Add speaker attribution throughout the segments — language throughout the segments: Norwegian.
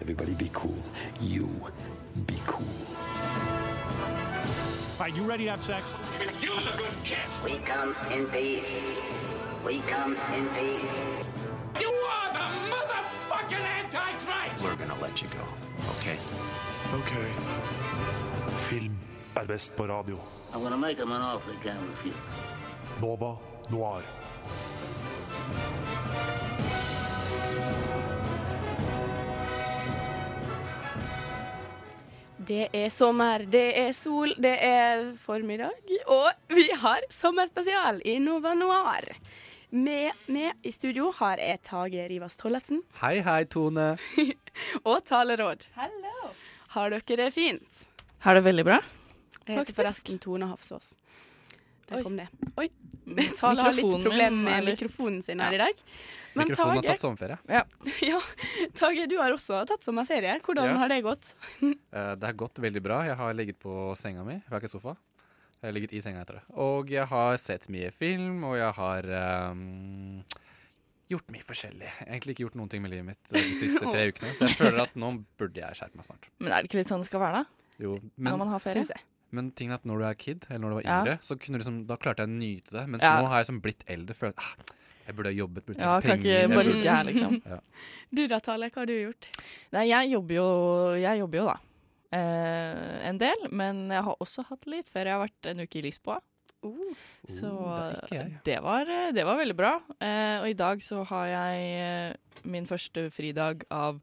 Speaker 1: Everybody be cool. You be cool.
Speaker 2: All right, you ready to have sex?
Speaker 3: Use a good kiss.
Speaker 4: We come in peace. We come in peace.
Speaker 3: You are the motherfucking Antichrist.
Speaker 5: We're gonna let you go. Okay.
Speaker 6: Ok. Film er best på radio.
Speaker 4: I'm gonna make him an offer he can't refuse.
Speaker 6: Nova Noir.
Speaker 7: Det er sommer, det er sol, det er formiddag, og vi har sommerspesial i Nova Noir. Med meg i studio har jeg Tage Rivas Tollefsen
Speaker 8: Hei, hei, Tone.
Speaker 7: og taleråd. Hello. Har dere det fint?
Speaker 9: Har det veldig bra?
Speaker 7: Jeg heter
Speaker 9: Faktisk.
Speaker 7: forresten Tone Hafsås. Der
Speaker 9: Oi.
Speaker 7: kom det. Oi. Tale har litt
Speaker 9: Mikrofonen min
Speaker 7: problemer med
Speaker 9: er litt-
Speaker 7: mikrofonen sin her i dag. Men
Speaker 8: Mikrofonen har
Speaker 7: Tage,
Speaker 8: tatt sommerferie.
Speaker 7: ja, Tage, du har også tatt sommerferie. Hvordan
Speaker 8: Ja.
Speaker 7: har det gått?
Speaker 8: Eh, Det har gått veldig bra. Jeg har ligget på senga mi. Jeg har ikke sofa. Jeg har ligget i senga etter det. Og jeg har sett mye film, og jeg har ehm, gjort mye forskjellig. Jeg har egentlig ikke gjort noen ting med livet mitt de siste tre ukene, så jeg føler at nå burde jeg skjerpe meg snart.
Speaker 9: Men er det ikke litt sånn det skal være, da?
Speaker 8: Jo,
Speaker 9: når
Speaker 8: men,
Speaker 9: man har ferie?
Speaker 7: Synes jeg.
Speaker 8: men ting er at når du er kid, eller når du var
Speaker 9: Ja.
Speaker 8: yngre, så kunne du liksom, da klarte jeg å nyte det. Mens
Speaker 9: Ja.
Speaker 8: nå har jeg som blitt eldre. Føler at ah, jeg burde ha jobbet, burde
Speaker 9: Ja,
Speaker 8: tjent
Speaker 9: kan ikke
Speaker 8: penger.
Speaker 9: bare
Speaker 8: jeg burde-
Speaker 9: ligge her, liksom.
Speaker 7: Du da, Tale, hva har du gjort?
Speaker 9: Nei, jeg jobber jo, jeg jobber jo da. Eh, en del, men jeg har også hatt litt ferie. Jeg har vært en uke i Lisboa,
Speaker 7: Oh.
Speaker 9: så
Speaker 8: Oh, det er ikke jeg.
Speaker 9: det var, det var veldig bra. Eh, og i dag så har jeg eh, min første fridag av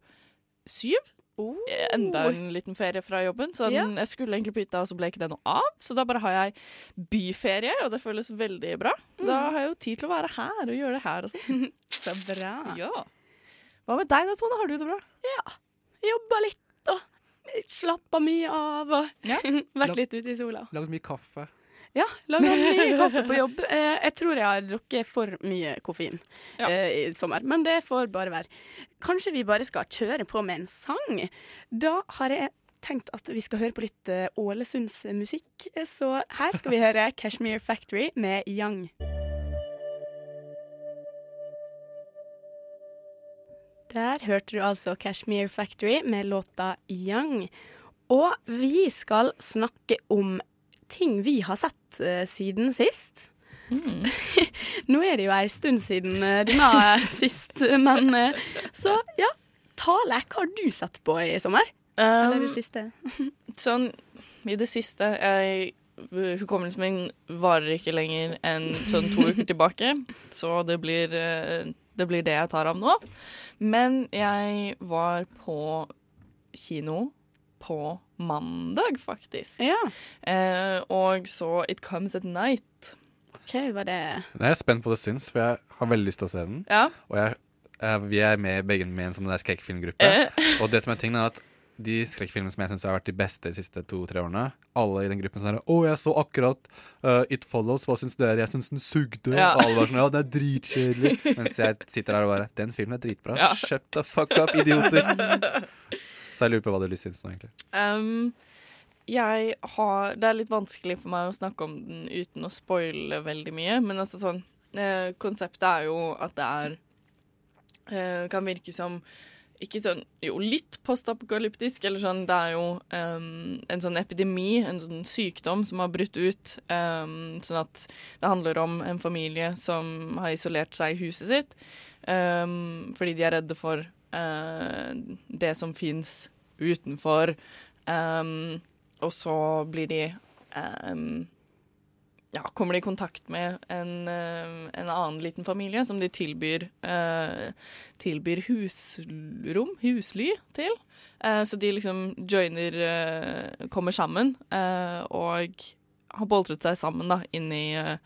Speaker 9: syv.
Speaker 7: Oh.
Speaker 9: Eh, Enda en liten ferie fra jobben. Så
Speaker 7: Ja.
Speaker 9: den, jeg skulle egentlig på hytta, og så ble ikke det noe av. Så da bare har jeg byferie, og det føles veldig bra.
Speaker 8: Mm.
Speaker 9: Da har jeg jo tid til å være her og gjøre det her og sånn.
Speaker 7: Så bra.
Speaker 9: Ja. Hva med deg da, Tone? Har du det bra?
Speaker 7: jobba litt og slappa mye av og
Speaker 9: Ja.
Speaker 7: vært litt ute i sola.
Speaker 8: Laget mye kaffe.
Speaker 7: Ja, laga mye kaffe på jobb. Eh, jeg tror jeg har drukket for mye koffein
Speaker 9: Ja.
Speaker 7: eh, i sommer, men det får bare være. Kanskje vi bare skal kjøre på med en sang? Da har jeg tenkt at vi skal høre på litt eh, Ålesunds musikk, eh, så her skal vi høre Cashmere Factory med Yang. Der hørte du altså Cashmere Factory med låta Young. Og vi skal snakke om ting vi har sett eh, siden sist.
Speaker 9: Mm.
Speaker 7: Nå er det jo ei stund siden eh, denne sist, men eh, Så ja, Tale, hva har du sett på i sommer?
Speaker 9: Um,
Speaker 7: Eller det siste?
Speaker 9: sånn i det siste jeg, Hukommelsen min varer ikke lenger enn sånn to uker tilbake, så det blir, eh, det blir det jeg tar av nå. Men jeg var på kino på mandag, faktisk,
Speaker 7: Ja.
Speaker 9: eh, og så It Comes at Night.
Speaker 7: OK, var det
Speaker 8: Nå er jeg spent på hva du syns, for jeg har veldig lyst til å se den.
Speaker 9: Ja.
Speaker 8: Og jeg, eh, vi er med begge med i en sånn der skrekkfilmgruppe.
Speaker 9: Eh.
Speaker 8: Og det som er tingen er at de skrekkfilmene som jeg syns har vært de beste de siste to-tre årene, alle i den gruppen sånn her, 'Å, jeg så akkurat eh, It Follows. Hva syns dere? Jeg syns den sugde.'
Speaker 9: Ja.
Speaker 8: Og alle var sånn 'Ja, den er dritkjedelig.' Mens jeg sitter her og bare 'Den filmen er dritbra.
Speaker 9: Ja.
Speaker 8: Shut the fuck up, idioter.' Så jeg lurer på hva du syns nå, egentlig.
Speaker 9: Um, jeg har Det er litt vanskelig for meg å snakke om den uten å spoile veldig mye, men altså sånn eh, Konseptet er jo at det er eh, Kan virke som ikke sånn Jo, litt postapokalyptisk, eller sånn Det er jo em, en sånn epidemi, en sånn sykdom som har brutt ut. em, sånn at det handler om en familie som har isolert seg i huset sitt em, fordi de er redde for eh, det som fins utenfor. em, Ehm, og så blir de em, ja, kommer de i kontakt med en, eh, en annen liten familie som de tilbyr, eh, tilbyr husrom, husly, til. Eh, så de liksom joiner, eh, kommer sammen, eh, og har boltret seg sammen da, inni, eh,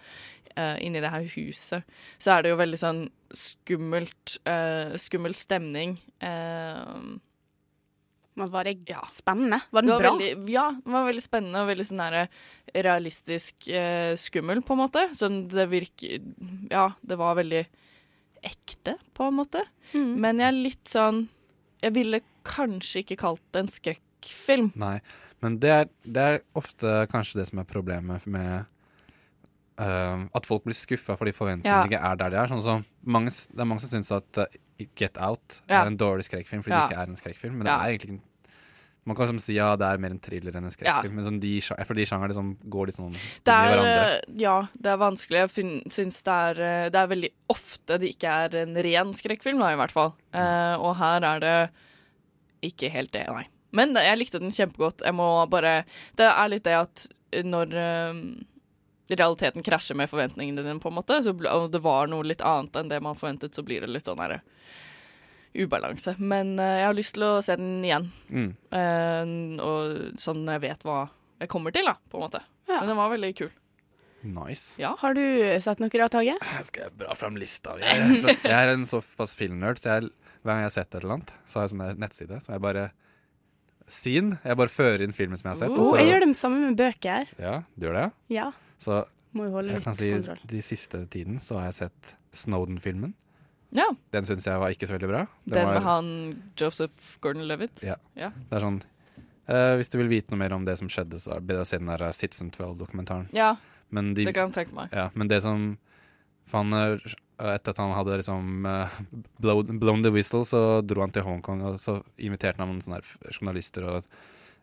Speaker 9: eh, inni det her huset. Så er det jo veldig sånn skummelt, eh, skummel stemning. Eh,
Speaker 7: men Var det
Speaker 9: Ja.
Speaker 7: spennende? Var den
Speaker 9: det var
Speaker 7: bra?
Speaker 9: Veldig, ja, det var veldig spennende og veldig sånn der realistisk eh, skummel, på en måte. Sånn det virker Ja, det var veldig ekte, på en måte.
Speaker 7: Mm.
Speaker 9: Men jeg er litt sånn Jeg ville kanskje ikke kalt det en skrekkfilm.
Speaker 8: Nei, men det er, det er ofte kanskje det som er problemet med eh, at folk blir skuffa fordi
Speaker 9: Ja.
Speaker 8: forventningene ikke er der de er. Sånn som mange, s- det er mange som syns at eh, Get Out
Speaker 9: Ja.
Speaker 8: er en dårlig skrekkfilm fordi
Speaker 9: Ja.
Speaker 8: det ikke er en skrekkfilm. Men det
Speaker 9: Ja.
Speaker 8: er egentlig ikke en man kan liksom si ja, det er mer en thriller enn en skrekkfilm, men sånn de, sja- for de sjangerne liksom går litt sånn inn i
Speaker 9: Det er,
Speaker 8: hverandre.
Speaker 9: eh, ja, det er vanskelig. Jeg fin- syns det er, eh, det er veldig ofte det ikke er en ren skrekkfilm, da, i hvert fall. Eh, og her er det ikke helt det, nei. Men det, jeg likte den kjempegodt. Jeg må bare Det er litt det at når eh, realiteten krasjer med forventningene dine, på en måte, så, bl- og det var noe litt annet enn det man forventet, så blir det litt sånn herre ubalanse. Men eh, jeg har lyst til å se den igjen.
Speaker 8: Mm.
Speaker 9: Eh, og sånn jeg vet hva jeg kommer til, da, på en måte.
Speaker 7: Ja.
Speaker 9: Men den var veldig kul.
Speaker 8: Nice.
Speaker 9: Ja.
Speaker 7: Har du sett noe av Tage?
Speaker 8: Her skal jeg dra fram lista. Jeg er- jeg er en såpass filmnerd, så jeg, hver gang jeg har sett et eller annet, så har jeg sånn der nettside som jeg bare Scene. Jeg bare fører inn filmen som jeg har sett.
Speaker 7: Oh, jeg gjør det samme med bøker.
Speaker 8: Ja, du gjør det, ja.
Speaker 7: Ja,
Speaker 8: Så
Speaker 7: må jo holde
Speaker 8: jeg
Speaker 7: litt
Speaker 8: kan si
Speaker 7: kontroll.
Speaker 8: de siste tiden så har jeg sett Snowden-filmen.
Speaker 9: ja.
Speaker 8: Den syns jeg var ikke så veldig bra. Den
Speaker 9: Den med
Speaker 8: var,
Speaker 9: han Joseph Gordon-Levitt.
Speaker 8: Ja.
Speaker 9: Ja.
Speaker 8: det er sånn eh, Hvis du vil vite noe mer om det som skjedde, så er det bedre å se den der eh, Citizen 12-dokumentaren.
Speaker 9: ja,
Speaker 8: Men, de,
Speaker 9: det kan jeg tenke meg.
Speaker 8: ja, men det som for han, eh, Etter at han hadde liksom eh, blown, blown the whistle, så dro han til Hongkong, og så inviterte han noen sånne her f- journalister og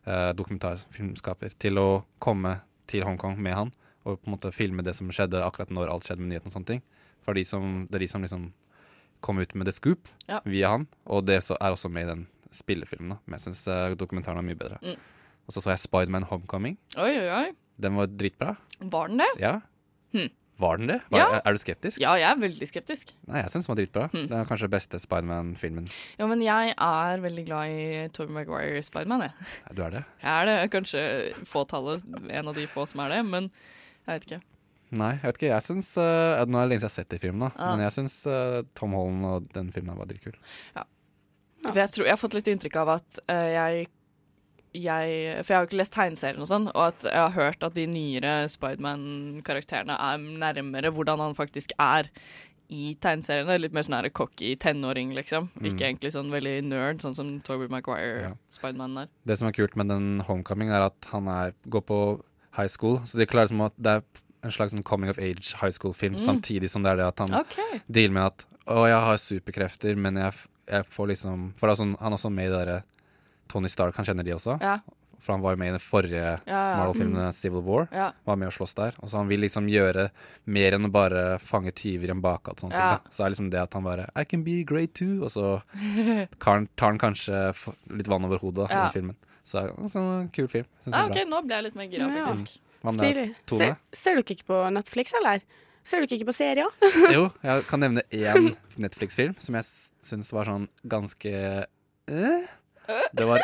Speaker 8: eh, dokumentarfilmskaper til å komme til Hongkong med han og på en måte filme det som skjedde akkurat når alt skjedde med nyheten og sånne ting. For de som, det er de som liksom kom ut med The Scoop
Speaker 9: Ja.
Speaker 8: via han, og det så er også med i den spillefilmen. da. Men jeg syns dokumentaren var mye bedre.
Speaker 9: Mm.
Speaker 8: Og så så jeg Spiderman Homecoming.
Speaker 9: Oi, oi, oi.
Speaker 8: Den var dritbra.
Speaker 9: Var den det?
Speaker 8: Ja.
Speaker 9: Hmm.
Speaker 8: Var den det? Var,
Speaker 9: Ja.
Speaker 8: Er du skeptisk?
Speaker 9: Ja, Hmm. jeg er veldig skeptisk.
Speaker 8: Nei, jeg syns den var dritbra. Den er kanskje beste Spiderman-filmen.
Speaker 9: Ja, men jeg er veldig glad i Tobey Maguire i Spiderman, jeg.
Speaker 8: Ja, Du er det?
Speaker 9: Jeg er det kanskje fåtallet, en av de få som er det, men jeg vet ikke.
Speaker 8: Nei, jeg vet ikke. Jeg syns eh, Nå er det lenge siden jeg har sett de filmene, da.
Speaker 9: Ah.
Speaker 8: men jeg syns Tom Holland og den filmen var dritkul.
Speaker 9: For jeg, tror, jeg har fått litt inntrykk av at eh, jeg, jeg For jeg har jo ikke lest tegneserien og sånn, og at jeg har hørt at de nyere Spiderman-karakterene er nærmere hvordan han faktisk er i tegneseriene. Litt mer sånn her cocky tenåring, liksom. Ikke egentlig sånn veldig nerd, sånn som Toby Maguire,
Speaker 8: Ja.
Speaker 9: Spiderman er.
Speaker 8: Det som er kult med den Homecoming, er at han er, går på high school. Så det klarer som at det er en slags sånn coming of age high school-film, samtidig som det er det at han
Speaker 9: Mm. OK.
Speaker 8: dealer med at Å, jeg har superkrefter, men jeg, f- jeg får liksom For det er sånn, han er også med i det derre Tony Stark, han kjenner de også.
Speaker 9: Ja.
Speaker 8: For han var jo med i den forrige
Speaker 9: ja. Mm.
Speaker 8: Marvel-filmen Civil War.
Speaker 9: Ja.
Speaker 8: Var med og slåss der. Og så han vil liksom gjøre mer enn å bare fange tyver i en bakgate. og Sånne
Speaker 9: Ja.
Speaker 8: ting, da. Så er liksom det at han bare I can be great too. Og så tar han, tar han kanskje f- litt vann over hodet da, i
Speaker 9: Ja.
Speaker 8: den filmen. Så det er en sånn kul film. Synes jeg
Speaker 9: Ah,
Speaker 8: er
Speaker 9: OK,
Speaker 8: bra.
Speaker 9: nå ble jeg litt mer gira,
Speaker 7: Ja.
Speaker 9: faktisk.
Speaker 8: Hva med
Speaker 7: Stilig.
Speaker 8: deg,
Speaker 7: Ser,
Speaker 8: Tone?
Speaker 7: ser dere ikke på Netflix, eller? Ser dere ikke på serier?
Speaker 8: Jo, jeg kan nevne én Netflix-film som jeg s- syns var sånn ganske eh? Det var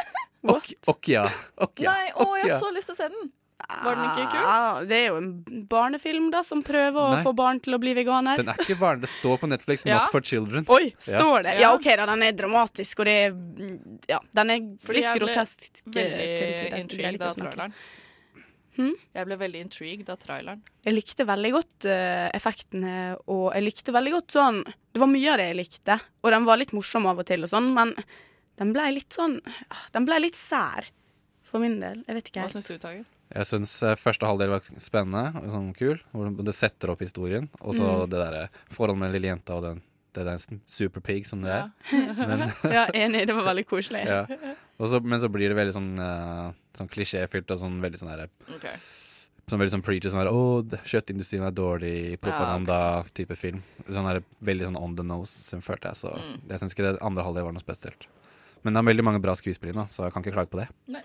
Speaker 8: Ok- Okja. Okja.
Speaker 9: Nei, å, jeg
Speaker 8: Okja.
Speaker 9: har så lyst til å se den! Var den ikke kul?
Speaker 7: Ja, Ah, det er jo en barnefilm da, som prøver å
Speaker 8: Nei.
Speaker 7: få barn til å bli veganer.
Speaker 8: Den er ikke barn, det står på Netflix
Speaker 9: Ja.
Speaker 8: 'Not for children'.
Speaker 7: Oi, står det? Ja,
Speaker 9: Ja.
Speaker 7: OK, da, den er dramatisk, og det er Ja, den er
Speaker 9: Fordi
Speaker 7: litt
Speaker 9: jeg ble
Speaker 7: grotesk. eh, til tider.
Speaker 9: Veldig
Speaker 7: Jeg
Speaker 9: intrigued
Speaker 7: liker å
Speaker 9: av
Speaker 7: snakke.
Speaker 9: traileren.
Speaker 7: Hm?
Speaker 9: Jeg ble veldig intrigued av traileren.
Speaker 7: Jeg likte veldig godt eh, effektene, og jeg likte veldig godt sånn Det var mye av det jeg likte, og den var litt morsom av og til og sånn, men den blei litt sånn ah, Den blei litt sær, for min del. Jeg vet ikke helt.
Speaker 9: Hva syns du, Tager?
Speaker 8: Jeg syns eh, første halvdel var spennende og sånn kul. Hvor det setter opp historien. Og så
Speaker 9: Mm.
Speaker 8: det derre forholdet med lille jenta og den, det der superpig som det er. Men,
Speaker 7: Ja, enig, det var veldig koselig.
Speaker 8: ja. og så, men så blir det veldig sånn, eh, sånn klisjéfylt og sånn veldig sånn derre
Speaker 9: Ok.
Speaker 8: Sånn veldig sånn preacher sånn der Å, d- kjøttindustrien er dårlig, propaganda-type film. Sånn der, veldig sånn on the nose, som følte jeg. Så
Speaker 9: Mm.
Speaker 8: jeg syns ikke det andre halvdel var noe spesielt. Men det er veldig mange bra skuespillere, så jeg kan ikke klage på det.
Speaker 9: Nei.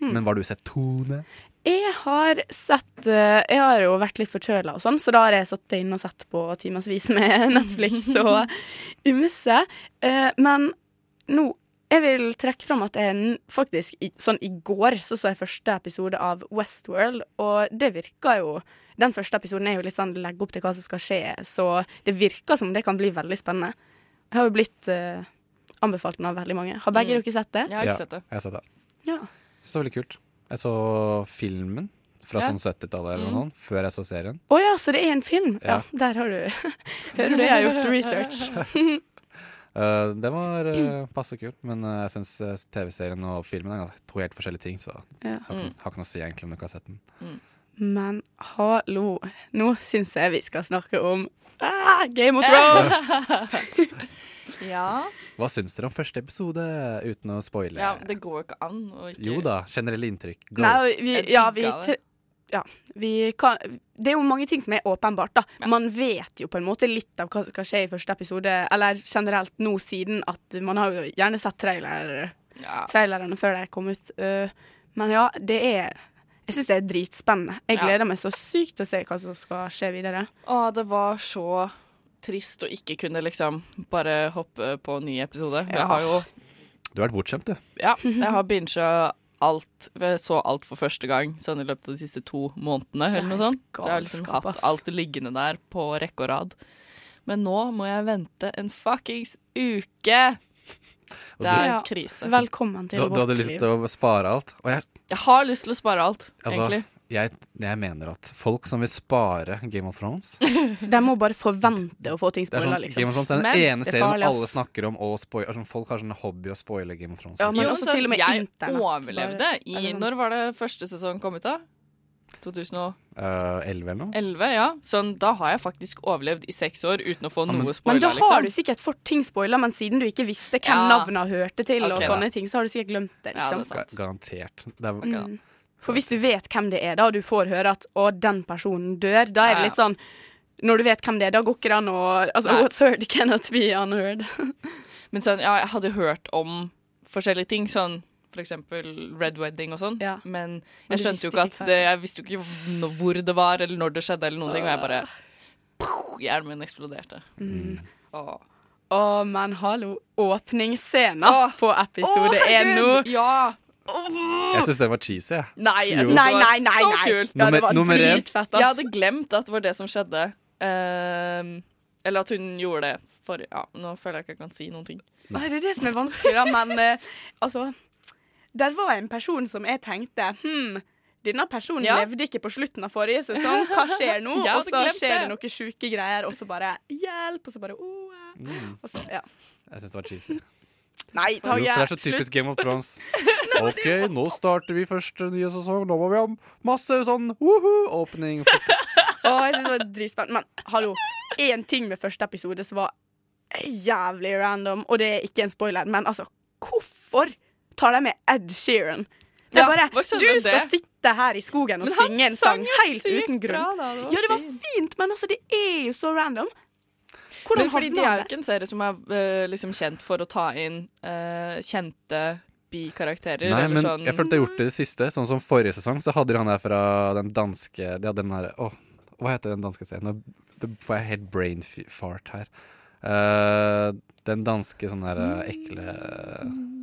Speaker 9: Mm.
Speaker 8: Men hva har du sett? Tone?
Speaker 7: Jeg har sett eh, Jeg har jo vært litt forkjøla og sånn, så da har jeg sittet inne og sett på timevis med Netflix og ymse. Eh, Men nå Jeg vil trekke fram at jeg n- faktisk i, sånn i går så så jeg første episode av Westworld, og det virker jo Den første episoden er jo litt sånn legge opp til hva som skal skje, så det virker som det kan bli veldig spennende. Jeg har jo blitt eh, anbefalt den av veldig mange. Har begge dere sett det?
Speaker 9: Jeg har ikke sett det.
Speaker 8: Jeg har sett det.
Speaker 7: Ja.
Speaker 8: Så veldig kult. Jeg så filmen fra
Speaker 9: Ja.
Speaker 8: sånn 70-tallet eller
Speaker 7: Mm.
Speaker 8: noe sånt, før jeg så serien.
Speaker 7: Å ja, så det er en film? Ja,
Speaker 8: Ja.
Speaker 7: der har du Hører du, jeg har gjort research.
Speaker 8: Eh, den var eh,
Speaker 7: Mm.
Speaker 8: passe kul, men eh, jeg syns TV-serien og filmen er ganske- to helt forskjellige ting, så jeg
Speaker 7: Ja. Mm.
Speaker 8: har, ikke- har ikke noe å si egentlig om du ikke har sett den.
Speaker 7: Men hallo, nå syns jeg vi skal snakke om ah, Game of Thrones!
Speaker 9: Ja.
Speaker 8: Hva syns dere om første episode, uten å spoile?
Speaker 9: ja. Det går jo ikke an å ikke
Speaker 8: Jo da, generelle inntrykk. Go.
Speaker 7: Nei, vi, ja, vi,
Speaker 9: digger det.
Speaker 7: tre- ja, vi kan, det er jo mange ting som er åpenbart. da. Man vet jo på en måte litt av hva som skal skje i første episode, eller generelt nå siden at man har jo gjerne sett trailer,
Speaker 9: Ja.
Speaker 7: trailerne før de kom ut. Øh, Men ja, det er Jeg syns det er dritspennende. Jeg
Speaker 9: Ja.
Speaker 7: gleder meg så sykt til å se hva som skal skje videre.
Speaker 9: Å, det var så trist å ikke kunne liksom bare hoppe på en ny episode. Jeg har jo
Speaker 8: Du har vært bortskjemt, du.
Speaker 9: Ja, jeg har binget alt Jeg så alt for første gang sånn i løpet av de siste to månedene.
Speaker 7: Det er
Speaker 9: Eller
Speaker 7: helt
Speaker 9: noe sånt. Så jeg har liksom
Speaker 7: galskap,
Speaker 9: hatt
Speaker 7: ass.
Speaker 9: alt liggende der på rekke og rad. Men nå må jeg vente en fuckings uke!
Speaker 8: Og
Speaker 9: Det er
Speaker 7: Ja.
Speaker 9: krise.
Speaker 7: Velkommen
Speaker 8: Du,
Speaker 7: til
Speaker 8: du hadde
Speaker 7: vårt
Speaker 8: lyst
Speaker 7: liv.
Speaker 8: til å spare alt. Og jeg,
Speaker 9: Jeg har lyst til å spare alt,
Speaker 8: altså,
Speaker 9: egentlig.
Speaker 8: jeg, jeg mener at folk som vil spare Game of Thrones
Speaker 7: De må bare forvente å få ting
Speaker 8: Det er
Speaker 7: spoila,
Speaker 8: sånn,
Speaker 7: liksom.
Speaker 8: Game of Thrones er den
Speaker 7: Men
Speaker 8: ene
Speaker 7: det er
Speaker 8: serien
Speaker 7: farlig,
Speaker 8: alle
Speaker 7: ass.
Speaker 8: snakker om og spoiler. Altså, folk har sånn hobby å spoile Game of Thrones.
Speaker 7: Ja, men
Speaker 9: Jo,
Speaker 7: også
Speaker 9: så
Speaker 7: til og med
Speaker 9: jeg
Speaker 7: internett,
Speaker 9: overlevde
Speaker 7: bare- sånn.
Speaker 9: i
Speaker 7: eller noe.
Speaker 9: Når var det første sesong kom ut, da? 2011,
Speaker 8: Eh, 11 eller noe?
Speaker 9: ja. Sånn, da har jeg faktisk overlevd i seks år uten å få
Speaker 8: men-
Speaker 9: noe
Speaker 7: Men da
Speaker 9: spoila,
Speaker 7: har du
Speaker 9: liksom.
Speaker 7: sikkert fått ting spoila, men siden du ikke visste hvem
Speaker 9: Ja.
Speaker 7: navnene hørte til, og
Speaker 9: Ok,
Speaker 7: sånne ting, så har du sikkert glemt det.
Speaker 9: Ja, det
Speaker 7: liksom.
Speaker 9: er sant.
Speaker 8: Ga- Garantert. Det er,
Speaker 9: Ok, da.
Speaker 7: For hvis du vet hvem det er, da, og du får høre at 'å, den personen dør', da er
Speaker 9: Ja,
Speaker 7: det
Speaker 9: ja.
Speaker 7: litt sånn Når du vet hvem det er, da går ikke det an å altså,
Speaker 9: Nei.
Speaker 7: What's heard cannot be unheard.
Speaker 9: Men sånn, ja, jeg hadde hørt om forskjellige ting, sånn for eksempel Red Wedding og sånn,
Speaker 7: Ja.
Speaker 9: men
Speaker 7: Men
Speaker 9: jeg
Speaker 7: du
Speaker 9: skjønte jo
Speaker 7: visste
Speaker 9: ikke
Speaker 7: ikke
Speaker 9: at
Speaker 7: hva-
Speaker 9: det, jeg visste jo ikke n- hvor det var, eller når det skjedde, eller noen ting, og jeg
Speaker 7: Ah.
Speaker 9: bare Pow! Hjernen min eksploderte.
Speaker 7: Mm.
Speaker 9: Åh.
Speaker 7: Å, men hallo. Åpningsscena på episode
Speaker 9: Åh,
Speaker 7: én nå.
Speaker 9: herregud! Ja!
Speaker 8: jeg syns den var cheesy, jeg.
Speaker 9: Nei, jeg
Speaker 8: Jo.
Speaker 9: synes
Speaker 7: Nei,
Speaker 9: det var
Speaker 7: nei, nei.
Speaker 9: så
Speaker 7: nei.
Speaker 9: kult.
Speaker 7: Ja, det var
Speaker 8: Nummer- nummer én.
Speaker 7: dritfett,
Speaker 9: Jeg
Speaker 7: ass.
Speaker 9: hadde glemt at det var det som skjedde. Ehm, eller at hun gjorde det for Ja, nå føler jeg ikke jeg kan si noen ting.
Speaker 7: Nei, det er det som er vanskelig, da. Men eh, altså Der var en person som jeg tenkte Hm, denne personen
Speaker 9: Ja.
Speaker 7: levde ikke på slutten av forrige sesong. Hva skjer nå?
Speaker 9: Jeg hadde
Speaker 7: og så skjer det
Speaker 9: glemt det.
Speaker 7: noen sjuke greier, og så bare Hjelp! Og så bare oh, eh. og så, ja.
Speaker 8: Mm, Jeg syns det var cheesy.
Speaker 7: Nei,
Speaker 8: Jo, for
Speaker 7: Tage.
Speaker 8: det er så typisk Game of Thrones. OK, nå starter vi første nye sesong. Nå må vi ha masse sånn woohoo åpning.
Speaker 7: Å, jeg synes det var dritspennende. Men hallo, én ting med første episode som var jævlig random, og det er ikke en spoiler, men altså, hvorfor tar de med Ed Sheeran? Det er
Speaker 9: Ja,
Speaker 7: bare
Speaker 9: hva skjønner
Speaker 7: Du skal
Speaker 9: det?
Speaker 7: sitte her i skogen og
Speaker 9: Men han
Speaker 7: synge en
Speaker 9: sang
Speaker 7: sang
Speaker 9: jo
Speaker 7: helt
Speaker 9: sykt
Speaker 7: uten grunn.
Speaker 9: bra, da. Det var
Speaker 7: ja, det var
Speaker 9: fint.
Speaker 7: fint, men altså, det er jo så random. Hvordan
Speaker 9: Men fordi
Speaker 7: havna
Speaker 9: de er jo
Speaker 7: han der?
Speaker 9: ikke en serie som er eh, liksom kjent for å ta inn eh, kjente bikarakterer.
Speaker 8: Nei,
Speaker 9: eller
Speaker 8: men
Speaker 9: sånn.
Speaker 8: jeg følte jeg har gjort det i det siste. Sånn som forrige sesong, så hadde de han der fra den danske De hadde den der Å, hva heter den danske serien? Nå b- får jeg helt brain f- fart her. Eh, den danske sånn der eh, ekle
Speaker 9: Mm.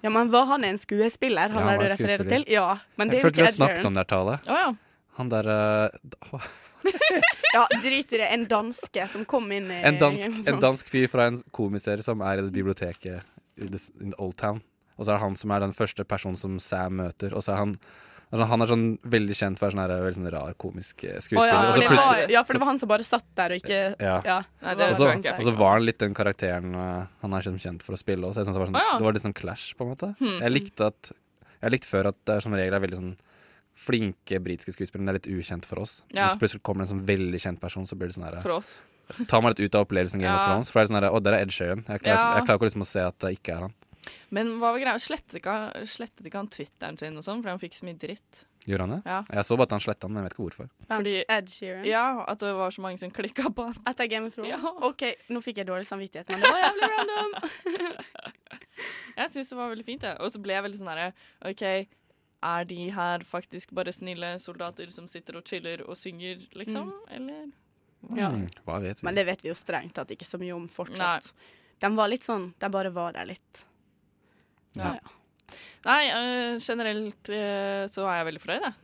Speaker 7: Ja, men Var han en skuespiller, han
Speaker 8: Ja, han
Speaker 7: der
Speaker 8: var
Speaker 7: du
Speaker 8: en
Speaker 7: refererer
Speaker 8: skuespiller.
Speaker 7: til? Ja, men det
Speaker 8: Jeg
Speaker 7: er jo
Speaker 8: følte vi
Speaker 7: ikke
Speaker 8: har
Speaker 7: Ed
Speaker 8: snakket om
Speaker 7: Sheeran.
Speaker 8: det her tallet.
Speaker 9: Å ja.
Speaker 8: Han der eh, d- åh,
Speaker 7: Ja, Drit i det. En danske som kom inn i
Speaker 9: Eh,
Speaker 8: en dansk, en dansk fyr fra en komiserie som er i det biblioteket i this, in Old Town. Og så er det han som er den første personen som Sam møter. Og så er han altså Han er sånn veldig kjent for å være sånn her, veldig sånn rar, komisk eh,
Speaker 7: Å,
Speaker 8: skuespiller.
Speaker 7: ja,
Speaker 8: og,
Speaker 7: for
Speaker 8: så
Speaker 7: det
Speaker 8: plutselig,
Speaker 7: var, ja, for det var han som bare satt der og ikke
Speaker 8: Ja.
Speaker 7: var
Speaker 9: Nei, det
Speaker 8: og,
Speaker 7: sånn
Speaker 8: så,
Speaker 9: tror jeg ikke.
Speaker 8: og så var han litt den karakteren eh, han er sånn kjent for å spille. Også. Jeg synes det, var sånn,
Speaker 9: Å, ja. Hmm,
Speaker 8: det var litt sånn clash, på en måte. Jeg likte at Jeg likte før at det er som regel er veldig sånn flinke britiske skuespillere, men det er litt ukjent for oss.
Speaker 9: Ja.
Speaker 8: Hvis plutselig kommer det en sånn veldig kjent person, så blir det sånn her
Speaker 9: For oss.
Speaker 8: ta meg litt ut av opplevelsen Game of
Speaker 9: Ja.
Speaker 8: Thrones. For det er sånn der, å, der er Ed Sheeran. Jeg klarer,
Speaker 9: Ja.
Speaker 8: jeg klarer ikke liksom å se at det ikke er han.
Speaker 9: Men hva var greia? Slettet ikke, han- slettet ikke han Twitteren sin og sånn, fordi han fikk så mye dritt?
Speaker 8: Gjorde han det?
Speaker 9: Ja.
Speaker 8: Jeg så bare at han sletta han, men jeg vet ikke hvorfor.
Speaker 7: Fordi
Speaker 9: Fordi-
Speaker 7: Ed Sheeran.
Speaker 9: Ja, at det var så mange som klikka på han.
Speaker 7: Etter Game of Thrones?
Speaker 9: Ja.
Speaker 7: OK, nå fikk jeg dårlig samvittighet, men det var jævlig random.
Speaker 9: Jeg syns det var veldig fint, jeg. Og så ble jeg veldig sånn herre OK, er de her faktisk bare snille soldater som sitter og chiller og synger, liksom? Eller?
Speaker 8: Mm, Hva vet vi?
Speaker 7: Men det vet vi jo strengt tatt ikke så mye om fortsatt.
Speaker 9: Nei.
Speaker 7: De var litt sånn De bare var der litt.
Speaker 9: Ja.
Speaker 7: Ja, ja.
Speaker 9: Nei, øh, generelt øh, så er jeg veldig fornøyd, jeg.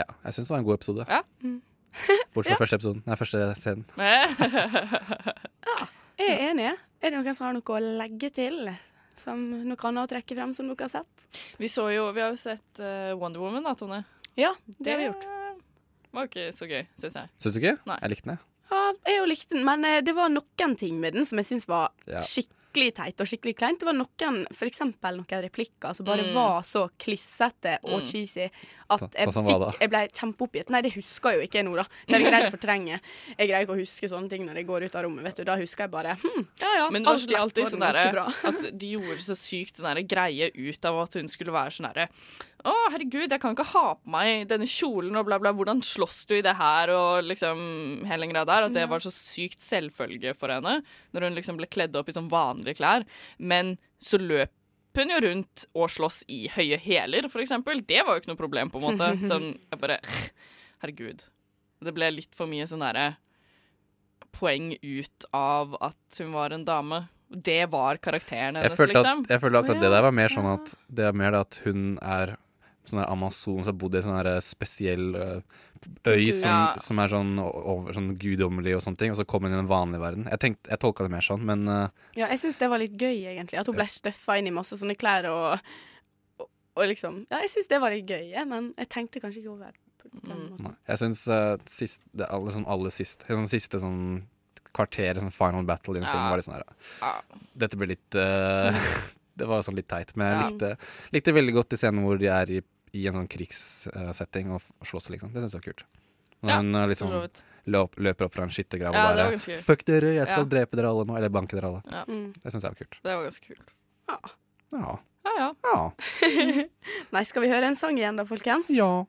Speaker 8: Ja, jeg syns det var en god episode.
Speaker 9: Ja.
Speaker 8: Bortsett fra første episoden. Nei, første scenen.
Speaker 7: Jeg er enig. Er det noen som har noe å legge til? Som noe annet å trekke frem som dere har sett?
Speaker 9: Vi, så jo, vi har jo sett eh, Wonder Woman, da, Tone.
Speaker 7: Ja, det har vi gjort.
Speaker 9: var ikke så gøy, syns jeg.
Speaker 8: Syns du ikke?
Speaker 9: Nei.
Speaker 8: Jeg likte den, jeg.
Speaker 7: Ja, jeg jo likte den, men eh, det var noen ting med den som jeg syns var
Speaker 8: Ja.
Speaker 7: skikkelig skikkelig teit og skikkelig kleint. Det var noen, for eksempel noen replikker som
Speaker 9: Mm.
Speaker 7: bare var så klissete og cheesy at
Speaker 8: Så-
Speaker 7: jeg,
Speaker 8: sånn
Speaker 7: fikk,
Speaker 8: var det.
Speaker 7: jeg ble kjempeoppgitt. Nei, det husker jo ikke jeg nå, da. Det er jeg greid å fortrenge. Jeg greier ikke å huske sånne ting når jeg går ut av rommet, vet du. Da husker jeg bare hm, ja ja.
Speaker 9: Men det var
Speaker 7: alt
Speaker 9: alltid,
Speaker 7: lett
Speaker 9: alltid
Speaker 7: var
Speaker 9: sånn
Speaker 7: ganske
Speaker 9: derre
Speaker 7: bra.
Speaker 9: at de gjorde så sykt sånn derre greie ut av at hun skulle være sånn derre Å, herregud, jeg kan ikke ha på meg denne kjolen og bla, bla, hvordan slåss du i det her og liksom hele den greia der. At det var så sykt selvfølge for henne når hun liksom ble kledd opp i sånn vanlige klær. Men så løp hun jo rundt og slåss i høye hæler, for eksempel. Det var jo ikke noe problem, på en måte. Sånn, jeg bare Herregud. Det ble litt for mye sånn derre poeng ut av at hun var en dame. Det var karakteren
Speaker 8: Jeg
Speaker 9: hennes,
Speaker 8: følte,
Speaker 9: liksom.
Speaker 8: at, jeg følte akkurat
Speaker 7: Å,
Speaker 8: det
Speaker 7: ja.
Speaker 8: der var mer sånn at Det er mer det at hun er sånn der amazon som har bodd i en sånn der spesiell ø, øy som,
Speaker 9: Ja.
Speaker 8: som er sånn, over, sånn guddommelig og sånne ting, og så kom hun i den vanlige verden. Jeg, tenkte, jeg tolka det mer sånn, men ø,
Speaker 7: Ja, jeg syns det var litt gøy, egentlig. At hun ble støffa inn i masse sånne klær og, og, og liksom Ja, jeg syns det var litt gøy, jeg, men jeg tenkte kanskje ikke over det. på den måten.
Speaker 8: Mm, nei. jeg syns sist, det aller, sånn aller sist, sånn siste sånn kvarter, sånn final battle i den
Speaker 9: Ja.
Speaker 8: filmen, var litt sånn der
Speaker 9: Ja.
Speaker 8: Dette ble litt ø, Det var sånn litt teit, men jeg
Speaker 9: Ja.
Speaker 8: likte, likte veldig godt de scenene hvor de er i, i en sånn krigssetting og slåss, liksom. Det syns jeg var kult. Når
Speaker 9: Ja,
Speaker 8: hun ø, liksom
Speaker 9: For så vidt.
Speaker 8: løp, løper opp fra en skyttergrav og
Speaker 9: Ja, det var
Speaker 8: bare
Speaker 9: ganske gøy.
Speaker 8: Fuck dere, jeg skal
Speaker 9: Ja.
Speaker 8: drepe dere alle nå. Eller banke dere alle.
Speaker 9: Ja.
Speaker 7: Mm.
Speaker 8: Det syns jeg var kult.
Speaker 9: Det var ganske kult.
Speaker 8: Ja.
Speaker 9: Ja, ja.
Speaker 8: Ja.
Speaker 7: Mm. Nei, skal vi høre en sang igjen da, folkens? Ja,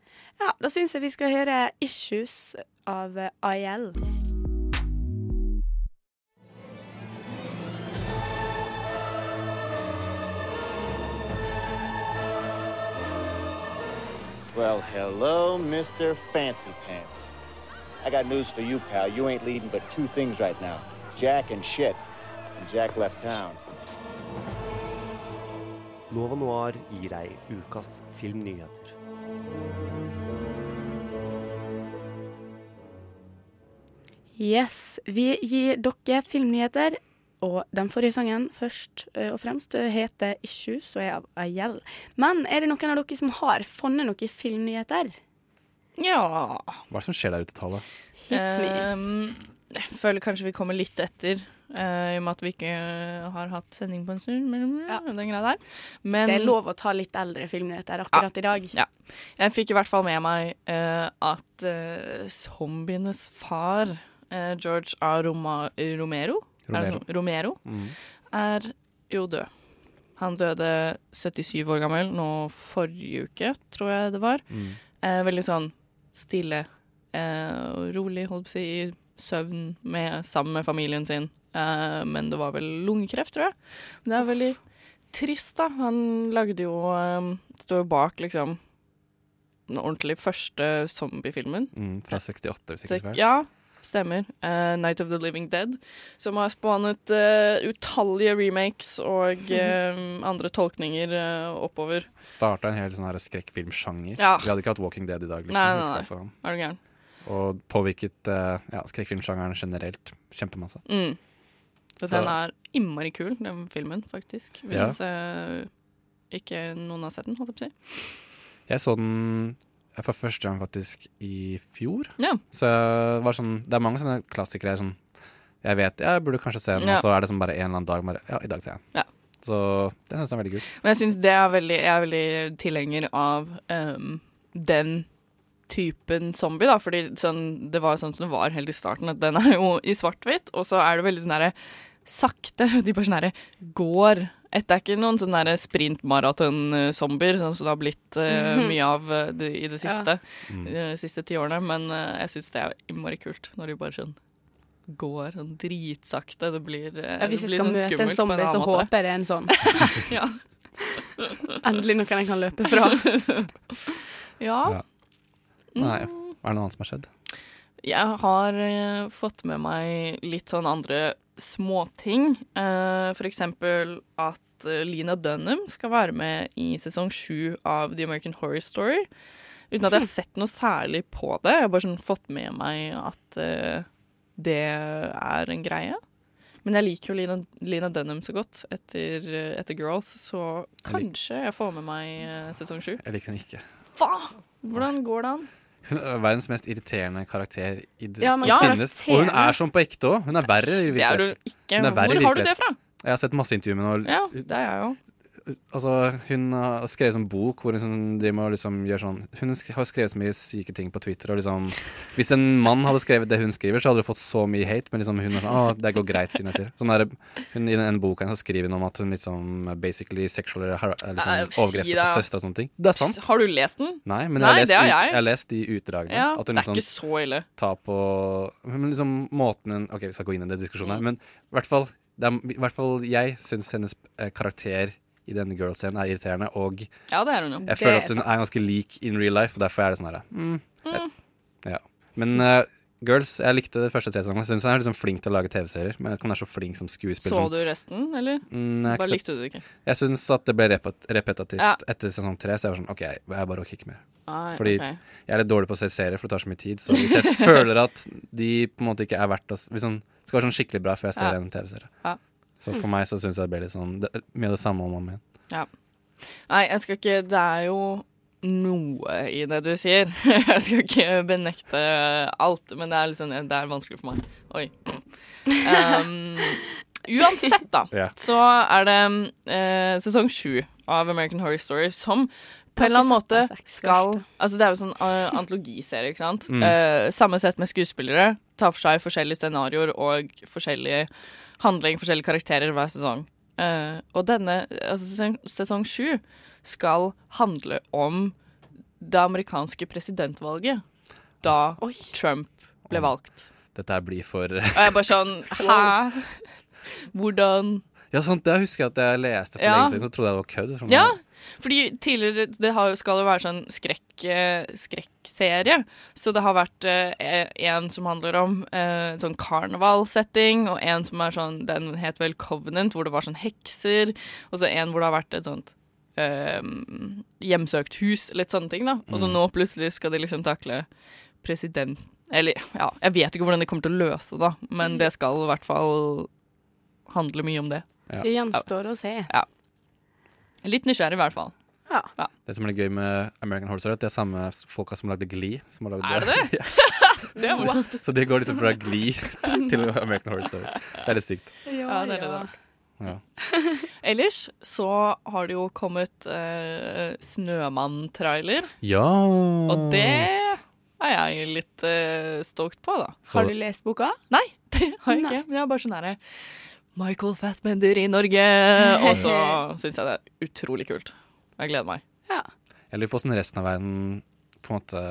Speaker 7: da syns jeg vi skal høre 'Issues' av eh, IL.
Speaker 2: Well, hello, Mr. Fancy Pants. I got news for you, pal. You ain't leading but two things right now Jack and shit. And Jack left town.
Speaker 10: Nova Noir gir deg ukas filmnyheter.
Speaker 7: Yes, vi gir dere filmnyheter. Og den forrige sangen først eh, og fremst eh, heter 'Issues' og er av IL. Men er det noen av dere som har funnet noen filmnyheter?
Speaker 9: ja.
Speaker 8: Hva er det som skjer der ute, Tale?
Speaker 7: Hit me.
Speaker 9: Ehm, jeg føler kanskje vi kommer litt etter, eh, i og med at vi ikke har hatt sending på en stund. Men,
Speaker 7: Ja.
Speaker 9: den greia der. Men
Speaker 7: Det er lov å ta litt eldre filmnyheter akkurat i dag.
Speaker 9: Ja. jeg fikk i hvert fall med meg eh, at eh, zombienes far, eh, George A. Roma Romero, Er, det
Speaker 8: Romero.
Speaker 9: sånn? Romero er jo død. Han døde 77 år gammel nå forrige uke, tror jeg det var.
Speaker 8: Mm,
Speaker 9: Eh, veldig sånn stille eh, og rolig, holdt på å si, i søvn med, sammen med familien sin. Eh, men det var vel lungekreft, tror jeg. Men det er veldig trist, da. Han lagde jo eh, Står jo bak, liksom, den ordentlig første zombiefilmen.
Speaker 8: Mm, fra 68, hvis ikke jeg
Speaker 9: Tek-
Speaker 8: tar feil.
Speaker 9: Ja, stemmer. Eh, Night of the Living Dead, som har spånet eh, utallige remakes og eh, andre tolkninger eh, oppover.
Speaker 8: Starta en hel sånn her skrekkfilmsjanger.
Speaker 9: Ja.
Speaker 8: Vi hadde ikke hatt Walking Dead i dag, liksom.
Speaker 9: Nei,
Speaker 8: hvis
Speaker 9: nei,
Speaker 8: det
Speaker 9: nei.
Speaker 8: er for han.
Speaker 9: Er du gæren?
Speaker 8: Og påvirket eh, ja, skrekkfilmsjangeren generelt kjempemasse.
Speaker 9: Mm. For
Speaker 8: Så-
Speaker 9: den er innmari kul, den filmen, faktisk. Hvis eh, ikke noen har sett den, holdt jeg på å si.
Speaker 8: Jeg så den eh, for første gang faktisk i fjor.
Speaker 9: Ja.
Speaker 8: Så jeg var sånn, det er mange sånne klassikere som jeg vet ja, jeg burde kanskje se den,
Speaker 9: Ja.
Speaker 8: og så er det som bare en eller annen dag bare, Ja, i dag ser jeg den.
Speaker 9: Ja.
Speaker 8: Så det syns jeg er veldig kult.
Speaker 9: Men jeg syns det er veldig Jeg er veldig tilhenger av ehm, den typen zombie, da. Fordi sånn, det var jo sånn som det var helt i starten, at den er jo i svart-hvitt, og så er det veldig sånn derre sakte. De bare sånn herre går. Et, det er ikke noen sånn derre sprintmaraton-zombier, sånn som det har blitt eh,
Speaker 7: Mhm.
Speaker 9: mye av eh, det, i det siste. De siste ti årene. Men eh, jeg syns det er innmari kult når de bare sånn går sånn dritsakte. Det blir, eh,
Speaker 7: Ja, hvis
Speaker 9: det
Speaker 7: jeg
Speaker 9: blir
Speaker 7: skal møte en
Speaker 9: sånn skummelt på
Speaker 7: zombie, så
Speaker 9: annen måte.
Speaker 7: håper jeg det er en sånn.
Speaker 9: Ja.
Speaker 7: Endelig noen jeg kan løpe fra.
Speaker 9: ja. Mm.
Speaker 8: Nei, er det noe annet som har skjedd?
Speaker 9: Jeg har eh, fått med meg litt sånn andre småting. Eh, for eksempel at eh, Lina Dunham skal være med i sesong sju av The American Horror Story. Uten at jeg har sett noe særlig på det. Jeg har bare sånn fått med meg at eh, det er en greie. Men jeg liker jo Lina, Lina Dunham så godt etter, eh, etter Girls, så
Speaker 8: Jeg lik-
Speaker 9: kanskje jeg får med meg eh, sesong sju.
Speaker 8: Jeg liker hun ikke.
Speaker 9: Faen! Hvordan går det an?
Speaker 8: Hun er verdens mest irriterende karakter i det
Speaker 7: Ja,
Speaker 8: som
Speaker 7: men
Speaker 8: finnes. Og hun
Speaker 7: karakterene-
Speaker 8: er som på ekte òg. Hun er verre. i
Speaker 9: Det er
Speaker 8: virkeligheten.
Speaker 9: hun ikke.
Speaker 8: Hun er verre i
Speaker 9: Hvor har du
Speaker 8: virkeligheten.
Speaker 9: det fra?
Speaker 8: Jeg har sett masse intervjuer med henne.
Speaker 9: Ja, det er jeg jo.
Speaker 8: Altså, hun har skrevet sånn bok hvor hun sånn driver med å liksom gjør sånn Hun sk- har skrevet så mye syke ting på Twitter. Og liksom, hvis en mann hadde skrevet det hun skriver, så hadde det fått så mye hate. Men liksom, hun er sånn Å, det går greit, siden jeg sier det». sånn der, hun, I den ene boka hennes så skriver hun om at hun liksom basically sexual har- er
Speaker 9: Nei,
Speaker 8: liksom,
Speaker 9: si
Speaker 8: overgrepsvoldtekt
Speaker 9: det.
Speaker 8: på søstre og sånne ting. Det er sant.
Speaker 9: Har du lest den?
Speaker 8: Nei, men
Speaker 9: Nei,
Speaker 8: jeg,
Speaker 9: det
Speaker 8: har
Speaker 9: har
Speaker 8: lest,
Speaker 9: jeg.
Speaker 8: jeg har lest de utdragene.
Speaker 9: Ja,
Speaker 8: at
Speaker 9: Det
Speaker 8: hun
Speaker 9: er
Speaker 8: liksom
Speaker 9: ikke så ille.
Speaker 8: ta på Men liksom måten hun Ok, vi skal gå inn i den diskusjonen her, men i hvert fall, det er, i hvert fall jeg syns hennes eh, karakter i denne girl-scenen er irriterende, og jeg
Speaker 9: Ja, det er hun jo.
Speaker 7: Det er
Speaker 8: føler at hun
Speaker 7: sant.
Speaker 8: er ganske lik in real life, og derfor er det sånn her mm, jeg- ja. Men eh, Girls, jeg likte det første tre sesongene. Jeg Syns hun er liksom flink til å lage TV-serier, men jeg vet ikke om hun er så flink som skuespiller.
Speaker 9: Så
Speaker 8: som-
Speaker 9: du resten, eller?
Speaker 8: Mm, jeg har ikke
Speaker 9: Bare
Speaker 8: sett-
Speaker 9: likte du det ikke?
Speaker 8: jeg syns at det ble repet repetitivt
Speaker 9: Ja.
Speaker 8: etter sesong tre, så jeg var sånn OK, jeg jeg bare orker ikke mer.
Speaker 9: Nei,
Speaker 8: Fordi
Speaker 9: ok.
Speaker 8: jeg er litt dårlig på å se serier, for det tar så mye tid. Så hvis jeg føler at de på en måte ikke er verdt å s- Hvis den skal være sånn skikkelig bra før jeg ser
Speaker 9: Ja.
Speaker 8: en TV-serie.
Speaker 9: Ja. Mm.
Speaker 8: Så for meg så syns jeg det blir litt sånn det, mye av det samme om og om igjen.
Speaker 9: Nei, jeg skal ikke Det er jo noe i det du sier. Jeg skal ikke benekte alt, men det er, liksom, det er vanskelig for meg. Oi. Um, uansett, da,
Speaker 8: Ja.
Speaker 9: så er det eh, sesong sju av American Horror Story som på en eller annen
Speaker 7: Jeg har
Speaker 9: måte
Speaker 7: ikke sett de seks
Speaker 9: skal
Speaker 7: første.
Speaker 9: Altså Det er jo sånn eh, antologiserie, ikke sant. Eh, samme sett med skuespillere. Tar for seg forskjellige scenarioer og forskjellige handling, forskjellige karakterer hver sesong. Eh, og denne, altså sesong- sesong sju, skal handle om det amerikanske presidentvalget. Da Trump ble valgt.
Speaker 8: Dette her blir for
Speaker 9: Og jeg bare sånn Hæ? Hvordan
Speaker 8: Ja, sant, det husker jeg at jeg leste for
Speaker 9: Ja.
Speaker 8: lenge siden, så trodde jeg det var kødd. for
Speaker 9: Ja,
Speaker 8: meg-
Speaker 9: fordi tidligere Det har, jo- skal jo være sånn skrekk, eh, skrekkserie. Så det har vært eh, en som handler om eh, sånn karnevalsetting, og en som er sånn Den het vel Covenant, hvor det var sånn hekser. Og så en hvor det har vært et sånt eh, hjemsøkt hus, litt sånne ting, da. Og så nå plutselig skal de liksom takle president... Eller ja, jeg vet ikke hvordan de kommer til å løse det, da, men det skal i hvert fall handle mye om det.
Speaker 7: Det gjenstår å se.
Speaker 9: Litt nysgjerrig, i hvert fall.
Speaker 7: Ja.
Speaker 8: Det som er litt gøy med American Horse, er at det er samme folka som lagde Glee. Som har lagd
Speaker 9: Er det det?
Speaker 8: Ja, så de går liksom fra Glee til American Horse Story. Det er litt sykt.
Speaker 9: Ja, det er det
Speaker 7: ja.
Speaker 9: rart.
Speaker 8: Ja.
Speaker 9: Ellers så har det jo kommet eh, Snømann-trailer,
Speaker 8: Ja.
Speaker 9: og det er jeg litt eh, stoked på, da.
Speaker 8: så,
Speaker 7: Har du lest boka?
Speaker 9: Nei, det har jeg
Speaker 7: Nei.
Speaker 9: ikke. Men jeg er bare sånn herre Michael Fassbender i Norge! Og så syns jeg det er utrolig kult. Jeg gleder meg.
Speaker 7: Ja.
Speaker 8: Jeg lurer på hvordan resten av verden på en måte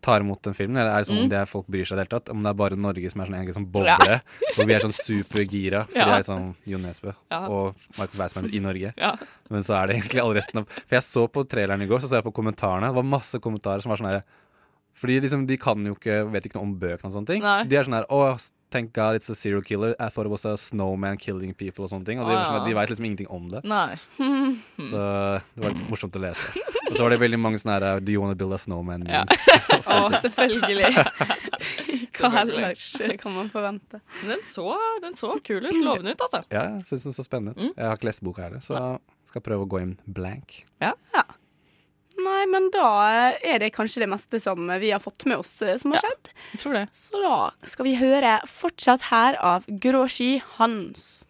Speaker 8: tar imot den filmen. Eller er det sånn
Speaker 9: Mm.
Speaker 8: om det er folk bryr seg i det hele tatt? Om det er bare Norge som er sånn en sånn boble, hvor vi er sånn supergira fordi
Speaker 9: Ja.
Speaker 8: det er sånn Jon Nesbø
Speaker 9: Ja.
Speaker 8: og Michael Weissmann i Norge.
Speaker 9: Ja.
Speaker 8: Men så er det egentlig alle resten av For jeg så på traileren i går, så så jeg på kommentarene. Det var masse kommentarer som var sånn her Fordi liksom de kan jo ikke Vet ikke noe om bøkene og sånne ting.
Speaker 9: Nei.
Speaker 8: Så de er sånn her Å, thank God it's a serial killer. I thought it was a snowman killing people og sånne ting. Og de, var sånn,
Speaker 9: Ah.
Speaker 8: her, de veit liksom ingenting om det.
Speaker 9: Nei.
Speaker 8: Så det var litt morsomt å lese. Mm. Og så var det veldig mange sånne her uh, Do you wanna build a snowman?
Speaker 9: Ja.
Speaker 8: memes. Og
Speaker 7: Å,
Speaker 8: sånt.
Speaker 7: selvfølgelig. Hva
Speaker 9: Selvfølgelig.
Speaker 7: ellers kan man forvente?
Speaker 9: Men Den så, den så kul ut. Lovende ut, altså.
Speaker 8: Ja, jeg syns den så spennende ut. Jeg har ikke lest boka heller, så skal prøve å gå inn blank.
Speaker 7: Nei, men da er det kanskje det meste som vi har fått med oss eh, som har skjedd.
Speaker 9: Jeg tror det.
Speaker 7: Så da skal vi høre fortsatt her av Grå sky Hans.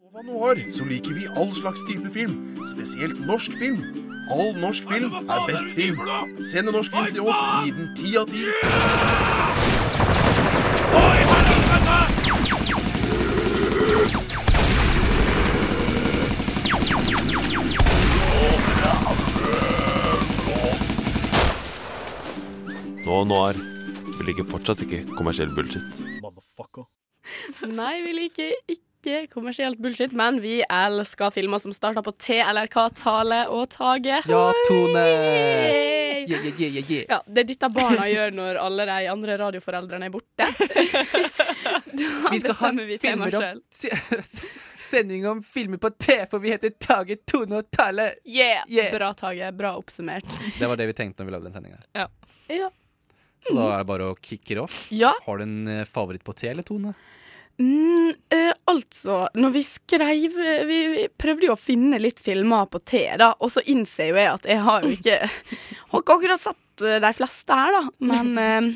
Speaker 11: Over noen år så liker vi all slags type film, spesielt norsk film. All norsk film er best film. Send en norsk film til oss, gi den ti av ti.
Speaker 5: Nå og noir. Vi liker fortsatt ikke kommersiell bullshit.
Speaker 7: Nei, vi liker ikke kommersielt bullshit, men vi elsker filmer som starter på T, LRK, Tale og Tage.
Speaker 8: Ja, Tone!
Speaker 7: Hei! Ja, det er dette barna gjør når alle de andre radioforeldrene er borte. Da bestemmer vi temaet selv.
Speaker 8: Sending om filmer på T, for vi heter Tage, Tone og Tale.
Speaker 7: Yeah!
Speaker 8: Yeah.
Speaker 7: Bra, Tage. Bra oppsummert.
Speaker 8: Det var det vi tenkte når vi lagde den sendinga.
Speaker 7: Ja.
Speaker 8: Så da er det bare å kicke it off.
Speaker 7: ja.
Speaker 8: Har du en eh, favoritt på T eller Tone?
Speaker 7: Mm, eh, altså, når vi skrev eh, vi, vi prøvde jo å finne litt filmer på T, da, og så innser jo jeg at jeg har jo ikke Har ikke akkurat sett eh, de fleste her, da, men eh,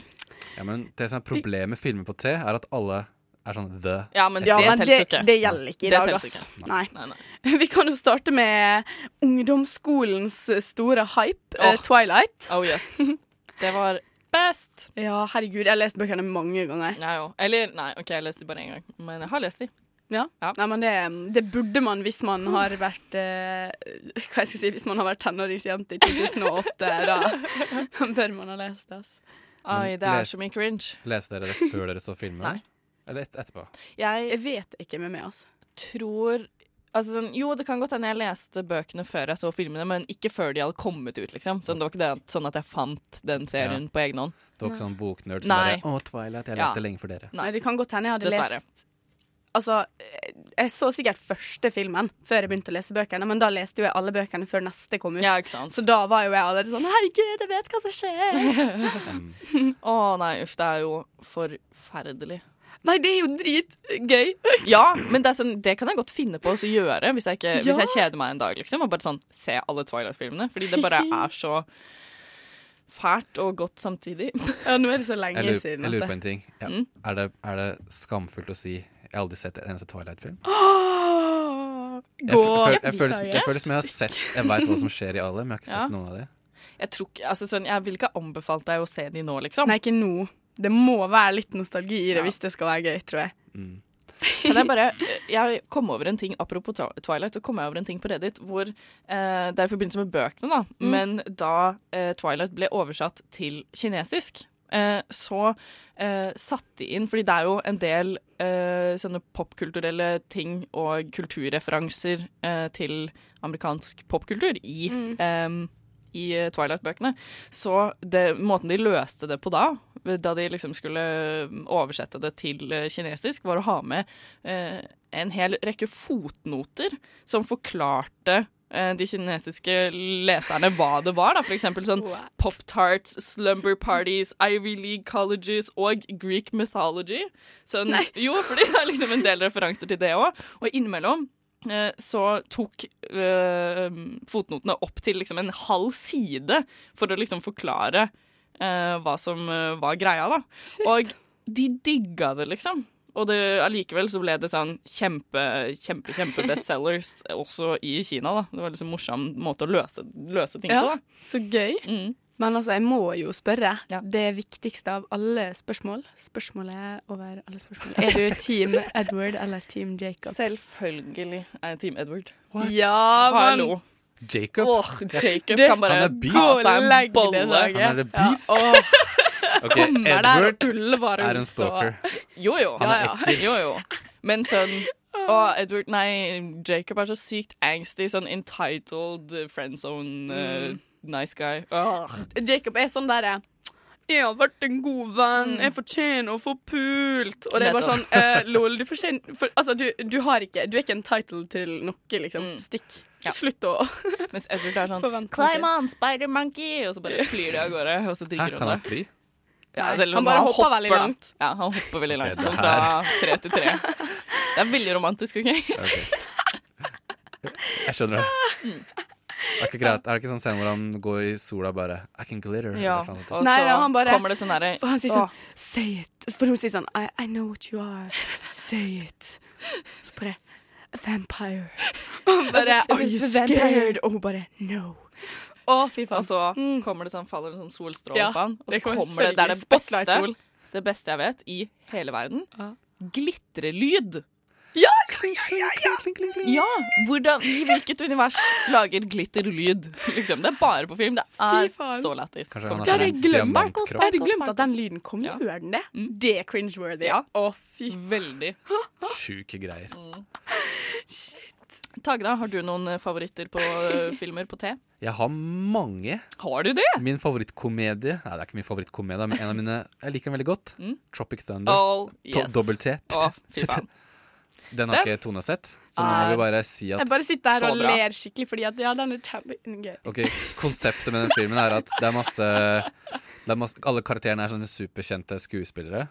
Speaker 8: Ja, men det som er problemet med filmer på T, er at alle er sånn the
Speaker 9: Ja, men
Speaker 7: Ja,
Speaker 9: det
Speaker 7: men
Speaker 9: teller
Speaker 7: det,
Speaker 9: ikke.
Speaker 7: det gjelder ikke i
Speaker 9: Det
Speaker 7: dag,
Speaker 9: teller
Speaker 7: altså.
Speaker 9: ikke.
Speaker 7: Nei. Vi kan jo starte med ungdomsskolens store hype, eh,
Speaker 9: Åh.
Speaker 7: Twilight.
Speaker 9: Oh yes. Det var best.
Speaker 7: Ja, herregud, jeg har lest bøkene mange ganger.
Speaker 9: Nei, jo. Eller, nei, OK, jeg leste de bare én gang, men jeg har lest de.
Speaker 7: Ja. Nei, men det, det burde man hvis man har vært eh, Hva jeg skal si, hvis man har vært tenåringsjente i 2008. Da bør man ha lest det. Altså.
Speaker 9: Oi, det er så mye cringe.
Speaker 8: Leste dere det før dere så filmen?
Speaker 9: Nei.
Speaker 8: Eller et, etterpå?
Speaker 9: Jeg,
Speaker 7: vet ikke med meg, altså.
Speaker 9: Tror Altså, sånn, jo, det kan godt hende jeg leste bøkene før jeg så filmene, men ikke før de hadde kommet ut, liksom. Så det var ikke det, at- sånn at jeg fant den serien
Speaker 8: Ja.
Speaker 9: på egen hånd.
Speaker 8: Du var ikke sånn boknerd som bare
Speaker 9: Nei.
Speaker 8: Å, Twilight, jeg
Speaker 9: Ja.
Speaker 8: leste lenge for dere.
Speaker 7: Nei, det kan godt hende jeg hadde
Speaker 9: Dessverre.
Speaker 7: lest Altså, eh, jeg så sikkert første filmen før jeg begynte å lese bøkene, men da leste jo jeg alle bøkene før neste kom ut.
Speaker 9: Ja, ikke sant.
Speaker 7: Så da var jo jeg allerede sånn Herregud, jeg vet hva som skjer!
Speaker 9: Å nei, uff, det er jo forferdelig.
Speaker 7: Nei, det er jo dritgøy.
Speaker 9: Ja, men det, er sånn, det kan jeg godt finne på å gjøre hvis jeg, ikke,
Speaker 7: Ja.
Speaker 9: hvis jeg kjeder meg en dag, liksom. Og bare sånn se alle Twilight-filmene. Fordi det bare er så fælt og godt samtidig.
Speaker 7: Ja, nå er det så lenge
Speaker 8: Jeg lurer,
Speaker 7: siden.
Speaker 8: jeg
Speaker 7: at
Speaker 8: lurer
Speaker 7: det-
Speaker 8: på en ting. Ja.
Speaker 7: Mm.
Speaker 8: Er, det, er det skamfullt å si Jeg har aldri sett en eneste Twilight-film?
Speaker 9: Ah,
Speaker 8: Jeg,
Speaker 9: Gå
Speaker 8: føl- jeg,
Speaker 9: Jeg
Speaker 8: føler,
Speaker 9: vet
Speaker 8: jeg
Speaker 9: ikke.
Speaker 8: føler som jeg har sett Jeg veit hva som skjer i alle, men jeg har ikke
Speaker 9: Ja.
Speaker 8: sett noen av de.
Speaker 9: Jeg, tror, ikke- altså, sånn, jeg vil ikke anbefalt deg å se de nå, liksom.
Speaker 7: Nei, ikke nå. Det må være litt nostalgi i det hvis det skal være gøy, tror jeg.
Speaker 9: Kan jeg bare Jeg kom over en ting Apropos Twi- Twilight, så kom jeg over en ting på Reddit hvor eh, Det er i forbindelse med bøkene, da.
Speaker 12: Mm.
Speaker 9: Men da eh, Twilight ble oversatt til kinesisk, eh, så eh, satte de inn Fordi det er jo en del eh, sånne popkulturelle ting og kulturreferanser eh, til amerikansk popkultur i
Speaker 12: Mm.
Speaker 9: em, i eh, Twilight-bøkene. Så det, måten de løste det på da, da de liksom skulle oversette det til eh, kinesisk, var å ha med eh, en hel rekke fotnoter som forklarte eh, de kinesiske leserne hva det var. da, For eksempel sånn Pop-tarts, slumber parties, Ivy League colleges og Greek mythology. Sånn, jo, fordi det er liksom en del referanser til det òg. Og innimellom eh, så tok eh, fotnotene opp til liksom en halv side for å liksom forklare eh, hva som eh, var greia, da. Og de digga det, liksom. Og det, allikevel så ble det sånn kjempe, kjempe, kjempe bestsellers også i Kina, da. Det var liksom en morsom måte å løse, løse ting på,
Speaker 7: Ja,
Speaker 9: da.
Speaker 7: så gøy. Men altså, jeg må jo spørre. Det viktigste av alle spørsmål. Spørsmålet over alle spørsmål. Er du Team Edward eller Team Jacob?
Speaker 9: Selvfølgelig er jeg Team Edward.
Speaker 7: Ja, men-
Speaker 9: Hallo.
Speaker 8: Jacob.
Speaker 9: Åh, Jacob
Speaker 7: Du,
Speaker 9: kan bare
Speaker 8: han er beast.
Speaker 9: ta seg en
Speaker 7: Pålegg det,
Speaker 9: bolle.
Speaker 7: Dage. Han er
Speaker 8: det beast.
Speaker 9: Ja, åh.
Speaker 8: Ok,
Speaker 9: Kommer der,
Speaker 8: Edward
Speaker 9: og ull var
Speaker 8: er en
Speaker 9: rundt,
Speaker 8: stalker.
Speaker 9: og- Jo, jo.
Speaker 8: Han er Ja, ja. ekkel.
Speaker 9: Jo, jo. Men sånn Å, Edward Nei, Jacob er så sykt angsty. Sånn entitled
Speaker 7: Mm.
Speaker 9: friendzone eh, nice guy. Åh.
Speaker 7: Jacob er sånn derre jeg har vært en god venn,
Speaker 9: Mm.
Speaker 7: jeg fortjener å få pult. Og det er bare sånn
Speaker 9: Nettopp.
Speaker 7: eh, Lol, du fortjener for, Altså, du, du har ikke Du er ikke en title til noe, liksom. Stikk. Slutt å
Speaker 9: Mens Edward er sånn
Speaker 7: Forvent-
Speaker 9: Climb on, spider monkey! Og så bare flyr de av gårde, og så
Speaker 8: Hæ, kan
Speaker 9: drikker han
Speaker 8: han
Speaker 9: det.
Speaker 8: fly?
Speaker 9: Ja,
Speaker 7: Nei,
Speaker 9: selv om
Speaker 7: liksom, han bare hopper veldig
Speaker 9: da.
Speaker 7: langt.
Speaker 9: Ja, han hopper veldig langt.
Speaker 8: det
Speaker 9: sånn fra tre til tre. Det er veldig romantisk, OK?
Speaker 8: Jeg skjønner det.
Speaker 9: Mm.
Speaker 8: Er det ikke greit? Er det ikke sånn scene hvor han går i sola og bare I can glitter.
Speaker 9: Ja,
Speaker 8: eller noe sånt?
Speaker 9: og
Speaker 7: Nei,
Speaker 9: så
Speaker 7: da, han bare,
Speaker 9: kommer det sånn derre
Speaker 7: For han sier sånn
Speaker 9: «Åh,
Speaker 7: Say it. For hun sier sånn I, I know what you are. Say it. Så bare A vampire. Og han bare Are you
Speaker 9: Vampire.
Speaker 7: scared? Og hun bare No. Å, fy faen.
Speaker 9: Og så kommer det sånn, faller en sånn solstråle
Speaker 7: Mm. Ja,
Speaker 9: på han, og så
Speaker 7: det kommer
Speaker 9: kommer det Det er det
Speaker 7: selvfølgelig
Speaker 9: beste,
Speaker 7: spotlight-sol.
Speaker 9: det beste jeg vet i hele verden. Glitrelyd!
Speaker 7: Ja!
Speaker 9: Ja! Hvordan, I hvilket univers lager glitterlyd? Liksom, det er bare på film. Det
Speaker 7: Fy
Speaker 9: er
Speaker 7: faen.
Speaker 9: så lættis.
Speaker 8: Kanskje han
Speaker 9: Kommer
Speaker 8: har
Speaker 9: til å-
Speaker 8: sånn diamantkropp?
Speaker 7: Jeg hadde glemt at den lyden kom. Gjør den det? Det er cringe-worthy. Å, fy
Speaker 9: Veldig.
Speaker 8: Sjuke greier.
Speaker 9: Tagda, har du noen eh, favoritter på eh, filmer på T?
Speaker 8: Jeg har mange.
Speaker 9: Har du det?
Speaker 8: Min favorittkomedie Nei, det er ikke min favorittkomedie, men en av mine Jeg liker den veldig godt. Tropic Thunder.
Speaker 9: Mm. Oh,
Speaker 8: To-
Speaker 9: yes.
Speaker 8: Dobbel T.
Speaker 9: Å, fy faen.
Speaker 8: Den har
Speaker 7: Den-
Speaker 8: ikke Tone sett, så nå må vi bare si at
Speaker 7: Jeg bare sitter her
Speaker 8: Så
Speaker 7: og
Speaker 8: bra.
Speaker 7: ler skikkelig fordi at ja, den er kjempegøy.
Speaker 8: Ok, Konseptet med den filmen er at det er masse, det er masse Alle karakterene er sånne superkjente skuespillere.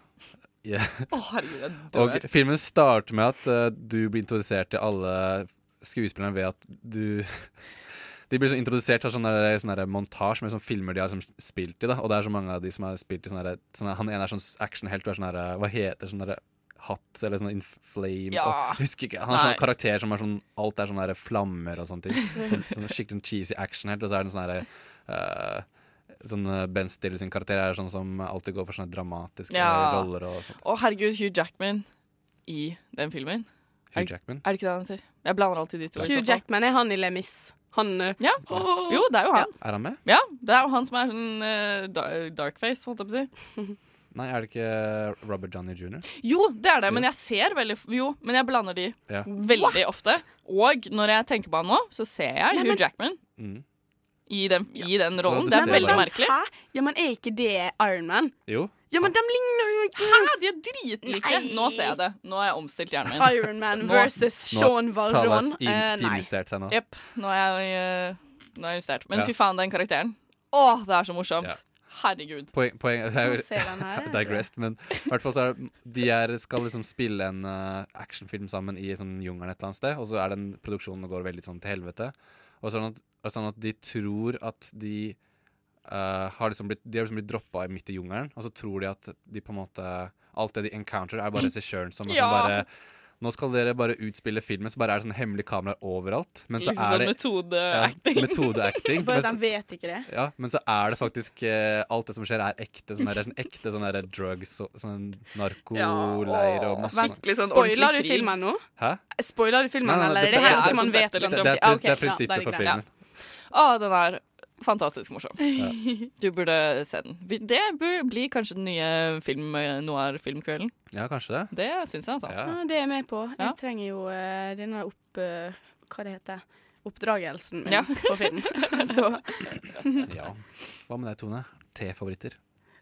Speaker 8: Ja.
Speaker 9: Å, herregud, jeg dør.
Speaker 8: Og filmen starter med at eh, du blir introdusert til alle skuespillerne ved at du De blir så introdusert av sånn der- sånn der montasje med sånne filmer de har som spilt i. da Og det er så mange av de som har spilt i sånne der, sånne, Han ene er sånn actionhelt og er sånn der Hva eh, heter sånn der hatt eller sånn inflame
Speaker 9: Ja.
Speaker 8: og, Jeg husker ikke. Han har
Speaker 9: Nei.
Speaker 8: sånn karakter som er sånn Alt er sånn der flammer og sånne ting. Sånn, sånn skikkelig cheesy actionhelt, og så er det en sånn derre Sånn eh, Ben Stiller sin karakter er sånn som alltid går for sånne dramatiske
Speaker 9: Ja.
Speaker 8: roller og sånn. sånt.
Speaker 9: Å, herregud, Hugh Jackman i den filmen.
Speaker 8: Hugh Jackman?
Speaker 9: Er det ikke det han heter? Jeg blander alltid de to. i så
Speaker 7: Hugh
Speaker 9: fall.
Speaker 7: Jackman er han i Les Mis. Han eh,
Speaker 9: Ja.
Speaker 7: Åh.
Speaker 9: Jo, det er jo han.
Speaker 8: Er han med?
Speaker 9: Ja, det er jo han som er sånn eh, da- darkface, holdt jeg på å si.
Speaker 8: Nei, er det ikke Robert Johnny jr.?
Speaker 9: Jo, det er det, men jeg ser veldig Jo, men jeg blander de
Speaker 8: Ja.
Speaker 9: veldig ofte. Og når jeg tenker på han nå, så ser jeg
Speaker 7: Nei, men-
Speaker 9: Hugh Jackman
Speaker 8: Mm.
Speaker 9: i den, i den
Speaker 8: Ja,
Speaker 9: rollen.
Speaker 8: du
Speaker 9: det
Speaker 8: ser
Speaker 9: er
Speaker 8: det.
Speaker 9: veldig merkelig.
Speaker 7: Hæ? Ja, men er ikke det Iron Man?
Speaker 8: Jo.
Speaker 7: Ja, men de ligner jo ikke!
Speaker 9: Hæ, de er dritlike!
Speaker 7: Nei.
Speaker 9: Nå ser jeg det. Nå har jeg omstilt hjernen min.
Speaker 7: Iron Man
Speaker 9: Nå-
Speaker 7: versus Sean Valjean.
Speaker 8: Tala fin-
Speaker 7: Eh, nei.
Speaker 8: finjustert seg nå.
Speaker 9: Jepp. Nå er jeg eh, Nå er jeg justert. Men
Speaker 8: Ja.
Speaker 9: fy faen, den karakteren. Å, det er så morsomt.
Speaker 8: Ja.
Speaker 9: Herregud.
Speaker 8: Poeng, poeng det er
Speaker 7: Nå ser den her,
Speaker 8: jo
Speaker 7: jeg
Speaker 8: digressed, men i hvert fall så er, de er, skal liksom spille en eh, actionfilm sammen i sånn jungelen et eller annet sted, og så er den produksjonen går veldig sånn til helvete. Og sånn at, og sånn at de tror at de eh, har liksom blitt, de har liksom blitt droppa midt i jungelen, og så tror de at de på en måte Alt det de encounter, er bare regissøren som, som
Speaker 9: Ja.
Speaker 8: bare Nå skal dere bare utspille filmen, så bare er det sånn hemmelige kameraer overalt. Men så
Speaker 9: Liksom
Speaker 8: er
Speaker 9: sånn
Speaker 8: det ja,
Speaker 9: metodeacting.
Speaker 8: metodeacting.
Speaker 7: Bare
Speaker 8: men så-
Speaker 7: de vet ikke det.
Speaker 8: ja, men så er det faktisk eh, Alt det som skjer, er ekte. Sånn der, sånn ekte sånn der drugs og sånn narkoleir og masse sånn.
Speaker 9: Virkelig sånn
Speaker 7: Spoiler du
Speaker 9: ordentlig krig.
Speaker 7: filmen nå?
Speaker 8: Hæ?
Speaker 7: Spoiler du filmen,
Speaker 8: Nei, nei,
Speaker 7: eller er
Speaker 8: det-
Speaker 7: det helt
Speaker 9: det-
Speaker 7: til man
Speaker 9: det-
Speaker 7: vet
Speaker 9: det-
Speaker 7: liksom?
Speaker 8: Det er,
Speaker 7: Ja,
Speaker 8: pris-
Speaker 7: ok,
Speaker 8: det er
Speaker 7: ja,
Speaker 8: prinsippet for
Speaker 7: greit.
Speaker 8: filmen.
Speaker 9: Å, den er fantastisk morsom. Du burde se den. Vi- Det bør bli kanskje den nye film, eh, noir-filmkvelden.
Speaker 8: Ja, kanskje det.
Speaker 9: Det syns jeg, altså.
Speaker 8: Ja.
Speaker 7: Ja, det er jeg med på.
Speaker 9: Ja.
Speaker 7: Jeg trenger jo eh, denne opp... eh, hva det heter Oppdragelsen min
Speaker 9: Ja.
Speaker 7: på film. Så
Speaker 8: ja. Hva med deg, Tone? Te-favoritter?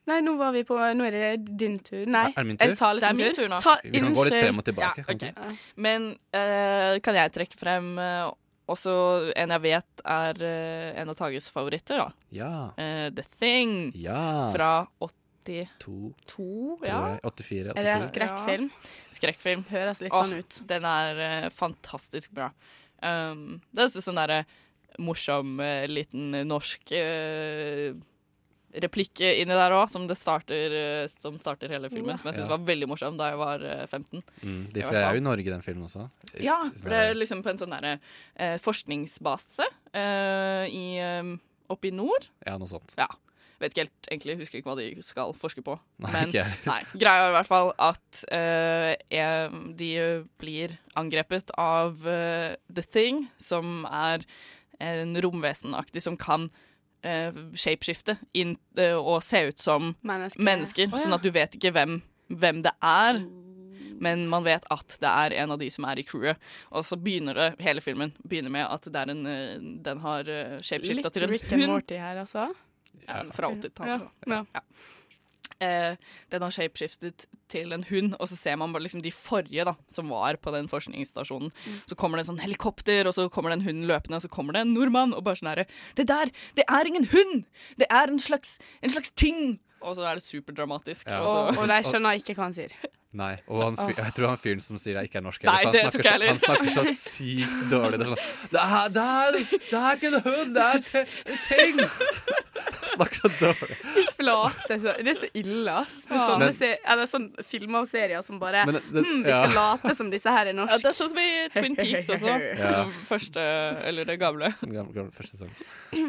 Speaker 7: Nei, nå var vi på Nå er det din tur. Nei.
Speaker 8: Er- er det min tur?
Speaker 7: Er det Tale
Speaker 9: Det er
Speaker 7: sin
Speaker 9: min tur nå.
Speaker 7: Ta,
Speaker 8: Vi kan gå litt frem
Speaker 7: unnskyld.
Speaker 8: og tilbake.
Speaker 9: Ja,
Speaker 8: kan vi
Speaker 9: ok.
Speaker 8: ikke?
Speaker 9: Men eh, kan jeg trekke frem eh, også en jeg vet er eh, en av Tages favoritter, da.
Speaker 8: Ja.
Speaker 9: Eh, The Thing
Speaker 8: Yes.
Speaker 9: fra 82,
Speaker 8: to, eh,
Speaker 9: ja.
Speaker 8: tror jeg. 84,
Speaker 7: Er det en
Speaker 8: 82.
Speaker 7: skrekkfilm?
Speaker 9: Skrekkfilm.
Speaker 7: Høres litt
Speaker 9: Åh,
Speaker 7: sånn ut.
Speaker 9: Den er eh, fantastisk bra. Um, det er også sånn derre morsom eh, liten norsk eh, replikk eh, inni der òg, som, det starter, eh, som starter hele filmen. Som jeg syns
Speaker 8: Ja.
Speaker 9: var veldig morsom da jeg var eh, 15.
Speaker 8: Mm, de,
Speaker 9: I
Speaker 8: for
Speaker 9: hvert
Speaker 8: jeg er
Speaker 9: fall.
Speaker 8: jo i Norge i den filmen også. I-
Speaker 9: Ja,
Speaker 8: sånn
Speaker 9: for det
Speaker 8: der-
Speaker 9: er liksom på en sånn derre eh, forskningsbase eh, i, eh, oppe i nord.
Speaker 8: ja, noe sånt.
Speaker 9: Ja. Vet ikke helt, egentlig husker ikke hva de skal forske på.
Speaker 8: Nei,
Speaker 9: men
Speaker 8: ikke jeg.
Speaker 9: nei, greia er i hvert fall at eh, em, de blir angrepet av eh, The Thing, som er en romvesenaktig som kan eh, shapeskifte inn eh, og se ut som
Speaker 7: Mennesker.
Speaker 9: mennesker, sånn at du vet ikke hvem, hvem det er. Men man vet at det er en av de som er i crewet. Og så begynner det, hele filmen begynner med at det er en, eh, den har eh, shapeskifta
Speaker 7: Litt
Speaker 9: til en
Speaker 7: Rick and
Speaker 9: hund.
Speaker 7: Morty her, altså.
Speaker 9: Ja, Fra 80-tallet. da.
Speaker 7: Ja.
Speaker 9: Eh, den har shapeshiftet til en hund, og så ser man bare liksom de forrige da, som var på den forskningsstasjonen. Så kommer det en sånn helikopter, og så kommer den hunden løpende, og så kommer det en nordmann, og bare sånn herre Det der, det er ingen hund! Det er en slags, en slags ting! Og så er det superdramatisk.
Speaker 8: Ja.
Speaker 9: Og så,
Speaker 7: Og, og de skjønner ikke hva han sier.
Speaker 8: Nei, og han fyr, jeg tror han fyren som sier jeg ikke er norsk
Speaker 9: Nei,
Speaker 8: for
Speaker 9: det
Speaker 8: han,
Speaker 9: tror
Speaker 8: snakker
Speaker 9: ikke
Speaker 8: så,
Speaker 9: jeg
Speaker 8: han snakker så sykt dårlig. Det er sånn Det er, det er, det er ikke en hund, det er te, en ting! snakker så dårlig.
Speaker 7: Flate. Så, det er så ille, ass. Med
Speaker 9: Ja.
Speaker 7: sånne,
Speaker 8: Men-
Speaker 7: se, eller sånne sånn filmer og serier som bare
Speaker 8: Men det- det-
Speaker 9: Hmm,
Speaker 7: hm, Vi skal
Speaker 8: ja.
Speaker 7: late som disse her er
Speaker 9: ja, det
Speaker 7: norske.
Speaker 9: er sånn som i Twin Peaks også.
Speaker 8: Ja.
Speaker 9: Den Første, eller det gamle.
Speaker 8: Gammel, gammel, første sesong.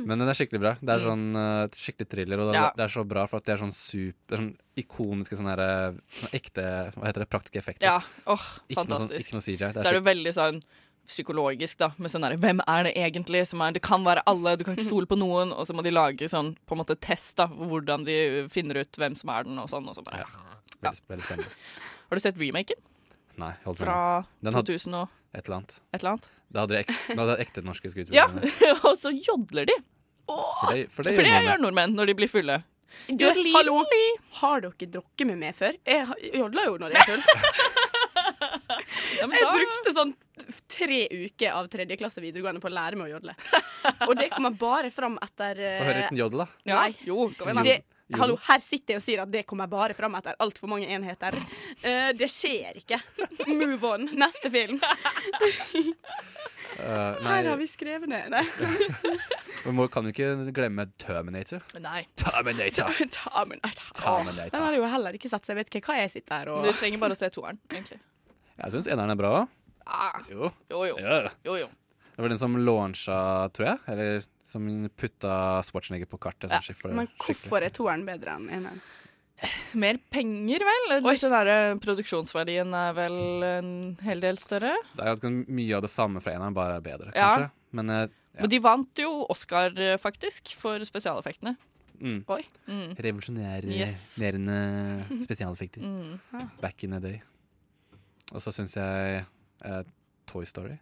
Speaker 8: Men den er skikkelig bra. Det er sånn eh, skikkelig thriller, og det,
Speaker 9: Mm. Ja.
Speaker 8: det er så bra for at det er sånn super det er sånn ikoniske sånne her, eh, sånne ekte Hva heter det? Praktiske effekter.
Speaker 9: Ja, åh,
Speaker 8: ikke, noe sånn,
Speaker 9: fantastisk.
Speaker 8: ikke noe CJ. Det
Speaker 9: så
Speaker 8: er
Speaker 9: er det veldig sånn psykologisk, da. Med sånn der, Hvem er det egentlig som er Det kan være alle, du kan ikke stole på noen. Og så må de lage sånn på en måte test, da. Hvordan de finner ut hvem som er den, og sånn. Og så bare.
Speaker 8: skikkelig- veldig, veldig spennende.
Speaker 9: Har du sett remaken
Speaker 8: Nei, holdt meg.
Speaker 9: fra
Speaker 8: Den hadde-
Speaker 9: 2000 og
Speaker 8: Et eller annet.
Speaker 9: et eller annet?
Speaker 8: Da hadde jeg ekte, da hadde jeg ekte norske
Speaker 9: Ja!
Speaker 8: skuespillere.
Speaker 9: og så jodler de.
Speaker 8: For det, for det,
Speaker 9: For det
Speaker 8: gjør man
Speaker 9: gjør nordmenn når de blir fulle.
Speaker 7: Du,
Speaker 9: Jodli,
Speaker 7: hallo,
Speaker 9: jodli.
Speaker 7: har dere drukket med meg før? Jeg har- jeg jodla jo når jeg er full.
Speaker 9: Ja, men
Speaker 7: Jeg
Speaker 9: da-
Speaker 7: brukte sånn tre uker av tredje klasse videregående på å lære meg å jodle. Og det kommer bare fram etter
Speaker 8: Få høre
Speaker 7: eh,
Speaker 8: uten jodel, da.
Speaker 9: ja,
Speaker 7: Nei.
Speaker 9: Jo, kom igjen, da.
Speaker 7: det,
Speaker 8: Jo.
Speaker 7: Hallo, her sitter jeg og sier at det kommer bare fram etter altfor mange enheter. Eh, det skjer ikke. Move on. Neste film.
Speaker 8: Eh, nei,
Speaker 7: Her har vi skrevet ned. Nei.
Speaker 8: vi må, kan jo ikke glemme Terminator.
Speaker 9: Nei.
Speaker 8: Terminator!
Speaker 7: Terminator.
Speaker 8: Terminator.
Speaker 7: Den har jeg jo heller ikke sett, så jeg vet ikke hva jeg sitter her og
Speaker 9: Du trenger bare å se toeren, egentlig.
Speaker 8: Jeg syns eneren er bra.
Speaker 9: Ah,
Speaker 8: Jo.
Speaker 9: jo, jo.
Speaker 8: Ja.
Speaker 9: jo, jo.
Speaker 8: Det var den som launcha, tror jeg. Eller som putta Schwarzenegger på kartet. Sånn, skikkelig-
Speaker 7: Men
Speaker 8: skikkelig.
Speaker 7: hvorfor er toeren bedre enn eneren?
Speaker 9: Mer penger, vel? Litt sånn der, produksjonsverdien er vel en hel del større.
Speaker 8: Det er ganske mye av det samme fra eneren, bare bedre,
Speaker 9: Ja.
Speaker 8: kanskje. Men eh, Ja.
Speaker 9: Og de vant jo Oscar, eh, faktisk, for spesialeffektene.
Speaker 8: mm,
Speaker 7: Oi.
Speaker 9: Mm.
Speaker 8: revolusjonære
Speaker 9: Yes.
Speaker 8: nerende spesialeffekter.
Speaker 9: Mm.
Speaker 8: Back in the day. Og så syns jeg eh, Toy Story.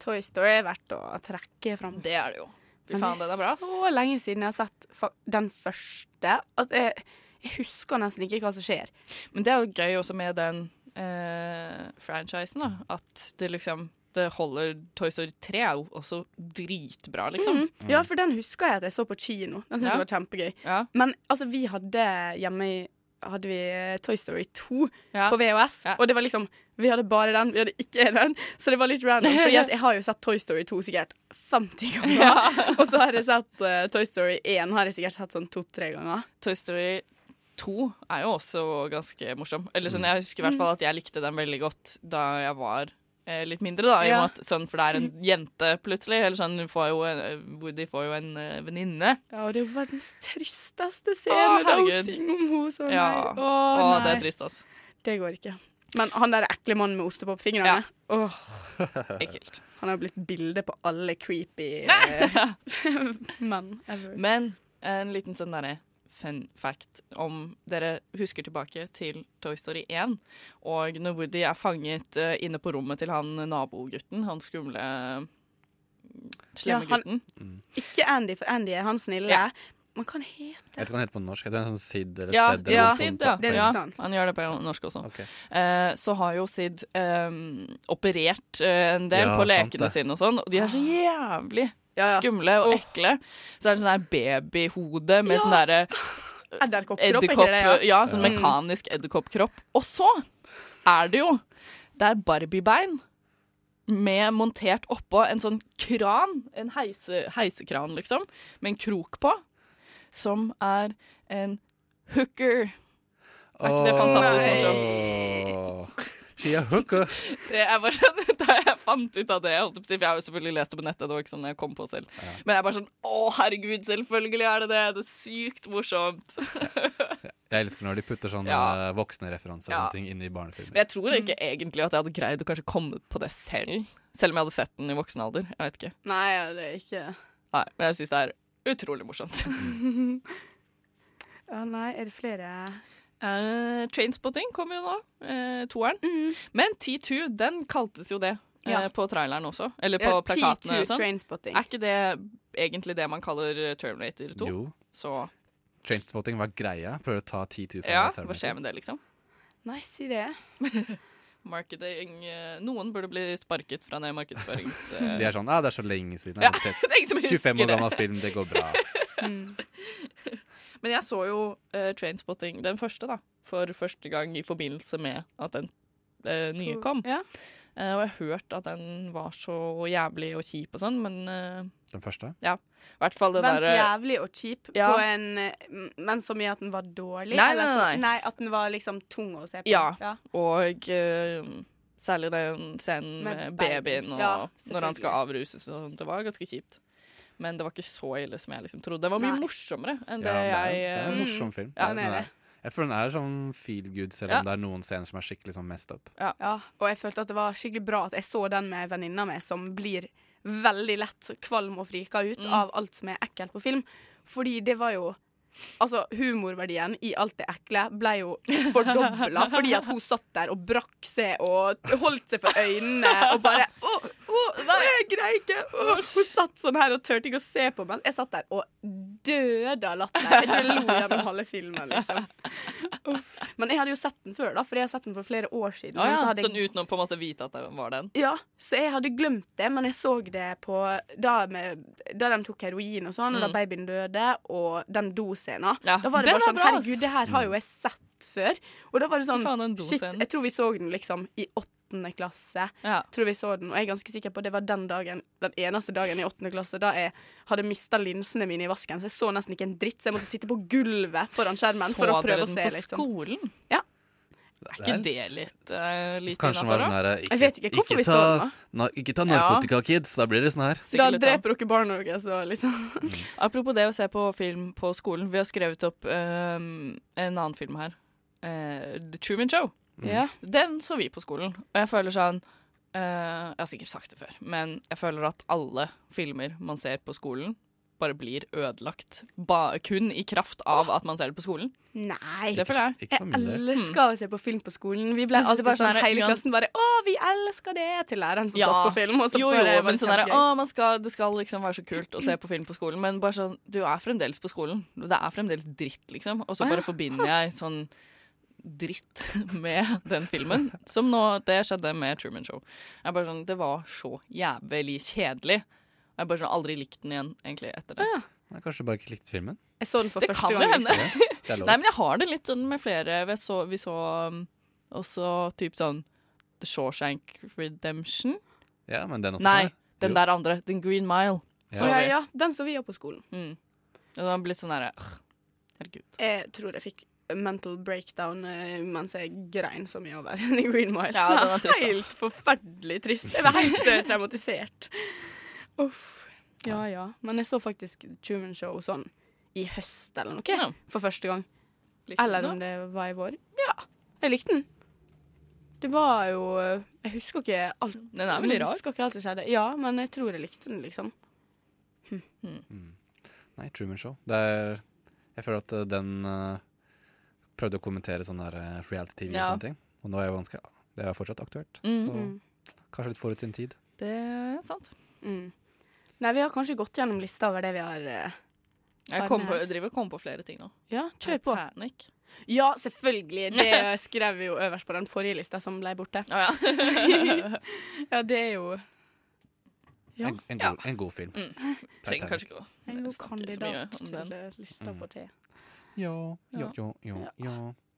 Speaker 7: Toy Story er verdt å trekke fram.
Speaker 9: Det er det jo. Fy faen, den er bra. ass.
Speaker 7: så lenge siden jeg har sett fa- den første at jeg, jeg husker nesten ikke hva som skjer.
Speaker 9: Men det er jo gøy også med den eh, franchisen, da. At det liksom det holder Toy Story 3 er jo også dritbra, liksom.
Speaker 7: Ja, for den husker jeg at jeg så på kino. Den syntes
Speaker 9: Ja.
Speaker 7: jeg var kjempegøy.
Speaker 9: Ja.
Speaker 7: Men altså, vi hadde hjemme i hadde vi eh, Toy Story 2
Speaker 9: Ja.
Speaker 7: på VHS,
Speaker 9: Ja.
Speaker 7: og det var liksom Vi hadde bare den, vi hadde ikke den, så det var litt random. Fordi at jeg har jo sett Toy Story 2 sikkert 50 ganger, og så har jeg sett eh, Toy Story 1 har jeg sikkert sett sånn to-tre ganger.
Speaker 9: Toy Story 2 er jo også ganske morsom. Eller sånn, Jeg husker i hvert
Speaker 7: Mm.
Speaker 9: fall at jeg likte den veldig godt da jeg var eh, litt mindre. da, i og
Speaker 7: Ja.
Speaker 9: med at sånn, For det er en jente plutselig. eller sånn, hun får jo en, Woody får jo en eh, venninne.
Speaker 7: Ja, og det er jo verdens tristeste
Speaker 9: Å,
Speaker 7: scene da hun
Speaker 9: herregud.
Speaker 7: synger om henne sånn.
Speaker 9: Ja.
Speaker 7: her. Å,
Speaker 9: Å,
Speaker 7: nei.
Speaker 9: det
Speaker 7: Det,
Speaker 9: er trist, altså.
Speaker 7: går ikke. Men han der ekle mannen med ostepop på fingrene,
Speaker 9: Ja.
Speaker 7: åh,
Speaker 9: Ekkelt.
Speaker 7: han har blitt bilde på alle creepy eh, menn ever.
Speaker 9: Men en liten sånn derre fun fact om dere husker tilbake til Toy Story 1, og når Woody er fanget eh, inne på rommet til han nabogutten, han skumle
Speaker 7: Ja,
Speaker 9: slemme
Speaker 7: han-
Speaker 9: gutten.
Speaker 7: Ikke Andy, for Andy er han snille.
Speaker 9: Ja.
Speaker 7: Men hva han
Speaker 8: Jeg
Speaker 7: heter
Speaker 8: vet ikke hva den heter på norsk. Jeg tror det er en sånn Sid eller
Speaker 9: Ja,
Speaker 8: Sed. eller
Speaker 9: ja,
Speaker 8: noe sånt
Speaker 9: Sid,
Speaker 8: på-
Speaker 9: ja.
Speaker 8: på
Speaker 7: Det er
Speaker 9: ja.
Speaker 7: litt sant.
Speaker 9: Han gjør det på norsk også.
Speaker 8: Ok.
Speaker 9: Eh, så har jo Sid eh, operert eh, en del
Speaker 8: Ja,
Speaker 9: på
Speaker 8: sant
Speaker 9: lekene
Speaker 8: det.
Speaker 9: sine og sånn, og de er så jævlig
Speaker 7: Ah. ja.
Speaker 9: skumle og ekle. Så er det sånn der babyhode med sånn derre
Speaker 7: Edderkoppkropp, er ikke
Speaker 9: edderkopp
Speaker 7: det?
Speaker 9: Ja,
Speaker 7: det,
Speaker 9: sånn
Speaker 8: Mm.
Speaker 9: mekanisk edderkoppkropp. Og så er det jo Det er Barbie-bein med montert oppå en sånn kran, en heise, heisekran, liksom, med en krok på, som er en hooker. Er ikke det fantastisk
Speaker 8: morsomt? She a hooker.
Speaker 9: Det er bare sånn, Da jeg fant ut av det jeg holdt jeg på å si, for Jeg har jo selvfølgelig lest det på nettet, det var ikke sånn jeg kom på selv. Men jeg er bare sånn Å, herregud, selvfølgelig er det det! Det er sykt morsomt.
Speaker 8: Jeg elsker når de putter sånne
Speaker 9: Ja.
Speaker 8: eh, voksne referanser og
Speaker 9: Ja.
Speaker 8: sånne ting inn i barnefilmer.
Speaker 9: Men jeg tror ikke egentlig at jeg hadde greid å kanskje komme på det selv. Selv om jeg hadde sett den i voksen alder. Jeg vet ikke.
Speaker 7: Nei, ja, det er ikke
Speaker 9: Nei, Men jeg syns det er utrolig morsomt.
Speaker 7: Å Nei, er det flere
Speaker 9: Eh, Trainspotting kommer jo nå. eh, toeren. Men T2, den kaltes jo det eh,
Speaker 7: Ja.
Speaker 9: på traileren også. Eller på
Speaker 7: Ja, T2
Speaker 9: plakatene og sånn.
Speaker 7: Trainspotting.
Speaker 9: Er ikke det egentlig det man kaller eh, Terminator 2?
Speaker 8: Jo.
Speaker 9: Så
Speaker 8: Trainspotting var greia. Prøver å ta 10 000
Speaker 9: ja, hva skjer med det, liksom?
Speaker 7: Nei, si det.
Speaker 9: Marketing eh, Noen burde bli sparket fra det markedsførings... eh,
Speaker 8: De er sånn ah, det er så lenge siden.
Speaker 9: Ja,
Speaker 8: jeg har sett
Speaker 9: det er ingen som
Speaker 8: 25
Speaker 9: husker
Speaker 8: år
Speaker 9: det.
Speaker 8: gammel film, det går bra.
Speaker 9: Men jeg så jo eh, Trainspotting, den første, da, for første gang i forbindelse med at den eh, nye kom.
Speaker 7: Oh, Ja.
Speaker 9: Eh, og jeg har hørt at den var så jævlig og kjip og sånn, men eh,
Speaker 8: Den første.
Speaker 9: i hvert fall den
Speaker 7: Vent
Speaker 9: derre
Speaker 7: jævlig og kjip
Speaker 9: Ja.
Speaker 7: på en eh, Men så mye at den var dårlig?
Speaker 9: Nei,
Speaker 7: eller
Speaker 9: nei,
Speaker 7: så-
Speaker 9: nei.
Speaker 7: nei, at den var liksom tung å se på?
Speaker 9: Ja. Og eh, særlig den scenen
Speaker 7: Med
Speaker 9: med,
Speaker 7: babyen.
Speaker 9: babyen og
Speaker 7: Ja,
Speaker 9: når han skal
Speaker 7: selvfølgelig.
Speaker 9: avruses og sånt. Det var ganske kjipt. Men det var ikke så ille som jeg liksom trodde. Det var mye
Speaker 7: Nei.
Speaker 9: morsommere enn
Speaker 8: Ja,
Speaker 9: det
Speaker 8: men
Speaker 9: jeg
Speaker 8: det er
Speaker 9: eh,
Speaker 8: en morsom film.
Speaker 9: Ja,
Speaker 8: Den
Speaker 7: den er
Speaker 8: er-
Speaker 7: det.
Speaker 8: Jeg føler den er sånn feel good, selv om
Speaker 9: Ja.
Speaker 8: det er noen scener som er skikkelig sånn messed up.
Speaker 7: Ja, og jeg følte at det var skikkelig bra at jeg så den med venninna mi, som blir veldig lett kvalm og frika ut
Speaker 9: Mm.
Speaker 7: av alt som er ekkelt på film. Fordi det var jo Altså, humorverdien i alt det ekle ble jo fordobla fordi at hun satt der og brakk seg og holdt seg for øynene og bare Å, å, nei, jeg greier ikke! Å. Hun satt sånn her og turte ikke å se på meg. Jeg satt der og døde av latter. Jeg tror jeg lo gjennom halve filmen, liksom. Uff. Men jeg hadde jo sett den før, da, for jeg har sett den for flere år siden.
Speaker 9: Å
Speaker 7: men
Speaker 9: ja,
Speaker 7: så hadde jeg
Speaker 9: Sånn uten å på en måte vite at det var den.
Speaker 7: ja, så jeg hadde glemt det, men jeg så det på da, med, da de tok heroin og sånn, og da babyen døde, og den doscena.
Speaker 9: Mm. Ja,
Speaker 7: Da var det
Speaker 9: den
Speaker 7: bare
Speaker 9: er
Speaker 7: sånn
Speaker 9: bra, ass.
Speaker 7: Herregud, det her har jo jeg sett før. Og da var det sånn
Speaker 9: Fy faen, den
Speaker 7: Shit,
Speaker 9: doscenen.
Speaker 7: jeg tror vi så den liksom i åttende klasse. Tror vi så den, og jeg er ganske sikker på det var den dagen, den eneste dagen i åttende klasse da jeg hadde mista linsene mine i vasken, så jeg så nesten ikke en dritt, så jeg måtte sitte på gulvet foran skjermen for å prøve å se litt.
Speaker 9: Så dere den
Speaker 7: sånn.
Speaker 9: på skolen?
Speaker 7: Ja.
Speaker 9: Er ikke det litt, uh, litt
Speaker 8: Kanskje den var sånn
Speaker 9: innafor,
Speaker 8: her
Speaker 9: da?
Speaker 8: ikke, ikke ta, na, ikke ta narkotika, kids. Da blir det sånn her.
Speaker 7: Da dreper dere barna deres og liksom
Speaker 9: Apropos det å se på film på skolen. Vi har skrevet opp ehm, en annen film her. Eh, The Truman Show.
Speaker 8: Mm.
Speaker 7: Ja.
Speaker 9: Den så vi på skolen. Og jeg føler sånn eh, Jeg har sikkert sagt det før, men jeg føler at alle filmer man ser på skolen, bare blir ødelagt. Ba, kun i kraft av at man ser det på skolen.
Speaker 7: Nei.
Speaker 9: Det føler jeg.
Speaker 7: Jeg elsker å se på film på skolen. Vi ble
Speaker 9: Jeg synes det
Speaker 7: alltid
Speaker 9: bare
Speaker 7: sånn,
Speaker 9: sånn her,
Speaker 7: hele
Speaker 9: Jan-
Speaker 7: klassen bare 'Å, vi elsker det!' til læreren som satt på film. Og så
Speaker 9: jo, jo,
Speaker 7: bare, var
Speaker 9: men
Speaker 7: det
Speaker 9: sånn der,
Speaker 7: kjempegøy.
Speaker 9: å, man skal, Det skal liksom være så kult å se på film på skolen, men bare sånn, du er fremdeles på skolen. Det er fremdeles dritt, liksom. Og så
Speaker 7: Å, ja.
Speaker 9: bare forbinder jeg sånn dritt med den filmen. Som nå, det skjedde med Truman Show. Jeg bare sånn, Det var så jævlig kjedelig. Og jeg bare sånn, aldri likte den igjen, egentlig, etter det.
Speaker 8: Nei, Kanskje du bare ikke likte filmen?
Speaker 7: Jeg så den for
Speaker 9: Det
Speaker 7: første
Speaker 9: kan jo
Speaker 7: gang.
Speaker 9: hende.
Speaker 7: liksom.
Speaker 8: Det er lov.
Speaker 9: Nei, men jeg har det litt sånn med flere. Vi så, vi så um, også typ sånn The Shawshank Redemption.
Speaker 8: Ja, men den også kan
Speaker 9: Nei,
Speaker 8: jeg.
Speaker 9: den
Speaker 8: Jo.
Speaker 9: der andre. Den Green Mile.
Speaker 8: Ja.
Speaker 9: Så
Speaker 7: Å, ja,
Speaker 9: vi.
Speaker 7: ja, den så vi òg på skolen.
Speaker 9: Mm. Og det har blitt sånn derre «Åh, Herregud.
Speaker 7: Jeg tror jeg fikk mental breakdown eh, mens jeg grein så mye over i Green Mile.
Speaker 9: Ja, den er trist, da.
Speaker 7: helt forferdelig trist. Jeg var helt eh, traumatisert. Uff. Ja ja. Men jeg så faktisk Truman Show sånn i høst eller noe,
Speaker 9: Ja.
Speaker 7: for første gang.
Speaker 9: Likte du
Speaker 7: Eller
Speaker 9: den
Speaker 7: om det var i vår. Ja, jeg likte den. Det var jo Jeg husker ikke alt
Speaker 9: Den er veldig rar.
Speaker 7: Jeg husker ikke alt som skjedde. Ja, men jeg tror jeg likte den, liksom.
Speaker 8: Nei, Truman Show. Det er, jeg føler at eh, den eh, prøvde å kommentere sånn der eh, reality-TV
Speaker 9: Ja.
Speaker 8: og sånne ting. Og nå er jo ganske Det er jo fortsatt aktuelt.
Speaker 9: Mhm.
Speaker 8: Så kanskje litt forut sin tid.
Speaker 9: Det er sant.
Speaker 7: Mm. Nei, vi har kanskje gått gjennom lista over det vi har eh,
Speaker 9: Jeg,
Speaker 7: Har
Speaker 9: kom
Speaker 7: den
Speaker 9: på,
Speaker 7: her.
Speaker 9: jeg driver og kommer på flere ting nå.
Speaker 7: Ja, kjør på.
Speaker 9: Titanic.
Speaker 7: Ja, selvfølgelig. Det skrev vi jo øverst på den forrige lista som ble borte.
Speaker 9: Å ja.
Speaker 7: Ja, det er jo Ja. Mm.
Speaker 8: En, en, god, en god film.
Speaker 9: Trenger kanskje ikke å
Speaker 7: en god
Speaker 9: snakke så mye
Speaker 7: kandidat
Speaker 9: om
Speaker 7: til
Speaker 9: den.
Speaker 7: eh, lista på T.
Speaker 8: Jo, jo,
Speaker 9: Ja.
Speaker 8: jo, jo. jo.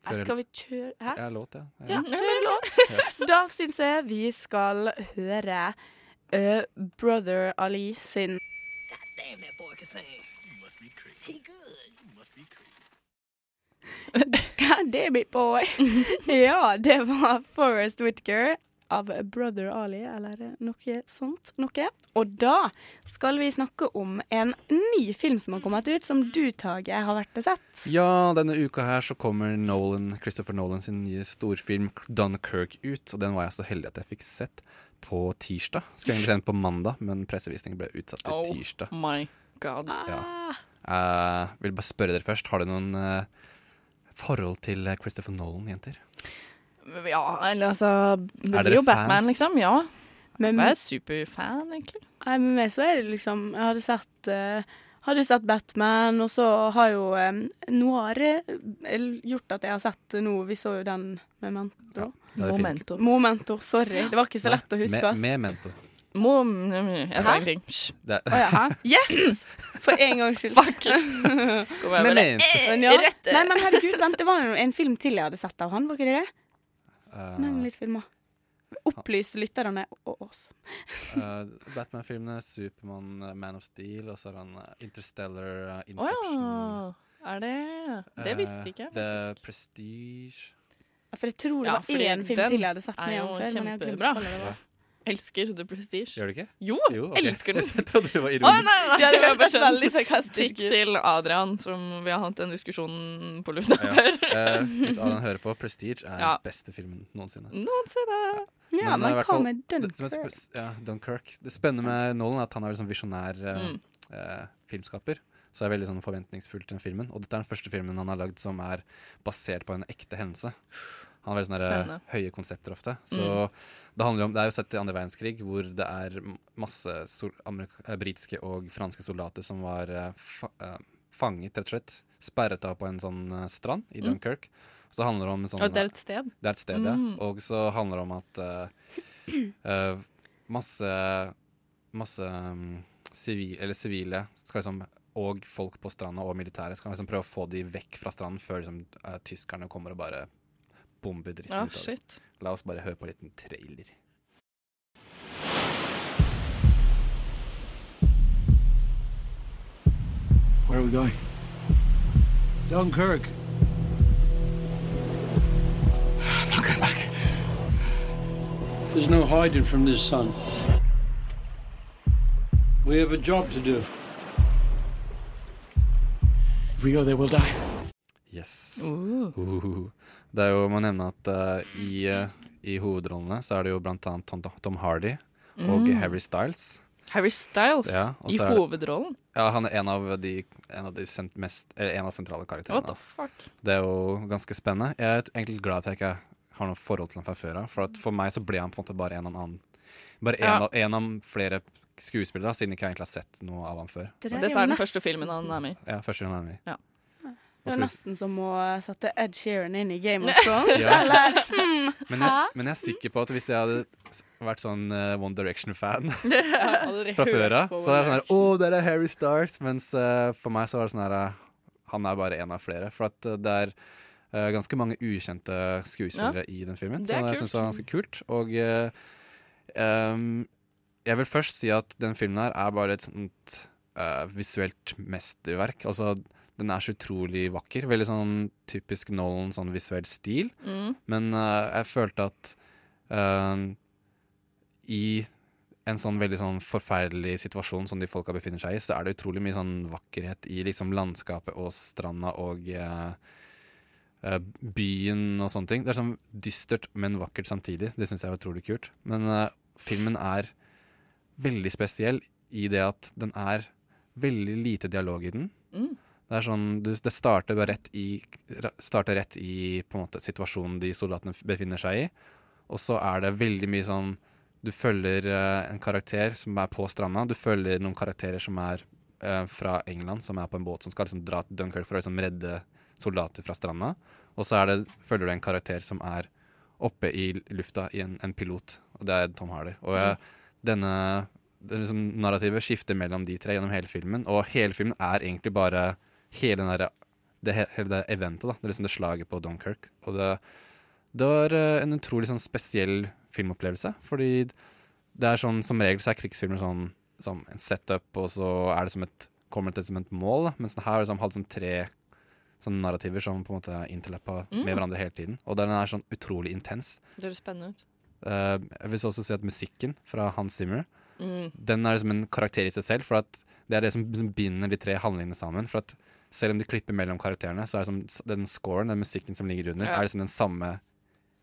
Speaker 7: Her skal vi kjøre Hæ?
Speaker 8: Jeg er låt, ja.
Speaker 7: Ja,
Speaker 8: ja.
Speaker 7: kjøre låt. Da syns jeg vi skal høre eh, Brother Ali sin God damn it, boy. ja, det var Forest Whitaker av Brother Ali, eller noe sånt. Noe. Og da skal vi snakke om en ny film som har kommet ut, som du, Tage, har vært og sett.
Speaker 8: ja, denne uka her så kommer Nolan, Christopher Nolan sin nye storfilm Dunkirk ut. Og den var jeg så heldig at jeg fikk sett på tirsdag. Skulle egentlig se den på mandag, men pressevisningen ble utsatt til
Speaker 9: Oh
Speaker 8: tirsdag.
Speaker 9: my god. Ah.
Speaker 8: Ja. Eh, vil bare spørre dere først. Har dere noen eh, forhold til eh, Christopher Nolan, jenter?
Speaker 9: Ja, eller altså Det
Speaker 8: Er
Speaker 9: blir jo
Speaker 8: dere
Speaker 9: Batman,
Speaker 8: fans?
Speaker 9: liksom. Ja.
Speaker 7: Um, Men,
Speaker 9: Jeg er superfan, egentlig.
Speaker 7: Nei, men meg så er det liksom Jeg hadde sett eh, hadde sett Batman, og så har jo um, Noir eh, gjort at jeg har sett noe Vi så jo den Memento.
Speaker 8: Ja, det er fint.
Speaker 9: Momento.
Speaker 7: Momento, sorry. Det var ikke så lett å huske,
Speaker 8: Me-
Speaker 7: ass.
Speaker 8: Memento.
Speaker 9: Mom... Jeg sa ingenting. Hysj.
Speaker 8: Det er-
Speaker 7: Å ja. Yes! For en gangs skyld.
Speaker 9: Kom igjen, bare. Eh,
Speaker 8: Memento.
Speaker 7: Men ja. Nei, men herregud, vent, det var jo en film til jeg hadde sett av han, var ikke det det?
Speaker 8: Eh,
Speaker 7: Nevn litt filmer. Opplys lytterne og oss.
Speaker 8: eh, Batman-filmene, Supermann, eh, Man of Steel, og så har han eh, Interstellar, eh,
Speaker 9: Å
Speaker 8: Inception
Speaker 9: ja. Er det Det
Speaker 8: eh,
Speaker 9: visste ikke jeg.
Speaker 8: The Prestige
Speaker 7: Ja, For jeg tror det
Speaker 9: Ja,
Speaker 7: var
Speaker 9: fordi
Speaker 7: én film
Speaker 9: den
Speaker 7: til jeg hadde sett
Speaker 9: er
Speaker 7: med
Speaker 9: jo
Speaker 7: ham før. Men jeg har glemt
Speaker 9: kjempebra.
Speaker 7: hva det var.
Speaker 9: Elsker The Prestige.
Speaker 8: Gjør du ikke?
Speaker 9: Jo,
Speaker 8: ok.
Speaker 9: elsker den.
Speaker 8: jeg trodde det var
Speaker 9: Å,
Speaker 8: ironisk.
Speaker 9: nei, nei,
Speaker 7: Ja, det
Speaker 9: jeg bare
Speaker 7: hørtes
Speaker 9: skjønner.
Speaker 7: veldig sarkastisk
Speaker 9: Stikk
Speaker 7: ut.
Speaker 9: til Adrian, som vi har hatt den diskusjonen på lufta før.
Speaker 8: Eh, hvis Alan hører på, Prestige er
Speaker 9: Ja.
Speaker 8: beste filmen noensinne.
Speaker 9: Noensinne.
Speaker 7: Ja,
Speaker 8: eh, i
Speaker 7: men
Speaker 8: hvert
Speaker 7: hva
Speaker 8: fall-
Speaker 7: med
Speaker 8: det- som er
Speaker 7: Dunkirk?
Speaker 8: sp- Ja, Dunkirk. Det spennende med Nolan er at han er liksom visjonær eh,
Speaker 9: Mm.
Speaker 8: eh, filmskaper. Så jeg er veldig sånn forventningsfull til den filmen. Og dette er den første filmen han har lagd som er basert på en ekte hendelse. Han har veldig sånne der,
Speaker 9: Spennende. Mm.
Speaker 8: eh, høye konsepter ofte. Så det handler om Det er jo sett i andre verdenskrig, hvor det er m- masse sol, amerik- eh, britiske og franske soldater som var eh, fa eh, fanget, rett og slett. Sperret av på en sånn eh, strand i Dunkirk. Så handler det om sånn
Speaker 9: Mm. Og det er et sted.
Speaker 8: det er et sted, ja.
Speaker 9: Mm.
Speaker 8: Og så handler det om at eh, eh, masse masse mm, sivil, eller sivile skal liksom, og folk på stranda og militære skal liksom prøve å få de vekk fra stranden før liksom, eh, tyskerne kommer og bare bomber dritten
Speaker 9: Ah,
Speaker 8: ut av
Speaker 9: shit.
Speaker 8: det. La oss bare høre på en liten trailer.
Speaker 12: Where are we going? Dunkirk. I'm not going back. There's no hiding from this, son. We have a job to do. If we go there, we'll die.
Speaker 8: Yes.
Speaker 9: Uh.
Speaker 8: Uhuhu. Uh. Det er jo, jeg må nevne at eh, i, eh, i hovedrollene så er det jo blant annet Tom, Tom Hardy og
Speaker 9: Mm.
Speaker 8: Harry Styles.
Speaker 9: Harry Styles
Speaker 8: Ja, og
Speaker 9: i
Speaker 8: så er det-
Speaker 9: hovedrollen.
Speaker 8: Ja, han er en av de, en av de sent, mest Eller en av sentrale karakterene.
Speaker 9: What the fuck?
Speaker 8: Det er jo ganske spennende. Jeg er egentlig glad at jeg ikke har noe forhold til ham fra før av. For at for meg så ble han på en måte bare en av en annen Bare en,
Speaker 9: Ja.
Speaker 8: av, en av flere skuespillere, da, siden jeg ikke egentlig har sett noe av ham før.
Speaker 7: Det
Speaker 9: Og
Speaker 7: er
Speaker 9: dette
Speaker 7: jo
Speaker 9: er den
Speaker 7: nesten-
Speaker 9: første filmen han er med i.
Speaker 8: Ja, første gang han er med.
Speaker 9: Ja.
Speaker 7: Det
Speaker 8: Hva
Speaker 7: er
Speaker 8: skal vi-
Speaker 7: nesten som å sette Ed Sheeran inn i Game of Thrones,
Speaker 8: Ja.
Speaker 7: eller hmm,
Speaker 8: Men jeg,
Speaker 7: hæ?
Speaker 8: men jeg er sikker på at hvis jeg hadde s- vært sånn eh, One Direction-fan
Speaker 7: Jeg har aldri
Speaker 8: fra
Speaker 7: hørt
Speaker 8: før av,
Speaker 7: på
Speaker 8: så er
Speaker 7: One
Speaker 8: det sånn her Å, der er Harry Stars! Mens eh, for meg så var det sånn her eh, Han er bare en av flere. For at eh, det er eh, ganske mange ukjente skuespillere i den filmen.
Speaker 13: det
Speaker 8: Så
Speaker 13: er
Speaker 8: jeg
Speaker 13: kult.
Speaker 8: syns det var ganske kult. Og eh, ehm, jeg vil først si at den filmen her er bare et sånt eh, visuelt mesterverk. Altså, den er så utrolig vakker. Veldig sånn typisk Nolan, sånn visuell stil.
Speaker 9: Mm.
Speaker 8: Men eh, jeg følte at eh, i en sånn veldig sånn forferdelig situasjon som de folka befinner seg i, så er det utrolig mye sånn vakkerhet i liksom landskapet og stranda og eh, eh, byen og sånne ting. Det er sånn dystert, men vakkert samtidig. Det syns jeg var utrolig kult. Men eh, filmen er veldig spesiell i det at den er veldig lite dialog i den.
Speaker 9: Mm.
Speaker 8: Det er sånn, du- det starter bare rett i, ra- starter rett i på en måte, situasjonen de soldatene f- befinner seg i. Og så er det veldig mye sånn Du følger eh, en karakter som er på stranda. Du følger noen karakterer som er eh, fra England, som er på en båt som skal liksom, dra til Dunkerque for å liksom, redde soldater fra stranda. Og så er det, følger du en karakter som er oppe i lufta i en, en pilot, og det er Tom Hardy. Og jeg, denne det liksom, narrativet skifter mellom de tre gjennom hele filmen, og hele filmen er egentlig bare hele, den derre- det, he- hele det eventet, da. Det er liksom det slaget på Dunkerque. Og det, det var eh, en utrolig sånn spesiell filmopplevelse, fordi det er sånn, som regel så er krigsfilmer sånn som en setup, og så er det som et, kommer det til som et mål, da. mens den her liksom, hadde sånn tre sånne narrativer som på en måte er interleppa
Speaker 9: Mm.
Speaker 8: med hverandre hele tiden. Og den er sånn utrolig intens.
Speaker 9: Det høres spennende ut.
Speaker 8: Eh, jeg vil også si at musikken fra Hans Zimmer
Speaker 9: Mm.
Speaker 8: Den er liksom en karakter i seg selv, for at det er det som binder de tre handlingene sammen. For at selv om de klipper mellom karakterene, så er det som den scoren, den musikken som ligger under,
Speaker 13: Ja.
Speaker 8: er liksom den samme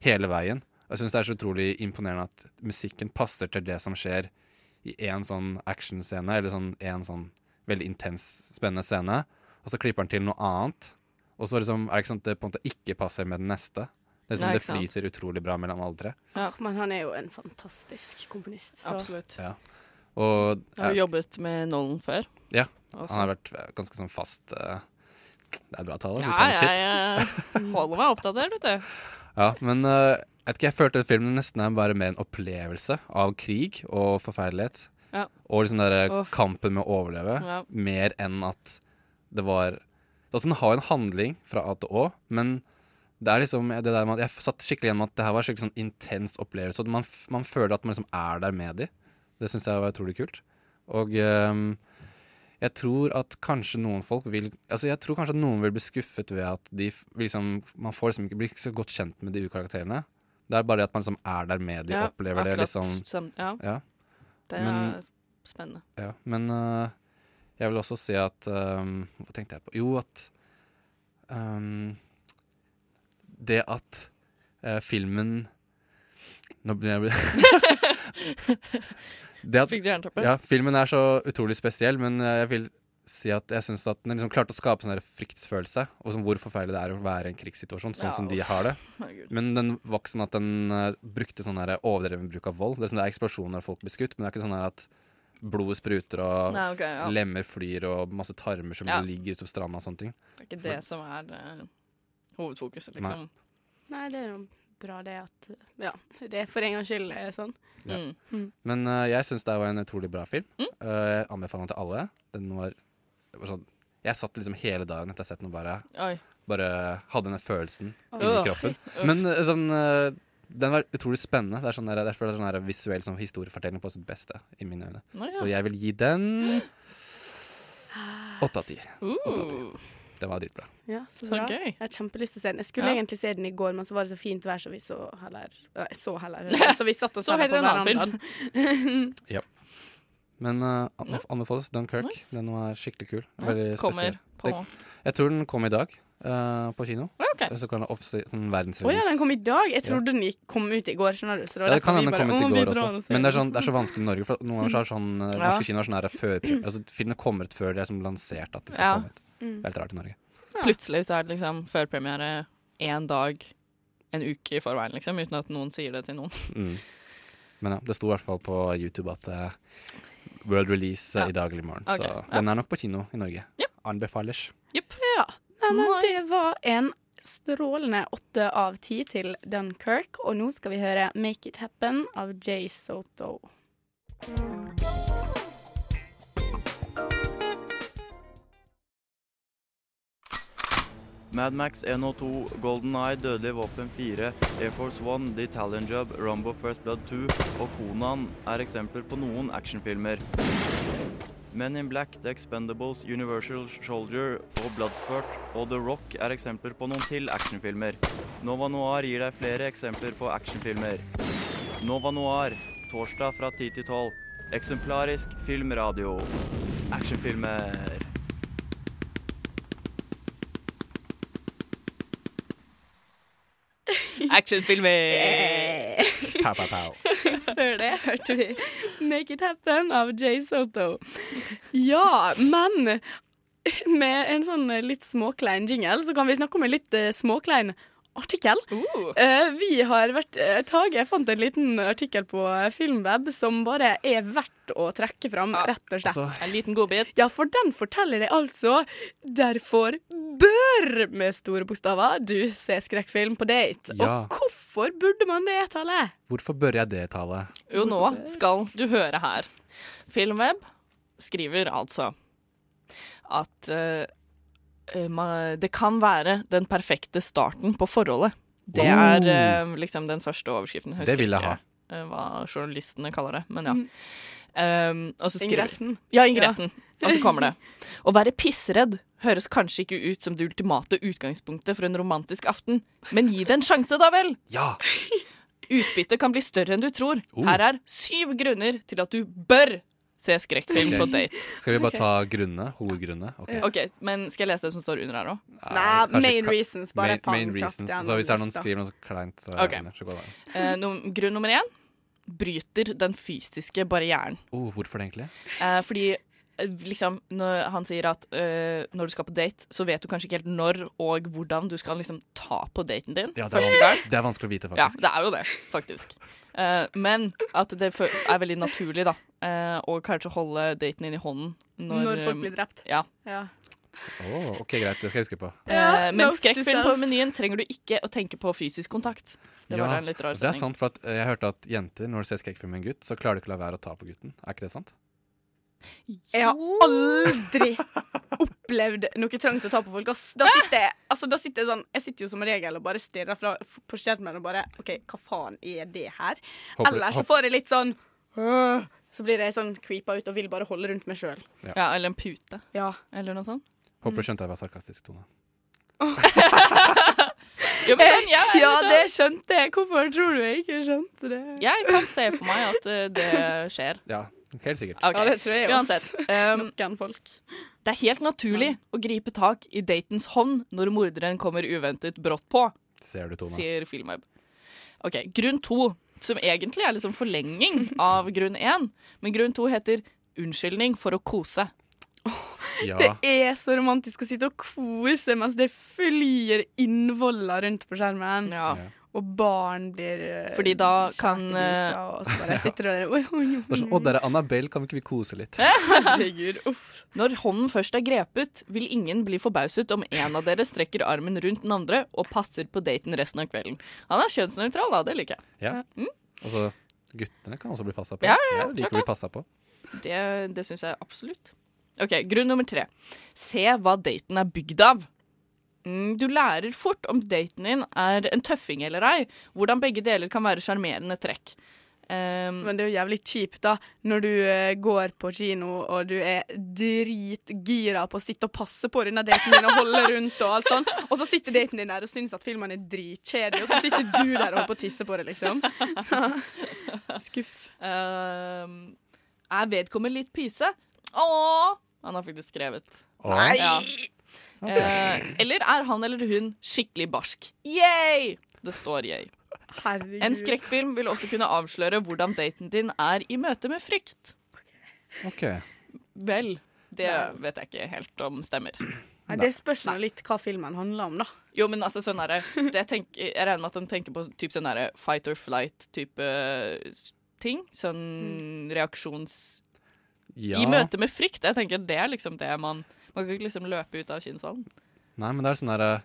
Speaker 8: hele veien. Og jeg syns det er så utrolig imponerende at musikken passer til det som skjer i én sånn actionscene, eller sånn én sånn veldig intens, spennende scene, og så klipper den til noe annet. Og så liksom, er det ikke sånn at det på en måte ikke passer med den neste. Det, er liksom,
Speaker 7: Nei,
Speaker 8: det
Speaker 7: ikke sant.
Speaker 8: flyter utrolig bra mellom alle tre.
Speaker 7: Åh, Men han er jo en fantastisk komponist. Så.
Speaker 9: Absolutt.
Speaker 8: Ja. Og eh,
Speaker 9: Jeg har jobbet med Nolan før.
Speaker 8: Ja,
Speaker 9: Også.
Speaker 8: han har vært eh, ganske sånn fast eh, Det er bra tale.
Speaker 9: Ja, jeg, jeg holder meg oppdatert, vet du.
Speaker 8: ja, men eh, jeg vet ikke, jeg følte at filmen nesten er bare med en opplevelse av krig og forferdelighet.
Speaker 9: Ja.
Speaker 8: Og liksom den der
Speaker 9: Uff.
Speaker 8: kampen med å overleve,
Speaker 9: Ja.
Speaker 8: mer enn at det var Altså, den har en handling fra A til Å, men det er liksom det der med at Jeg satt skikkelig igjen med at det her var en skikkelig sånn intens opplevelse. Og man, f- man føler at man liksom er der med de. Det syns jeg var utrolig kult. Og ehm, jeg tror at kanskje noen folk vil Altså jeg tror kanskje at noen vil bli skuffet ved at de f- liksom Man får liksom ikke bli så godt kjent med de ukarakterene. Det er bare det at man liksom er der med de,
Speaker 9: Ja,
Speaker 8: opplever det
Speaker 9: akkurat
Speaker 8: liksom.
Speaker 9: sam- ja. Det er
Speaker 8: Men-
Speaker 9: spennende.
Speaker 8: ja, men øh, jeg vil også si at øhm, Hva tenkte jeg på? Jo, at øhm, Det at øh, filmen Nå blir jeg Det at-
Speaker 9: Fikk du jernteppe?
Speaker 8: Ja, filmen er så utrolig spesiell, men øh, jeg vil si at jeg syns at den liksom klarte å skape sånn der fryktsfølelse, og sånn hvor forferdelig det er å være i en krigssituasjon, sånn
Speaker 13: Ja,
Speaker 8: som de
Speaker 13: uff.
Speaker 8: har det.
Speaker 13: Herregud.
Speaker 8: Men den var ikke sånn at den eh, brukte sånn der overdreven bruk av vold. Det er, sånn, det er eksplosjoner og folk blir skutt, men det er ikke sånn her at blodet spruter og
Speaker 9: Nei, ok, ja.
Speaker 8: lemmer flyr og masse tarmer som
Speaker 9: Ja.
Speaker 8: ligger utover stranda og sånne ting.
Speaker 9: Det er ikke det som er eh, hovedfokuset, liksom.
Speaker 7: Nei, det er jo bra det at Ja, det er for en gangs skyld er sånn.
Speaker 8: Ja.
Speaker 7: Mm.
Speaker 8: Men eh, jeg syns det var en utrolig bra film.
Speaker 9: Mm.
Speaker 8: Eh, jeg anbefaler den til alle. Den var, det var sånn Jeg satt liksom hele dagen etter å ha sett den og bare
Speaker 9: Oi.
Speaker 8: Bare hadde den følelsen
Speaker 13: Åh,
Speaker 8: inni
Speaker 13: shit.
Speaker 8: kroppen. Men eh, sånn eh, den var utrolig spennende. Det er sånn der, derfor er det sånn der visuell sånn historiefortelling på sitt beste. I mine øyne
Speaker 13: Nå, ja.
Speaker 8: Så jeg vil gi den
Speaker 7: Ah.
Speaker 8: åtte av ti. Åtte av ti.
Speaker 9: Uh.
Speaker 8: Den var dritbra.
Speaker 7: Ja, så,
Speaker 9: Så
Speaker 7: bra.
Speaker 9: gøy.
Speaker 7: Jeg har kjempelyst til å se den. Jeg skulle
Speaker 9: Ja.
Speaker 7: egentlig se den i går, men så var det så fint vær, så vi så heller Nei, så heller. Så vi satt og
Speaker 9: Så
Speaker 7: så den på
Speaker 9: heller en
Speaker 7: verandaen.
Speaker 9: annen
Speaker 8: Ja. Men eh, anbef- anbefales Dunkerque. Den var skikkelig kul.
Speaker 9: Ja,
Speaker 8: Veldig
Speaker 9: kommer
Speaker 8: spesiell.
Speaker 9: på-
Speaker 8: Det, jeg tror den kom i dag eh, på kino.
Speaker 7: ok.
Speaker 8: Så kan den offsi- sånn
Speaker 7: Å ja, den kom i dag. Jeg
Speaker 8: Ja.
Speaker 7: trodde den gikk, kom ut i går, skjønner du. Så det var
Speaker 8: Ja, det kan
Speaker 7: derfor vi
Speaker 8: hende den
Speaker 7: bare
Speaker 8: kom ut
Speaker 7: «Å, vi
Speaker 8: i går
Speaker 7: drar
Speaker 8: også.
Speaker 7: og ser
Speaker 8: Men det er,
Speaker 7: den».
Speaker 8: sånn, det er så vanskelig i Norge. For noen ganger så er sånn, eh,
Speaker 7: Ja.
Speaker 8: norske kinoer sånn her før altså, Filmene kommer ut før de er som lansert at de skal
Speaker 9: Ja.
Speaker 8: komme ut. Det
Speaker 9: Mm.
Speaker 8: er helt rart i Norge.
Speaker 9: Plutselig så er det liksom førpremiere én dag, en uke i forveien, liksom, uten at noen sier det til noen.
Speaker 8: Mm. Men ja, det sto i hvert fall på YouTube at eh, World Release eh, i dag eller i morgen.
Speaker 7: Ok,
Speaker 8: Så
Speaker 7: ja.
Speaker 8: den er nok på kino i Norge. Anbefales.
Speaker 7: Ja. Nei, men det var en strålende åtte av ti til Dunkerque, og nå skal vi høre 'Make It Happen' av Jay Soto.
Speaker 14: Madmax 102, Golden Eye, Dødelig våpen 4, Air Force One, The Italian Job, Rambo First Blood 2 og Conan er eksempler på noen actionfilmer. Men in Black, The Expendables, Universal Soldier og Bloodsport og The Rock er eksempler på noen til actionfilmer. Nova Noir gir deg flere eksempler på actionfilmer. Nova Noir, torsdag fra 10 til 12. Eksemplarisk filmradio. Actionfilmer.
Speaker 9: Actionfilmer!
Speaker 8: Pow, pow, pow.
Speaker 7: Før det hørte vi 'Make It Happen' av Jay Soto. Ja, men med en sånn litt småklein jingle, så kan vi snakke om en litt eh, småklein artikkel. Eh, vi har vært eh, Tage jeg fant en liten artikkel på eh, Filmweb som bare er verdt å trekke fram, rett og slett.
Speaker 9: altså- En liten godbit.
Speaker 7: Ja, for den forteller deg altså Derfor bør, med store bokstaver, du se skrekkfilm på date.
Speaker 8: Ja.
Speaker 7: Og hvorfor burde man det, Tale?
Speaker 8: Hvorfor bør jeg det tallet?
Speaker 9: Jo, nå skal du høre her. Filmweb skriver altså at eh, eh, ma- det kan være den perfekte starten på forholdet. Det
Speaker 13: Wow.
Speaker 9: er eh, liksom den første overskriften.
Speaker 13: Oh. Det vil jeg
Speaker 9: ikke,
Speaker 13: ha.
Speaker 9: eh, hva journalistene kaller det, men ja.
Speaker 13: Mhm.
Speaker 9: Um, og så skriver-
Speaker 13: Ingressen.
Speaker 9: Ja, ingressen.
Speaker 13: Ja.
Speaker 9: Og så kommer det. Å være pissredd høres kanskje ikke ut som det ultimate utgangspunktet for en romantisk aften, men gi det en sjanse, da vel!
Speaker 8: Ja!
Speaker 9: Utbyttet kan bli større enn du tror.
Speaker 8: Oh.
Speaker 9: Her er syv grunner til at du bør se skrekkfilm på
Speaker 8: Ok.
Speaker 9: date.
Speaker 8: Skal vi bare ta grunnene? Hovedgrunnene? Ok.
Speaker 9: OK, men skal jeg lese det som står under her òg?
Speaker 7: Nei,
Speaker 8: Kanskje
Speaker 7: main
Speaker 8: ka-
Speaker 7: reasons, bare
Speaker 8: main,
Speaker 7: pang,
Speaker 8: main
Speaker 7: kjapt
Speaker 8: reasons.
Speaker 7: gjennom
Speaker 8: Så hvis det er noen
Speaker 7: lista.
Speaker 8: skriver noe så kleint, så,
Speaker 9: Ok.
Speaker 8: så går det an.
Speaker 9: Eh, num- grunn nummer én bryter den fysiske barrieren.
Speaker 8: Oh, hvorfor det, egentlig?
Speaker 9: Eh, fordi eh, liksom, når han sier at eh, når du skal på date, så vet du kanskje ikke helt når og hvordan du skal liksom ta på daten din.
Speaker 8: Ja, det,
Speaker 9: første
Speaker 8: er,
Speaker 9: gang.
Speaker 8: van- det er vanskelig å vite,
Speaker 9: Ja,
Speaker 8: faktisk.
Speaker 9: det er jo det, faktisk. Eh, men at det fø- er veldig naturlig, da. eh, og kanskje holde daten din i hånden når,
Speaker 7: Når folk
Speaker 9: eh,
Speaker 7: blir drept.
Speaker 9: Ja.
Speaker 7: Ja.
Speaker 8: Åh, ok, greit. Det skal jeg huske på.
Speaker 7: Ja,
Speaker 9: Eh, men
Speaker 7: note to
Speaker 9: skrekkfilm på
Speaker 7: self.
Speaker 9: menyen trenger du ikke å tenke på fysisk kontakt. Det var en litt rar
Speaker 8: Det er
Speaker 9: setning.
Speaker 8: sant, for at eh, jeg hørte at jenter, når de ser skrekkfilm med en gutt, så klarer de ikke å la være å ta på gutten. Er ikke det sant?
Speaker 7: Jeg har aldri opplevd noe trangt å ta på folk. Ass. Da sitter jeg, altså, da sitter jeg sånn Jeg sitter jo som regel og bare stirrer fra, f- på skjermen og bare OK, hva faen er det her?
Speaker 9: Håper-
Speaker 7: Eller så
Speaker 9: håp-
Speaker 7: får jeg litt sånn «Åh», Så blir jeg sånn creepa ut og vil bare holde rundt meg sjøl.
Speaker 8: Ja.
Speaker 9: Ja, eller en pute.
Speaker 7: Ja.
Speaker 9: Eller noe sånt.
Speaker 8: Håper du skjønte jeg var sarkastisk, Tone.
Speaker 9: Jo, men sånn, ja,
Speaker 7: ja,
Speaker 9: vet du
Speaker 7: det
Speaker 9: hva?
Speaker 7: skjønte jeg. Hvorfor tror du jeg ikke skjønte det?
Speaker 9: Jeg kan se for meg at eh, det skjer.
Speaker 8: Ja, helt sikkert.
Speaker 9: Ok,
Speaker 7: Ja, det tror jeg
Speaker 9: Uansett.
Speaker 7: også.
Speaker 9: ehm,
Speaker 7: Noen folk.
Speaker 9: det er helt naturlig å gripe tak i datens hånd når morderen kommer uventet brått på,
Speaker 8: Ser du, Tone?
Speaker 9: sier Filmweb. Ok, Grunn to, som egentlig er liksom forlenging av grunn én, men grunn to heter unnskyldning for å kose.
Speaker 8: Ja.
Speaker 7: Det er så romantisk å sitte og kose mens det flyr innvoller rundt på skjermen. Og barn blir eh,
Speaker 9: Fordi da
Speaker 7: skjært
Speaker 9: kan, eh,
Speaker 7: i biter, Og så bare sitter du der oi, oi, oi.
Speaker 8: Det er sånn, Å, der er Annabelle, kan vi ikke vi kose litt?
Speaker 7: Herregud, uff.
Speaker 9: Når hånden først er grepet, vil ingen bli forbauset om en av dere strekker armen rundt den andre og passer på daten resten av kvelden. Han er kjønnsnøytral, da. Det liker jeg.
Speaker 8: Ja.
Speaker 9: Mm.
Speaker 8: Og så guttene kan også bli passa på.
Speaker 9: Ja, ja, ja,
Speaker 8: Jeg liker
Speaker 9: klart
Speaker 8: å
Speaker 9: det.
Speaker 8: bli passet på.
Speaker 9: Det, det syns jeg absolutt. OK, grunn nummer tre. Se hva daten er bygd av. Mm, Du lærer fort om daten din er en tøffing eller ei. Hvordan begge deler kan være sjarmerende trekk. Ehm,
Speaker 7: Men det er jo jævlig kjipt, da, når du eh, går på kino og du er dritgira på å sitte og passe på denne daten din og holde rundt og alt sånn, og så sitter daten din der og syns at filmen er dritkjedelig, og så sitter du der og holder på å tisse på det, liksom.
Speaker 9: Skuff. ehm, er vedkommende litt pyse? Åh! Han har faktisk skrevet.
Speaker 3: Åh. Nei!
Speaker 9: Ja. Eh, eller er han eller hun skikkelig barsk? Yay! Det står yay.
Speaker 7: Herregud.
Speaker 9: En skrekkfilm vil også kunne avsløre hvordan daten din er i møte med frykt.
Speaker 8: OK.
Speaker 9: Vel, det vet jeg ikke helt om stemmer.
Speaker 7: Nei, det spørs nå litt hva filmen handler om, da.
Speaker 9: Jo, men altså sånn herre det tenk- Jeg regner med at den tenker på typ sånn herre fight or flight-type ting. Sånn reaksjons...
Speaker 8: Ja.
Speaker 9: I møte med frykt. Jeg tenker det er liksom det man Man kan ikke liksom løpe ut av kinnsalen.
Speaker 8: Nei, men det er sånn der eh,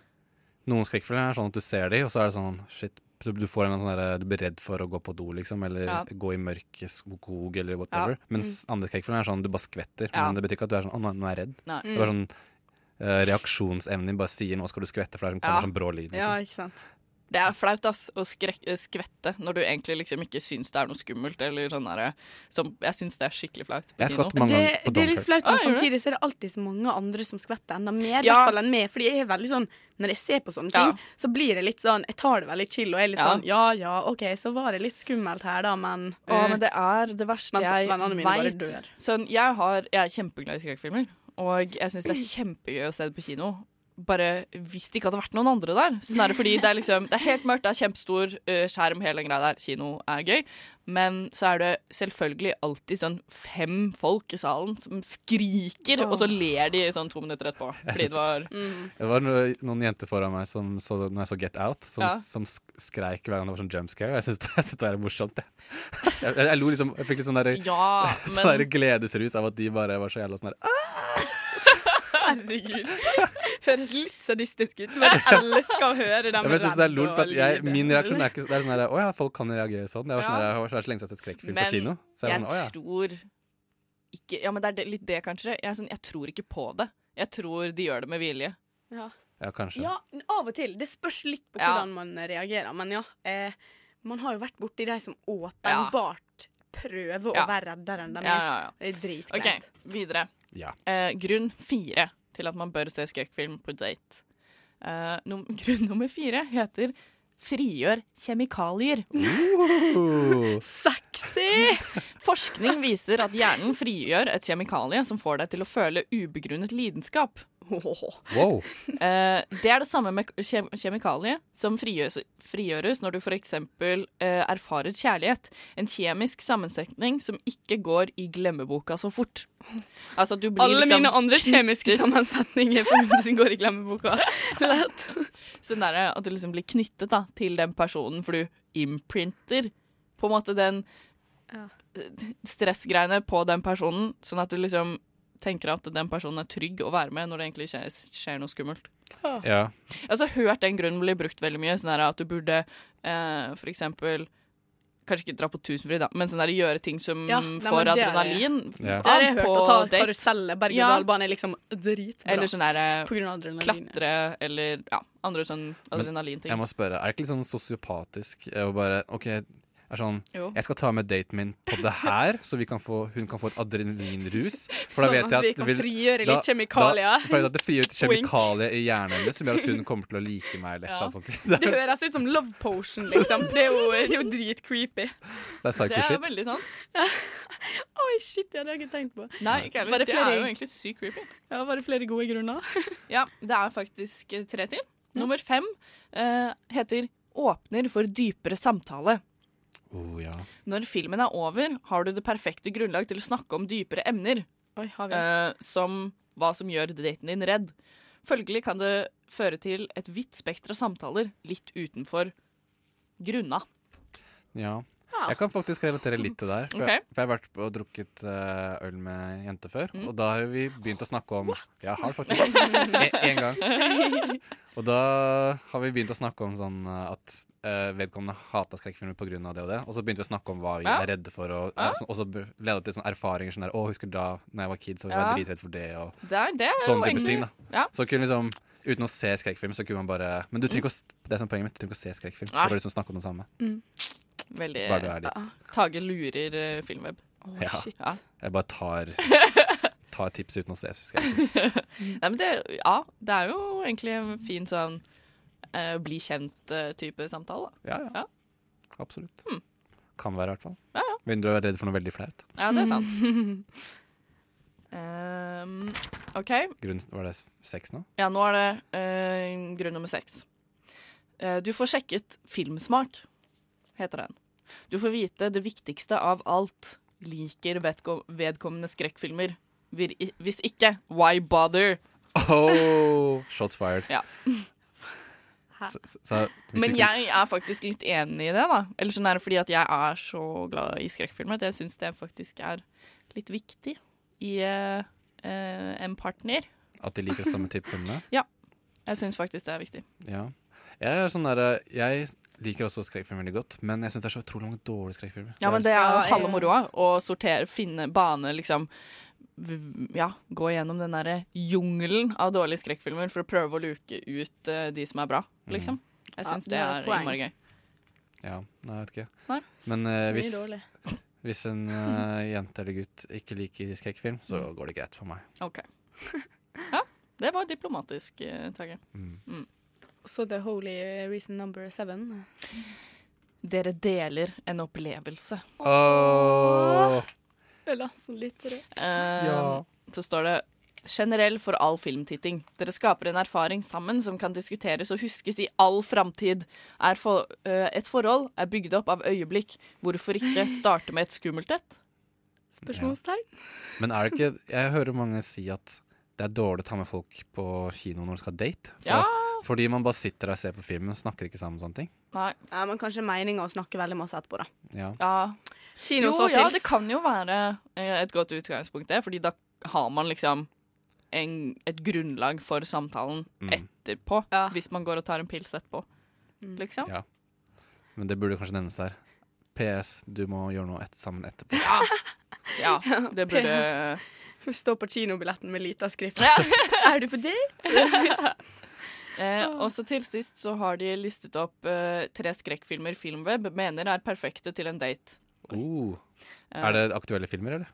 Speaker 8: Noen skrekkfilmer er sånn at du ser dem, og så er det sånn shit. så Du får en eller annen sånn der, du blir redd for å gå på do, liksom, eller
Speaker 9: Ja.
Speaker 8: gå i mørk skog, eller whatever.
Speaker 9: Ja.
Speaker 8: Mens
Speaker 9: Mm.
Speaker 8: andre skrekkfilmer er sånn du bare skvetter.
Speaker 9: Ja. Mm.
Speaker 8: Men det betyr ikke at du er sånn 'Å, nå, nå er jeg redd'.
Speaker 9: Nei.
Speaker 8: Det er bare sånn eh, Reaksjonsevnen din bare sier 'nå skal du skvette', for det kommer sånn brå lyd. Liksom.
Speaker 7: ikke sant?
Speaker 9: Det er flaut, ass, å skrek, eh, skvette når du egentlig liksom ikke syns det er noe skummelt. Eller sånn derre som- Jeg syns det er skikkelig flaut. på
Speaker 8: Jeg
Speaker 9: kino.
Speaker 8: skvatt mange
Speaker 7: Det,
Speaker 8: ganger på
Speaker 7: det er litt
Speaker 8: Dunkirk.
Speaker 7: flaut,
Speaker 9: Ah,
Speaker 7: men
Speaker 9: gjør du
Speaker 7: samtidig så er det alltid så mange andre som skvetter enda mer. i
Speaker 9: Ja.
Speaker 7: hvert fall enn meg, fordi jeg er veldig sånn, Når jeg ser på sånne ting, så blir jeg litt sånn Jeg tar det veldig chill og er litt
Speaker 9: Ja.
Speaker 7: sånn Ja ja, OK, så var det litt skummelt her, da, men
Speaker 9: Å, Eh, men det er det verste
Speaker 7: Mens
Speaker 9: jeg
Speaker 7: vennene mine bare
Speaker 9: vet.
Speaker 7: dør.
Speaker 9: Sånn, jeg, har, jeg er kjempeglad i skrekkfilmer, og jeg syns det er kjempegøy å se det på kino. Bare hvis det ikke hadde vært noen andre der. Sånn er det fordi det er liksom Det er helt mørkt, det er kjempestor eh, skjerm, hele den greia der. Kino er gøy. Men så er det selvfølgelig alltid sånn fem folk i salen som skriker, og så ler de sånn to minutter etterpå.
Speaker 8: Jeg
Speaker 9: Fordi
Speaker 8: syns-
Speaker 9: det var
Speaker 8: Det var no- noen jenter foran meg som så, når jeg så Get Out, som,
Speaker 9: Ja.
Speaker 8: som sk- skreik hver gang det var sånn jump scare. Jeg syns det, jeg synes det er morsomt. Jeg, jeg, jeg lo liksom Jeg fikk litt sånn der,
Speaker 9: Ja,
Speaker 8: sånn
Speaker 9: men-
Speaker 8: der gledesrus av at de bare var så jævla sånn der «Ah!»
Speaker 7: Herregud. Høres litt sadistisk ut, men jeg elsker å høre
Speaker 8: Ja,
Speaker 7: dem
Speaker 8: men jeg synes det er lol, for at jeg,
Speaker 7: lide.
Speaker 8: Min reaksjon er ikke det er sånn der Å ja, folk kan reagere sånn. Det var sånn
Speaker 9: Ja.
Speaker 8: der, jeg har så- så lenge siden jeg har sett skrekkfilm
Speaker 9: Men
Speaker 8: på kino. Så jeg,
Speaker 9: jeg
Speaker 8: var sånn, «Å ja.
Speaker 9: tror ikke Ja, men det er det, litt det, kanskje. Jeg, er sånn, jeg tror ikke på det. Jeg tror de gjør det med vilje.
Speaker 7: Ja.
Speaker 8: ja, kanskje.
Speaker 7: Ja, av og til. Det spørs litt på
Speaker 9: Ja.
Speaker 7: hvordan man reagerer. Men ja, eh, man har jo vært borti de som åpenbart prøver å
Speaker 9: Ja.
Speaker 7: være reddere enn de er.
Speaker 9: Ja, ja, ja.
Speaker 7: Det er
Speaker 9: OK,
Speaker 7: dritkleint.
Speaker 9: videre. Eh, grunn fire til at man bør se skrekkfilm på date. Eh, num grunn nummer fire heter frigjør kjemikalier. Sexy! Forskning viser at hjernen frigjør et kjemikalie som får deg til å føle ubegrunnet lidenskap.
Speaker 8: Wow.
Speaker 9: Eh, det er det samme med kjem kjemikalie som frigjøres, frigjøres når du f.eks. Eh, erfarer kjærlighet. En kjemisk sammensetning som ikke går i glemmeboka så fort. Altså, at du blir
Speaker 7: Alle
Speaker 9: liksom
Speaker 7: mine andre
Speaker 9: knyttet-
Speaker 7: kjemiske sammensetninger for- som går i glemmeboka. Lett.
Speaker 9: Sånn der, at du liksom blir knyttet da, til den personen, for du imprinter på en måte den eh, stressgreiene på den personen, sånn at du liksom tenker at den personen er trygg å være med når det egentlig skjer, skjer noe skummelt.
Speaker 8: Ja.
Speaker 9: Altså, Jeg har også hørt den grunnen bli brukt veldig mye. Sånn der at du burde eh, for eksempel Kanskje ikke dra på tusenfryd, da, men sånn der, gjøre ting som
Speaker 7: Ja, nei, men
Speaker 9: får
Speaker 7: det er-
Speaker 9: adrenalin.
Speaker 7: Ja.
Speaker 9: av
Speaker 7: Det har jeg hørt,
Speaker 9: på
Speaker 7: å ta
Speaker 9: date.
Speaker 7: karuseller, berg- og
Speaker 9: Ja.
Speaker 7: dalbane er liksom dritbra.
Speaker 9: Eller sånn der eh,
Speaker 7: På grunn av adrenalin, ja.
Speaker 9: klatre, eller ja, andre sånn
Speaker 8: Men
Speaker 9: adrenalinting.
Speaker 8: jeg må spørre, er det ikke litt sånn sosiopatisk eh, å bare OK, er sånn
Speaker 9: Jo.
Speaker 8: Jeg skal ta med daten min på det her, så vi kan få, hun kan få et adrenalinrus. For da
Speaker 7: Sånn
Speaker 8: vet
Speaker 7: at
Speaker 8: jeg at
Speaker 7: vi kan
Speaker 8: det
Speaker 7: frigjøre litt kjemikalier.
Speaker 8: Da, for jeg vet at det frigjør ut
Speaker 7: Wink.
Speaker 8: kjemikalier i hjernen hennes som gjør at hun kommer til å like meg. sånn. Eller et eller annet sånt.
Speaker 7: Det høres ut som love potion, liksom. Det er jo, det er jo dritcreepy.
Speaker 8: Det er psycho shit.
Speaker 9: veldig sant.
Speaker 7: Oi, shit, ja, det har jeg ikke tenkt på.
Speaker 9: Nei, ikke heller.
Speaker 7: Var
Speaker 9: Det,
Speaker 7: det flere-
Speaker 9: er jo egentlig sykt creepy.
Speaker 7: Ja, Var det flere gode grunner?
Speaker 9: Ja, det er faktisk eh, tre til. Nummer fem eh, heter Åpner for dypere samtale.
Speaker 8: Oh, ja.
Speaker 9: Når filmen er over, har du det perfekte grunnlag til å snakke om dypere emner.
Speaker 7: Oi, har vi.
Speaker 9: eh, som hva som gjør daten din redd. Følgelig kan det føre til et vidt spekter av samtaler litt utenfor grunna.
Speaker 8: Ja.
Speaker 9: Ja.
Speaker 8: Jeg kan faktisk relatere litt til det der. For,
Speaker 9: Ah. Ok.
Speaker 8: jeg, for jeg har vært og drukket eh, øl med en jente før,
Speaker 9: Mm.
Speaker 8: og da har vi begynt å snakke om Ja, har det faktisk. En, en gang. Og da har vi begynt å snakke om sånn eh, at eh, vedkommende hata skrekkfilmer pga. det og det. Og så begynte vi å snakke om hva vi
Speaker 9: Ja.
Speaker 8: er redde for, og,
Speaker 9: Ja.
Speaker 8: og så- og så leda til sånne erfaringer sånn der Å, husker du da når jeg var kid, så var jeg
Speaker 9: Ja.
Speaker 8: dritredd for det, og
Speaker 9: Det er- det er jo
Speaker 8: sånne type
Speaker 9: egentlig-
Speaker 8: ting. da
Speaker 9: ja. Mm.
Speaker 8: Så kunne liksom Uten å se skrekkfilm, så kunne man bare Men du trenger ikke å, s- det som er sånn poenget mitt, du trenger ikke å se skrekkfilm. Det
Speaker 9: Nei.
Speaker 8: er bare liksom å snakke om det samme.
Speaker 9: Mm. Veldig
Speaker 8: Bare du er litt-
Speaker 9: ja. Tage lurer eh, Filmweb.
Speaker 8: Ja.
Speaker 9: Ja.
Speaker 8: Jeg bare tar, tar tips uten å se skrekkfilm.
Speaker 9: Nei, men det, ja, det er jo egentlig en fin sånn eh, bli kjent-type samtale. Da.
Speaker 8: Ja, ja.
Speaker 9: ja. Mm.
Speaker 8: Absolutt. Kan være, i hvert fall.
Speaker 9: Ja, ja.
Speaker 8: Begynner du å være redd for noe veldig flaut?
Speaker 9: Ja, det er sant. Ehm, OK.
Speaker 8: Grunn, var det sex nå?
Speaker 9: Ja, nå er det eh, grunn nummer seks. Eh, du får sjekket filmsmak, heter den. Du får vite det viktigste av alt. Liker vedko vedkommende skrekkfilmer? Vir- i- Hvis ikke, why bother?
Speaker 8: Oh, shots fired.
Speaker 9: Ja.
Speaker 8: Så, så, så, hvis
Speaker 9: Men
Speaker 8: du ikke-
Speaker 9: jeg er faktisk litt enig i det, da. Eller sånn er det fordi at jeg er så glad i skrekkfilmer at jeg syns det faktisk er litt viktig i eh, eh, en partner.
Speaker 8: At de liker samme type filmer?
Speaker 9: Ja. Jeg syns faktisk det er viktig.
Speaker 8: Ja. Jeg, er sånn der, jeg liker også skrekkfilm veldig godt, men jeg syns det er så utrolig mange dårlige skrekkfilmer.
Speaker 9: Ja, men det er
Speaker 7: Ja,
Speaker 9: jo
Speaker 7: jeg-
Speaker 9: halve moroa. Å sortere, finne bane, liksom v- Ja, gå gjennom den derre jungelen av dårlige skrekkfilmer for å prøve å luke ut eh, de som er bra, liksom.
Speaker 7: Ja,
Speaker 9: Jeg syns
Speaker 7: du
Speaker 9: det
Speaker 7: har et
Speaker 9: er
Speaker 7: poeng.
Speaker 9: innmari gøy.
Speaker 8: sånn- Ja, nei, jeg vet ikke.
Speaker 9: Nei.
Speaker 8: Men eh,
Speaker 7: Det blir
Speaker 8: hvis,
Speaker 7: dårlig.
Speaker 8: hvis en eh, jente eller gutt ikke liker skrekkfilm, så
Speaker 9: Mm.
Speaker 8: går det greit for meg.
Speaker 9: OK. Ja, det var diplomatisk, eh, Tage.
Speaker 8: Mm.
Speaker 9: Mm.
Speaker 7: Så the holy reason number seven.
Speaker 9: Dere deler en opplevelse.
Speaker 8: Åh.
Speaker 7: Vel, altså, litt rød.
Speaker 9: Eh, Så står det generell for all filmtitting. Dere skaper en erfaring sammen som kan diskuteres og huskes i all framtid. Er for, eh, et forhold er bygd opp av øyeblikk. Hvorfor ikke starte med et skummelt et?
Speaker 7: Spørsmålstegn.
Speaker 8: Men er det ikke Jeg hører mange si at det er dårlig å ta med folk på kino når de skal date. For,
Speaker 7: Ja.
Speaker 8: Fordi man bare sitter der og ser på filmen og snakker ikke sammen om sånne ting.
Speaker 9: Nei.
Speaker 7: Ja, men kanskje meninga å snakke veldig masse etterpå, da.
Speaker 8: Ja.
Speaker 9: Ja.
Speaker 7: Kino
Speaker 9: jo,
Speaker 7: så
Speaker 9: ja,
Speaker 7: pils.
Speaker 9: det kan jo være eh, et godt utgangspunkt, det. Fordi da har man liksom en, et grunnlag for samtalen
Speaker 8: Mm.
Speaker 9: etterpå. Hvis man går og tar en pils etterpå,
Speaker 7: Mm.
Speaker 9: liksom.
Speaker 8: Ja. Men det burde kanskje nevnes her. PS, du må gjøre noe et, sammen etterpå.
Speaker 9: Ja, det burde
Speaker 7: PS. Hun står på kinobilletten med lita skrift. er du på date?
Speaker 8: Ah.
Speaker 9: Eh, og så til sist så har de listet opp eh, tre skrekkfilmer Filmweb mener er perfekte til en date.
Speaker 8: Oh.
Speaker 9: Eh.
Speaker 8: Er det aktuelle filmer, eller?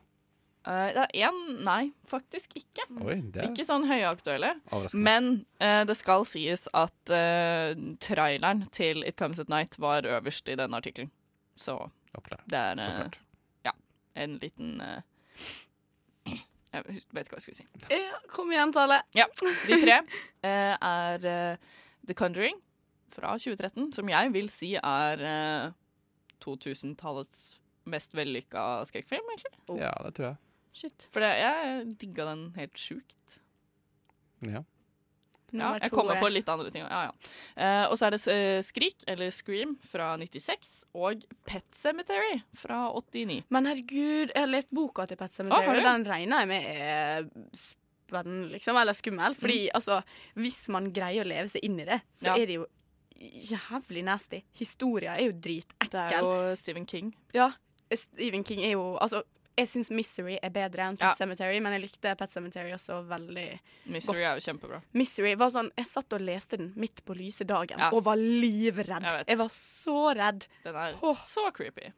Speaker 9: Eh, det er én Nei, faktisk ikke.
Speaker 8: Oi, det er-
Speaker 9: Ikke sånn høyaktuelle.
Speaker 8: Overraskende.
Speaker 9: Men eh, det skal sies at eh, traileren til It Comes At Night var øverst i denne artikkelen. Så det er eh,
Speaker 8: Så klart.
Speaker 9: Ja, en liten eh, Jeg vet ikke hva jeg skulle si.
Speaker 7: Ja, Kom igjen, Tale.
Speaker 9: Ja, de tre eh, er eh, The Conjuring fra 2013, som jeg vil si er eh, 2000-tallets mest vellykka skrekkfilm, egentlig.
Speaker 8: Ja, det tror jeg.
Speaker 7: Shit.
Speaker 9: For det, jeg digga den helt sjukt.
Speaker 8: Ja.
Speaker 9: Ja,
Speaker 7: Nummer
Speaker 9: jeg
Speaker 7: to
Speaker 9: kommer
Speaker 7: er-
Speaker 9: på litt andre ting. Ja, ja. Eh, og så er det eh, Skrik, eller Scream, fra 96, og Pet Cemetery fra 89.
Speaker 7: Men herregud, jeg har lest boka til Pet
Speaker 9: Å, har
Speaker 7: Sematary,
Speaker 9: du?
Speaker 7: og den regner jeg med er spennende, liksom, eller skummel. Fordi altså, hvis man greier å leve seg inn i det, så
Speaker 9: Mm. Ja.
Speaker 7: er det jo jævlig nasty. Historia er jo dritekkel.
Speaker 9: Det er jo Stephen King.
Speaker 7: Ja, Stephen King er jo Altså, jeg syns Misery er bedre enn Pet Sematary, men jeg likte Pet Sematary også veldig
Speaker 9: Misery
Speaker 7: godt.
Speaker 9: er jo kjempebra.
Speaker 7: Misery var sånn Jeg satt og leste den midt på lyse dagen
Speaker 9: Ja.
Speaker 7: og var livredd. Jeg,
Speaker 9: Jeg vet.
Speaker 7: var så redd.
Speaker 9: Den er så creepy.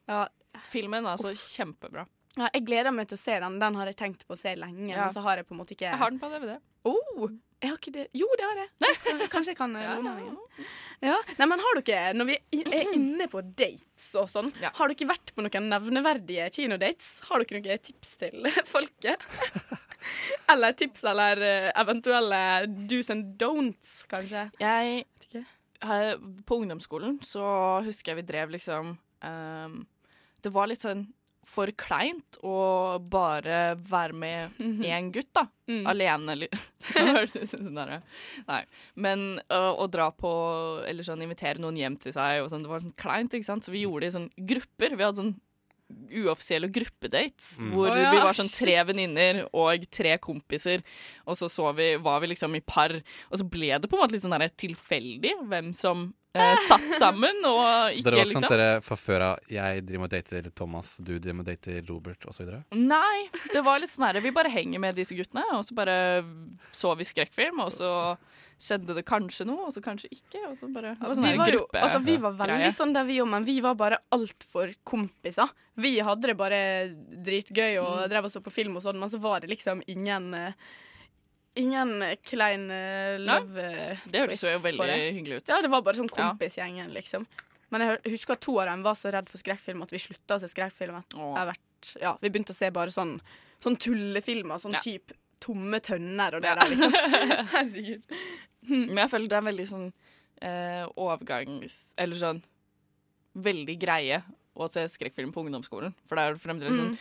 Speaker 9: Filmen er altså kjempebra.
Speaker 7: Ja, jeg gleder meg til å se den. Den har jeg tenkt på å se lenge.
Speaker 9: Ja.
Speaker 7: Men så har jeg på en måte ikke
Speaker 9: Jeg har den på DVD.
Speaker 7: Oh, jeg har ikke det. Jo, det har jeg. Kanskje- Kanskje jeg kan eh, låne den igjen. Ja. Nei, men har dere, når vi i- er inne på dates og sånn, har dere vært på noen nevneverdige kinodates? Har dere noen tips til folket? Eller tips eller eh, eventuelle do's and don'ts, kanskje?
Speaker 9: Jeg her, På ungdomsskolen så husker jeg vi drev liksom ehm, Det var litt sånn for kleint å bare være med én gutt, da.
Speaker 7: Mhm. Mm.
Speaker 9: Alene, li- Nå høres det ut som sånn der, Nei. Men øh, å dra på Eller sånn invitere noen hjem til seg og sånn, det var sånn kleint, ikke sant. Så vi gjorde det i sånn grupper. Vi hadde sånn uoffisielle gruppedates
Speaker 7: Mm.
Speaker 9: hvor
Speaker 7: Å ja,
Speaker 9: vi var sånn tre
Speaker 7: shit.
Speaker 9: venninner og tre kompiser, og så, så vi, var vi liksom i par. Og så ble det på en måte litt sånn der tilfeldig hvem som eh, satt sammen og ikke
Speaker 8: Dere var ikke sånn
Speaker 9: liksom
Speaker 8: at dere fra før av jeg driver og dater Thomas, du driver og dater Robert osv.?
Speaker 9: Nei, det var litt sånn her Vi bare henger med disse guttene, og så bare så vi skrekkfilm, og så skjedde det kanskje noe, og så kanskje ikke, og så bare det var sånn
Speaker 7: vi,
Speaker 9: her
Speaker 7: var jo,
Speaker 9: gruppe-
Speaker 7: altså, vi var veldig
Speaker 9: greie.
Speaker 7: sånn der vi òg, men vi var bare altfor kompiser. Vi hadde det bare dritgøy og
Speaker 9: Mm.
Speaker 7: drev og så på film og sånn, men så var det liksom ingen eh, Ingen eh, klein eh, love eh,
Speaker 9: det hørtes jo
Speaker 7: twists på
Speaker 9: veldig
Speaker 7: det.
Speaker 9: hyggelig ut.
Speaker 7: Ja, det var bare sånn
Speaker 9: Ja.
Speaker 7: kompisgjengen, liksom. Men jeg hø- husker at to av dem var så redd for skrekkfilm at vi slutta å se skrekkfilm. et-
Speaker 9: Åh.
Speaker 7: hvert- Ja, vi begynte å se bare sånn, sånn tullefilmer, sånn
Speaker 9: Ja.
Speaker 7: typ tomme tønner og det der, liksom. Herregud.
Speaker 9: Men jeg føler det er en veldig sånn eh, overgangs... Eller sånn veldig greie å se skrekkfilm på ungdomsskolen. For det er jo fremdeles sånn
Speaker 7: Mm.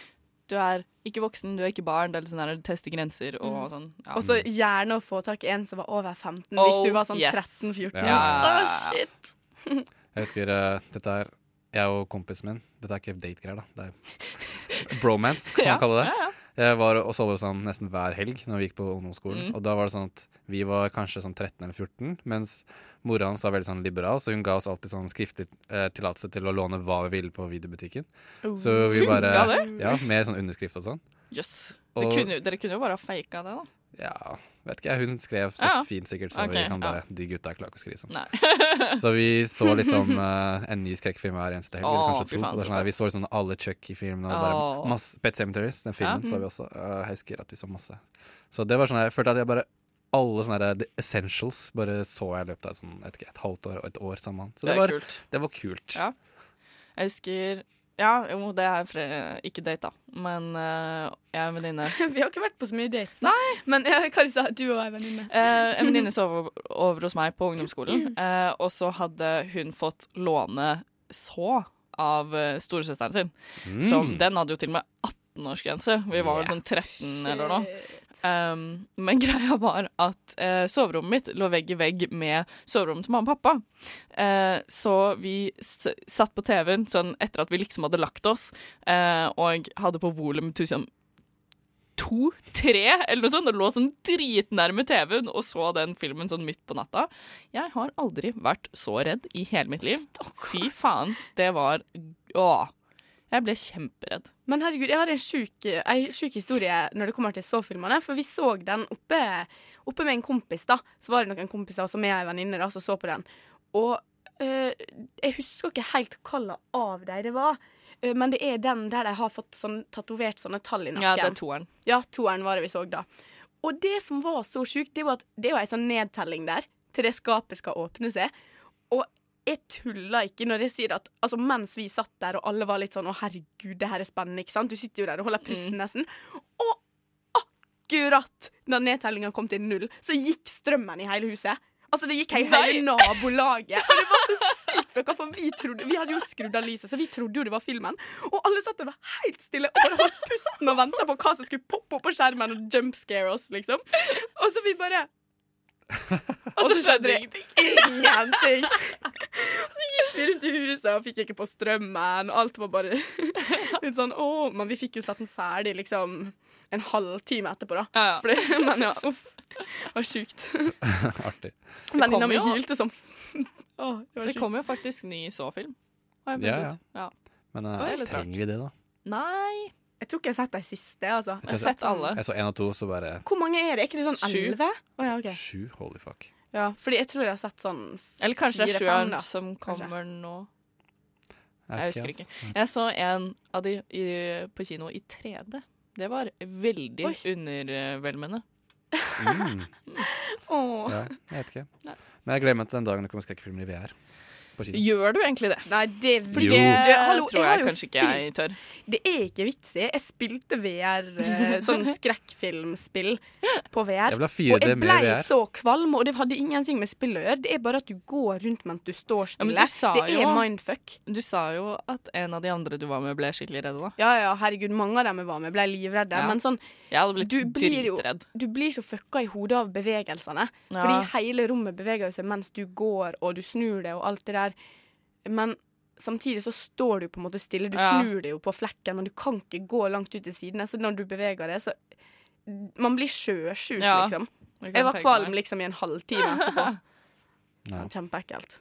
Speaker 9: Du er ikke voksen, du er ikke barn. Det er litt sånn her, du tester grenser og
Speaker 7: Mm.
Speaker 9: sånn. ja.
Speaker 7: Og så gjerne å få tak i en som var over 15, hvis
Speaker 9: Oh,
Speaker 7: du var sånn
Speaker 9: yes.
Speaker 7: 13-14.
Speaker 8: Ja.
Speaker 7: Å, shit!
Speaker 8: Jeg husker eh, dette er jeg og kompisen min. Dette er ikke date-greier, da. Det er bromance, kan
Speaker 9: Ja,
Speaker 8: man kalle det.
Speaker 9: ja, ja.
Speaker 8: Jeg var og så det sånn nesten hver helg når vi gikk på ungdomsskolen.
Speaker 9: Mm.
Speaker 8: Og da var det sånn at vi var kanskje sånn 13 eller 14, mens mora hans var veldig sånn liberal, så hun ga oss alltid sånn skriftlig eh, tillatelse til å låne hva vi ville på videobutikken.
Speaker 9: Oh.
Speaker 8: Så vi
Speaker 9: Hun
Speaker 8: bare
Speaker 9: ga det?
Speaker 8: Ja, med sånn underskrift og sånn.
Speaker 9: Jøss.
Speaker 8: Og-
Speaker 9: Det kunne- Dere kunne jo bare ha faka det, da.
Speaker 8: Ja, vet ikke jeg. Hun skrev så
Speaker 9: Ja, ja.
Speaker 8: fint sikkert, så
Speaker 9: Ok,
Speaker 8: vi kan
Speaker 9: ja.
Speaker 8: bare De gutta klarer ikke å skrive sånn.
Speaker 9: Nei.
Speaker 8: så vi så liksom eh, en ny skrekkfilm hver eneste helg.
Speaker 9: Åh,
Speaker 8: eller
Speaker 9: fy
Speaker 8: kanskje to.
Speaker 9: faen,
Speaker 8: Og det er
Speaker 9: så
Speaker 8: sånn, her,
Speaker 9: fett.
Speaker 8: vi så liksom alle Chucky-filmene. og
Speaker 9: Åh.
Speaker 8: bare masse- Pet Cemeteries, den filmen,
Speaker 9: Ja.
Speaker 8: så vi også. Eh, jeg husker at vi så masse. Så det var sånn her, jeg følte at jeg bare alle sånne her, the essentials bare så jeg i løpet av sånn, jeg vet ikke, et halvt år og et år sammen. Så det,
Speaker 9: Det er
Speaker 8: var,
Speaker 9: kult.
Speaker 8: det var kult.
Speaker 9: Ja. Jeg husker Ja, jo, det er fre- ikke date, da, men eh, jeg er en venninne
Speaker 7: Vi har ikke vært på så mye dates, da. Men ja, Karisa, du og jeg er venninne.
Speaker 9: Eh, en venninne sov over, over hos meg på ungdomsskolen, eh, og så hadde hun fått låne så av eh, storesøsteren sin.
Speaker 7: Mm.
Speaker 9: Som, den hadde jo til og med 18-årsgrense. Vi var vel sånn 13 eller noe. Um, men greia var at eh, soverommet mitt lå vegg i vegg med soverommet til mamma og pappa. Eh, så vi s satt på TV-en sånn etter at vi liksom hadde lagt oss, eh, og hadde på volum tusen to, tre, eller noe sånt, og lå sånn dritnærme TV-en og så den filmen sånn midt på natta. Jeg har aldri vært så redd i hele mitt liv. Fy faen, det var Åh. Jeg ble kjemperedd.
Speaker 7: Men herregud, jeg har en sjuk, ei sjuk historie når det kommer til så-filmene. For vi så den oppe, oppe med en kompis, da. Så var det noen kompiser som jeg og ei venninne da, som så på den. Og eh, jeg husker ikke helt hvilken av dem det var. eh, Men det er den der de har fått sånn, tatovert sånne tall i nakken.
Speaker 9: Ja, det er toeren.
Speaker 7: Ja, toeren var det vi så da. Og det som var så sjukt, det var at det var ei sånn nedtelling der til det skapet skal åpne seg. Og jeg tuller ikke når jeg sier at altså, mens vi satt der og alle var litt sånn 'Å, herregud, det her er spennende', ikke sant? Du sitter jo der og holder pusten nesten. Og akkurat da nedtellinga kom til null, så gikk strømmen i hele huset. Altså, det gikk i hele
Speaker 9: Nei.
Speaker 7: nabolaget. Og det var så sykt, for, hva, for vi, trodde, vi hadde jo skrudd av lyset, så vi trodde jo det var filmen. Og alle satt der og var helt stille og bare holdt pusten og venta på hva som skulle poppe opp på skjermen og jumpscare oss, liksom. Og så vi bare og så skjedde det ingenting. Og så gikk vi rundt i huset og fikk ikke på strømmen. og Alt var bare litt sånn å, Men vi fikk jo satt den ferdig liksom en halvtime etterpå, da.
Speaker 9: Ja, ja.
Speaker 7: For det, men ja, uff. Det var sjukt.
Speaker 8: Artig.
Speaker 7: Venninna mi
Speaker 9: kom jo-
Speaker 7: hylte som f- Å, det var
Speaker 9: Det
Speaker 7: sjukt.
Speaker 9: kommer jo faktisk ny så-film. har jeg funnet
Speaker 8: Ja, ja.
Speaker 9: ut. ja.
Speaker 8: Men
Speaker 9: Det
Speaker 8: eh,
Speaker 9: var litt rart.
Speaker 8: trenger vi det, da?
Speaker 9: Nei.
Speaker 7: Jeg tror ikke jeg har sett de siste, altså.
Speaker 8: Jeg tror jeg så- Jeg så én og to, så bare
Speaker 7: Hvor mange er det? Er ikke det sånn
Speaker 9: Sju.
Speaker 7: elleve? Å ja, OK.
Speaker 8: Sju, holy fuck.
Speaker 7: Ja, fordi jeg tror jeg har sett sånn
Speaker 9: Eller kanskje det er
Speaker 7: fire-fem,
Speaker 9: sjueren
Speaker 7: da.
Speaker 9: som kommer nå. Jeg
Speaker 8: vet
Speaker 9: husker
Speaker 8: ass.
Speaker 9: ikke. Jeg så en av de i, på kino i 3D. Det var veldig
Speaker 7: Oi.
Speaker 9: undervelmende.
Speaker 8: Mm.
Speaker 7: Åh.
Speaker 8: Ja, jeg vet ikke. Men jeg gleder meg til den dagen det kommer skrekkfilmer i VR. På kino.
Speaker 9: Gjør du egentlig det?
Speaker 7: Nei, det
Speaker 9: For
Speaker 8: Jo.
Speaker 9: det
Speaker 7: Du, hallo,
Speaker 9: tror
Speaker 7: jeg har
Speaker 9: jeg,
Speaker 7: jo
Speaker 9: kanskje ikke jeg tør.
Speaker 7: Det er ikke vits i. Jeg spilte VR, eh, sånn skrekkfilmspill på VR.
Speaker 8: Jeg vil ha 4D
Speaker 7: og jeg
Speaker 8: med
Speaker 7: ble
Speaker 8: VR.
Speaker 7: så kvalm, og det hadde ingenting med spill å gjøre. Det er bare at du går rundt mens du står
Speaker 9: Ja,
Speaker 7: stille.
Speaker 9: men du sa
Speaker 7: det er
Speaker 9: jo-
Speaker 7: mindfuck.
Speaker 9: Du sa jo at en av de andre du var med, ble skikkelig redde, da.
Speaker 7: Ja, ja, herregud, mange av dem jeg var med, ble livredde.
Speaker 9: Ja.
Speaker 7: Men sånn,
Speaker 9: Jeg hadde blitt
Speaker 7: du blir jo
Speaker 9: dritredd.
Speaker 7: Du blir så fucka i hodet av bevegelsene.
Speaker 9: Ja.
Speaker 7: Fordi hele rommet beveger jo seg mens du går, og du snur deg og alt det der. Men samtidig så står du på en måte stille. Du
Speaker 9: Ja.
Speaker 7: snur deg jo på flekken, men du kan ikke gå langt ut til sidene. Så når du beveger deg, så Man blir sjøsjuk,
Speaker 9: Ja,
Speaker 7: liksom.
Speaker 9: det kan
Speaker 7: Jeg var
Speaker 9: jeg tenke
Speaker 7: kvalm
Speaker 9: meg.
Speaker 7: liksom i en halvtime etterpå. Kjempeekkelt.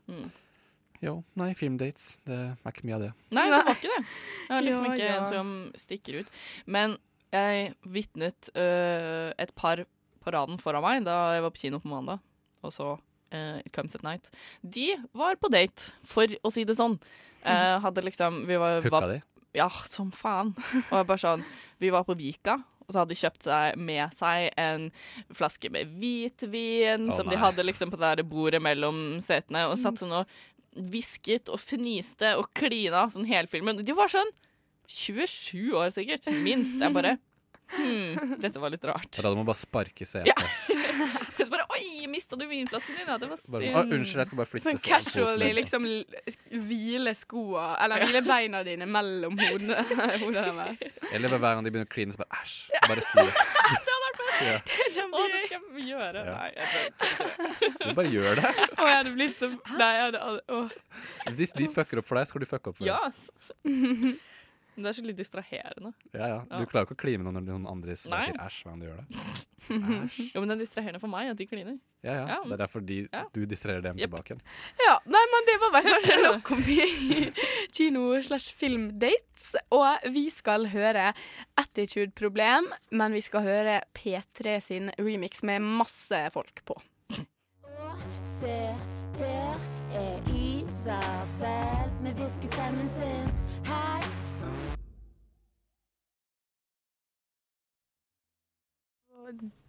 Speaker 8: Jo, nei, filmdates. Det er ikke mye av det.
Speaker 9: Nei, det var ikke det. Jeg var liksom
Speaker 7: Ja,
Speaker 9: ikke
Speaker 7: ja.
Speaker 9: en som stikker ut. Men jeg vitnet øh, et par på raden foran meg da jeg var på kino på mandag, og så øh, It Comes At Night. De var på date, for å si det sånn. Eh, hadde liksom vi var,
Speaker 8: Hooka
Speaker 9: var-
Speaker 8: de?
Speaker 9: Ja, som faen. Og jeg bare sånn Vi var på Vika. Og så hadde de kjøpt seg, med seg en flaske med hvitvin
Speaker 13: Å,
Speaker 9: som de
Speaker 13: nei.
Speaker 9: hadde liksom på det der bordet mellom setene, og satt sånn og hvisket og fniste og klina sånn hele filmen. De var sånn 27 år sikkert, minst. Jeg bare hmm, dette var litt rart.
Speaker 8: Da hadde man bare sparke setet.
Speaker 9: Ja. Så bare Oi, mista du vinflasken din? Ja, det var
Speaker 8: Bare,
Speaker 9: synd.
Speaker 8: «Å, unnskyld, jeg skal bare flytte
Speaker 7: Sånn
Speaker 8: foran foten
Speaker 7: casually
Speaker 8: min.»
Speaker 7: liksom l- hvile skoa Eller hvile beina dine mellom hodene, hodene deres.
Speaker 8: Eller hver gang de begynner å kline, så bare æsj. Bare si det. Ja.
Speaker 9: Å, det skal vi gjøre.
Speaker 8: Ja.
Speaker 9: Nei, jeg tror ikke det.
Speaker 8: Du bare gjør det.
Speaker 7: Å, jeg hadde blitt så Nei, jeg hadde aldri Å.
Speaker 8: Hvis de fucker opp for deg, skal du fucke opp for
Speaker 9: Ja,
Speaker 8: dem.
Speaker 9: ass. Men det er så litt distraherende.
Speaker 8: Ja, ja. Du klarer ikke å kline noen når noen andre sier
Speaker 9: Nei.
Speaker 8: sier æsj hver gang du gjør det.
Speaker 9: Jo, men det er distraherende for meg at de kliner.
Speaker 8: Ja, ja. Det er derfor de,
Speaker 9: Ja.
Speaker 8: du distraherer dem
Speaker 9: Jep.
Speaker 8: tilbake igjen.
Speaker 7: Ja, nei, men det var vel kanskje nok om vi- kino slash filmdates. Og vi skal høre Attitude Problem, men vi skal høre P3 sin remix med masse folk på.
Speaker 15: Se, der er Isabel med hviskestemmen sin. Hei.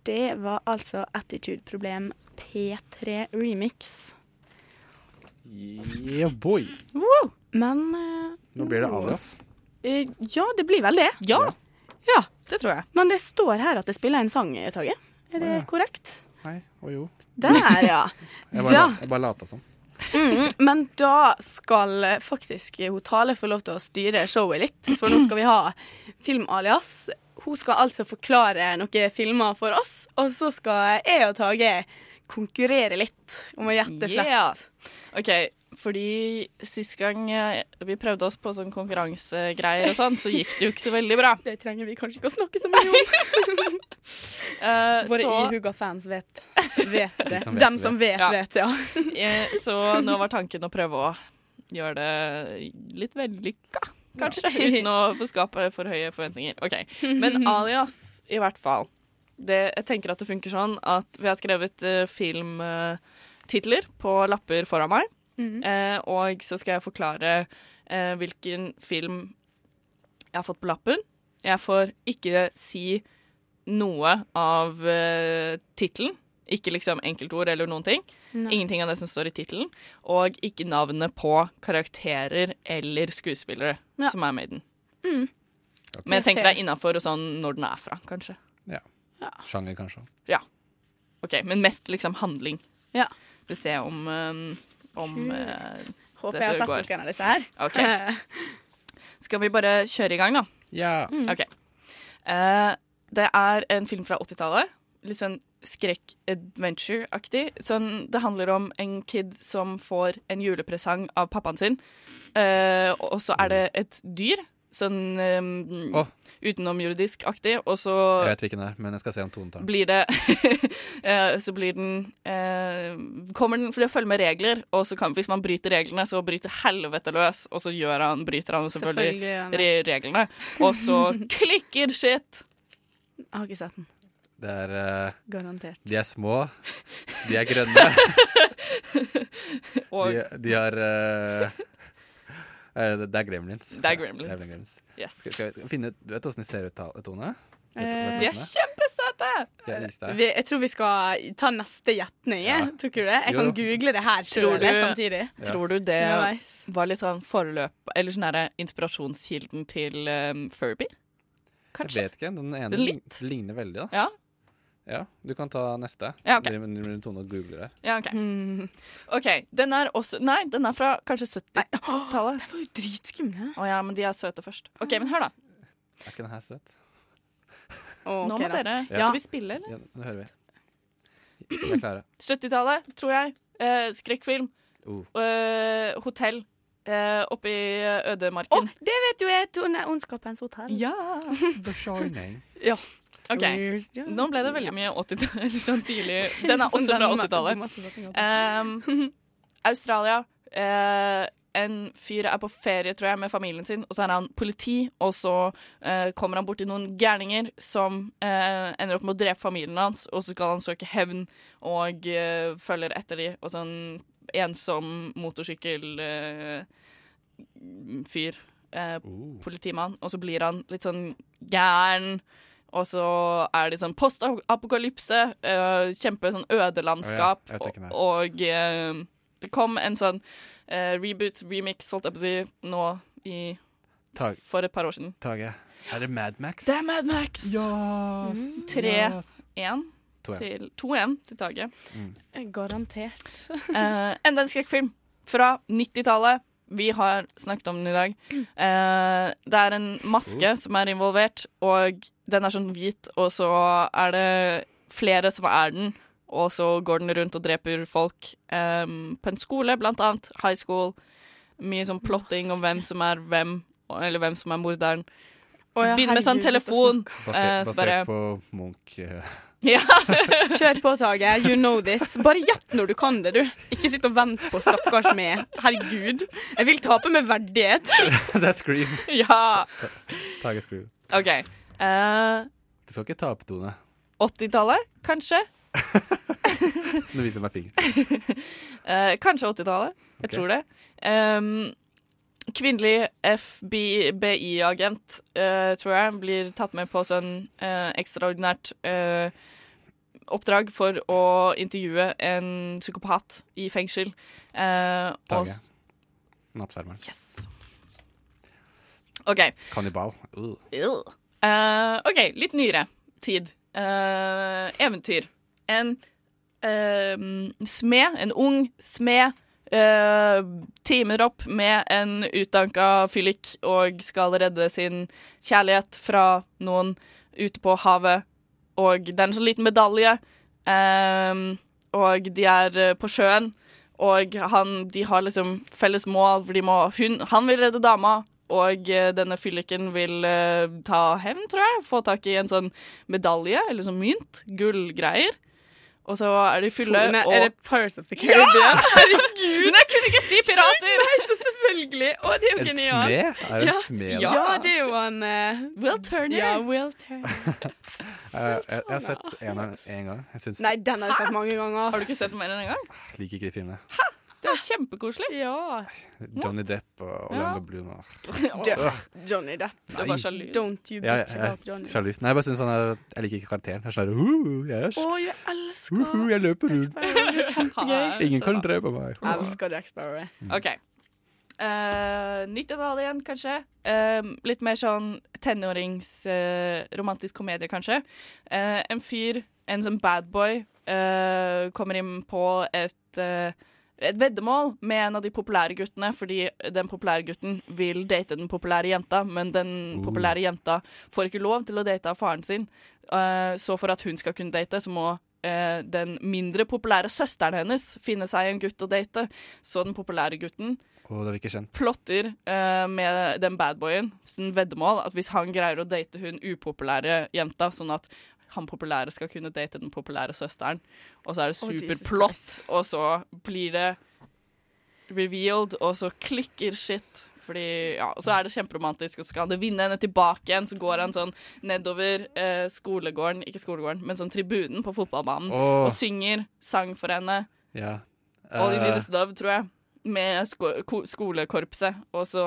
Speaker 7: Det var altså Attitude Problem P3 remix.
Speaker 8: Yeah, boy.
Speaker 7: Wow. Men eh,
Speaker 8: Nå blir det Alias.
Speaker 7: eh, Ja, det blir vel det. Ja. ja.
Speaker 9: Det tror jeg.
Speaker 7: Men det står her at det spiller en sang, eh, Tage. Er det
Speaker 8: Å, ja.
Speaker 7: korrekt?
Speaker 8: Nei, og jo.
Speaker 7: Der, ja.
Speaker 8: Jeg bare,
Speaker 7: Da.
Speaker 8: la- jeg bare lata som.
Speaker 7: Mm, men da skal eh, faktisk eh, hun Tale få lov til å styre showet litt, for nå skal vi ha Filmalias. Hun skal altså forklare noen filmer for oss, og så skal jeg og Tage konkurrere litt om å gjette
Speaker 9: Yeah.
Speaker 7: flest.
Speaker 9: OK, fordi sist gang eh, vi prøvde oss på sånn konkurransegreier og sånn, så gikk det jo ikke så veldig bra.
Speaker 7: Det trenger vi kanskje ikke å snakke så mye om.
Speaker 9: Eh,
Speaker 7: Våre
Speaker 9: så-
Speaker 7: ihuga fans vet, vet det.
Speaker 9: De som vet,
Speaker 7: Dem som vet,
Speaker 9: vet.
Speaker 7: vet, ja.
Speaker 9: Eh, Så nå var tanken å prøve å gjøre det litt vellykka, kanskje.
Speaker 7: Ja.
Speaker 9: Uten å få skape for høye forventninger. OK. Men alias, i hvert fall. Det, jeg tenker at det funker sånn at vi har skrevet eh, filmtitler på lapper foran meg.
Speaker 7: Mm.
Speaker 13: Mhm.
Speaker 9: Eh, og så skal jeg forklare eh, hvilken film jeg har fått på lappen. Jeg får ikke si noe av uh, tittelen. Ikke liksom enkeltord eller noen ting.
Speaker 13: Nei.
Speaker 9: Ingenting av det som står i tittelen. Og ikke navnet på karakterer eller skuespillere
Speaker 7: Ja.
Speaker 9: som er med i den.
Speaker 7: Mm.
Speaker 9: Men jeg tenker
Speaker 7: Fair.
Speaker 9: det er innafor og sånn når den er fra, kanskje.
Speaker 8: Ja. Sjanger, kanskje.
Speaker 9: Ja. OK. Men mest liksom handling.
Speaker 7: Ja.
Speaker 9: Vi ser om, um, om
Speaker 7: Kult.
Speaker 9: eh,
Speaker 7: Håper
Speaker 9: dette
Speaker 7: jeg har sett
Speaker 9: går.
Speaker 7: noen av disse her.
Speaker 9: OK. Skal vi bare kjøre i gang, da?
Speaker 8: Ja.
Speaker 7: Mm.
Speaker 9: Ok. Eh, det er en film fra 80-tallet. Litt sånn skrekk-adventure-aktig. Sånn, det handler om en kid som får en julepresang av pappaen sin. Eh, og så er det et dyr, sånn um,
Speaker 8: Åh.
Speaker 9: utenomjordisk-aktig. Og så
Speaker 8: Jeg vet hvilken det er, men jeg skal se om Tone tar den.
Speaker 9: blir det eh, Så blir den eh, Kommer den For det følger med regler, og så kan, hvis man bryter reglene, så bryter helvete løs, og så gjør han, bryter han selvfølgelig,
Speaker 7: Selvfølgelig gjør han
Speaker 9: re reglene. Og så klikker shit!
Speaker 7: Jeg har ikke sett den.
Speaker 8: Det er eh,
Speaker 7: Garantert.
Speaker 8: De er små. De er grønne.
Speaker 9: Og-
Speaker 8: de, de har eh, eh, Det er gremlins.
Speaker 9: Det er gremlins.
Speaker 8: Det er gremlins.
Speaker 9: Yes.
Speaker 8: Skal, skal vi finne, du vet åssen de ser ut, Ta- Tone? Vet- vet du
Speaker 7: Eh,
Speaker 8: hvordan det
Speaker 9: kjempesøte!
Speaker 8: Skal jeg vise deg?
Speaker 7: Vi, jeg tror vi skal ta neste gjetning. jeg. Tror ikke du det? Jeg
Speaker 8: Jo,
Speaker 7: kan
Speaker 8: jo.
Speaker 7: google det her
Speaker 9: Tror
Speaker 7: selv
Speaker 9: du,
Speaker 7: samtidig.
Speaker 9: tror du det
Speaker 7: Underveis.
Speaker 9: var litt sånn forløp Eller sånn derre inspirasjonskilden til um, Furby? Kanskje.
Speaker 8: Jeg vet ikke. Den ene
Speaker 9: Det er litt.
Speaker 8: lign- ligner veldig, da.
Speaker 9: Ja.
Speaker 8: Ja, Du kan ta neste.
Speaker 9: Ja, ok.
Speaker 8: Dere- dere- Tone googler her.
Speaker 9: Ja, OK.
Speaker 7: Hmm.
Speaker 9: OK. Den er også Nei, den er fra kanskje 70-tallet. Den var jo dritskumle. Å ja, men de er søte først. OK, men hør, da.
Speaker 8: Er ikke den her søt?
Speaker 9: Nå må dere
Speaker 8: Ja.
Speaker 9: Skal vi spille, eller?
Speaker 8: Ja, nå hører vi. Vi er klare.
Speaker 9: 70-tallet, tror jeg. Eh, skrekkfilm.
Speaker 8: Oh.
Speaker 9: Eh, hotell eh, oppe i ødemarken.
Speaker 7: Det vet jo jeg. Tone Ondskapens hotell.
Speaker 9: Ja.
Speaker 8: The Shining.
Speaker 9: ja. OK. Nå ble det veldig mye 80-tall. Sånn tidlig. Den er
Speaker 7: Som
Speaker 9: også fra
Speaker 7: den med-
Speaker 9: 80-tallet.
Speaker 7: Thomas Wattengaten.
Speaker 9: Um, Australia. eh, en fyr er på ferie, tror jeg, med familien sin, og så er han politi, og så eh, kommer han borti noen gærninger som eh, ender opp med å drepe familien hans, og så skal han søke hevn og eh, følger etter de, og sånn ensom motorsykkel... Eh, fyr. Eh, Politimann. Og så blir han litt sånn gæren. Og så er det sånn postapokalypse, eh, kjempe sånn ødelandskap.
Speaker 8: Å ja, jeg tenker det.
Speaker 9: og og eh, det kom en sånn eh, reboot, remix, holdt jeg på å si, nå i
Speaker 8: Tag.
Speaker 9: For et par år siden.
Speaker 8: Tage, er det Mad Max?
Speaker 9: Det er Mm. Mad Max!
Speaker 8: Yes, yes.
Speaker 9: 3-1
Speaker 8: To-en.
Speaker 9: til, 2-1 til Tage.
Speaker 8: Mm.
Speaker 7: Garantert.
Speaker 9: Eh, enda en skrekkfilm fra 90-tallet. Vi har snakket om den i dag. Eh, det er en
Speaker 8: Mm.
Speaker 9: maske som er involvert, og den er sånn hvit, og så er det flere som er den, og så går den rundt og dreper folk eh, på en skole, blant annet. High school. Mye sånn plotting om hvem som er hvem, eller hvem som er morderen.
Speaker 7: Å ja,
Speaker 9: Begynner med sånn
Speaker 7: herregud, dette
Speaker 9: telefon. eh,
Speaker 8: Basert,
Speaker 9: så
Speaker 8: basert
Speaker 9: bare-
Speaker 8: på Munch. eh,
Speaker 9: Ja.
Speaker 7: Kjør på, Tage. You know this. Bare gjett når du kan det, du. Ikke sitt og vent på stakkars meg. Herregud. Jeg vil tape med verdighet.
Speaker 8: det er Scream.
Speaker 9: ja.
Speaker 8: Tage Scream.
Speaker 9: OK. Eh,
Speaker 8: Du skal ikke ta opp Tone.
Speaker 9: 80-tallet, kanskje?
Speaker 8: Nå viser du meg fingeren.
Speaker 9: Eh, kanskje 80-tallet. Jeg
Speaker 8: Ok.
Speaker 9: tror det. Ehm, kvinnelig FBI-agent, eh, tror jeg, blir tatt med på sånn eh, ekstraordinært eh, oppdrag for å intervjue en psykopat i fengsel. Eh, og
Speaker 8: Tage.
Speaker 9: s-
Speaker 8: Nattsvermeren.
Speaker 9: OK.
Speaker 8: Kannibal. Uh.
Speaker 9: Ew. Eh, OK, litt nyere tid. Eh, eventyr. En eh, smed, en ung smed, eh, teamer opp med en utdanka fyllik og skal redde sin kjærlighet fra noen ute på havet. Og det er en sånn liten medalje, eh, og de er eh, på sjøen. Og han, de har liksom felles mål, hvor de må hun, Han vil redde dama, og eh, denne fylliken vil eh, ta hevn, tror jeg. Få tak i en sånn medalje, eller sånn mynt. Gullgreier. Og så er de fulle
Speaker 7: Tone,
Speaker 9: og
Speaker 7: er det Pirates of the Caribbean?
Speaker 9: Ja! Herregud! Men jeg kunne ikke si pirater!
Speaker 7: Shit, nei, så selvfølgelig. Å, det er jo
Speaker 8: En
Speaker 7: genialt.
Speaker 8: smed? Er det en
Speaker 7: ja.
Speaker 8: smed,
Speaker 7: Ja.
Speaker 8: da?
Speaker 7: det er jo han eh,
Speaker 9: Will Turner.
Speaker 7: Ja, Will Turner.
Speaker 8: Eh, jeg, jeg har sett eneren én gang. Jeg syns
Speaker 7: Nei, den har jeg sett mange ganger.
Speaker 9: Har du ikke sett den mer enn en gang?
Speaker 8: liker ikke de filmene.
Speaker 9: Det er kjempekoselig.
Speaker 7: Ja.
Speaker 8: Johnny Depp og
Speaker 7: Ja.
Speaker 8: Orlando Bloom og
Speaker 7: Depp. Johnny Depp.
Speaker 8: Du er bare Nei. sjalu.
Speaker 7: Don't you
Speaker 8: ja, jeg,
Speaker 7: bitch about
Speaker 8: jeg,
Speaker 7: Johnny.
Speaker 8: sjalu. Nei, jeg bare synes han er Jeg liker ikke karakteren. Jeg er sånn her, «Uh, jeg er
Speaker 7: Å,
Speaker 8: sk-
Speaker 7: jeg elsker
Speaker 8: Uhu, jeg løper rundt.
Speaker 9: Kjempegøy.
Speaker 8: Ingen kan drepe meg.
Speaker 7: Jeg elsker Jack Sparrow.
Speaker 9: OK. Eh, 90-tallet igjen, kanskje. Eh, litt mer sånn tenårings eh, romantisk komedie, kanskje. Eh, en fyr, en sånn badboy, uh, kommer inn på et eh, et veddemål med en av de populære guttene, fordi den populære gutten vil date den populære jenta, men den
Speaker 7: Uh.
Speaker 9: populære jenta får ikke lov til å date av faren sin. Eh, så for at hun skal kunne date, så må eh, den mindre populære søsteren hennes finne seg en gutt å date. Så den populære gutten
Speaker 8: Å, det er vi ikke kjent.
Speaker 9: plotter eh, med den badboyen sånn veddemål at hvis han greier å date hun upopulære jenta, sånn at han populære skal kunne date den populære søsteren, og så er det
Speaker 7: Oh, Jesus
Speaker 9: superplott, og så blir det revealed, og så klikker shit. Fordi, ja, og så er det kjemperomantisk, og så skal han vinne henne tilbake igjen. Så går han sånn nedover eh, skolegården, ikke skolegården, men sånn tribunen på fotballbanen,
Speaker 8: Åh.
Speaker 9: og synger sang for henne.
Speaker 8: Ja.
Speaker 9: All You Need
Speaker 8: Eh,
Speaker 9: Is Love, tror jeg. Med sko ko skolekorpset. Og så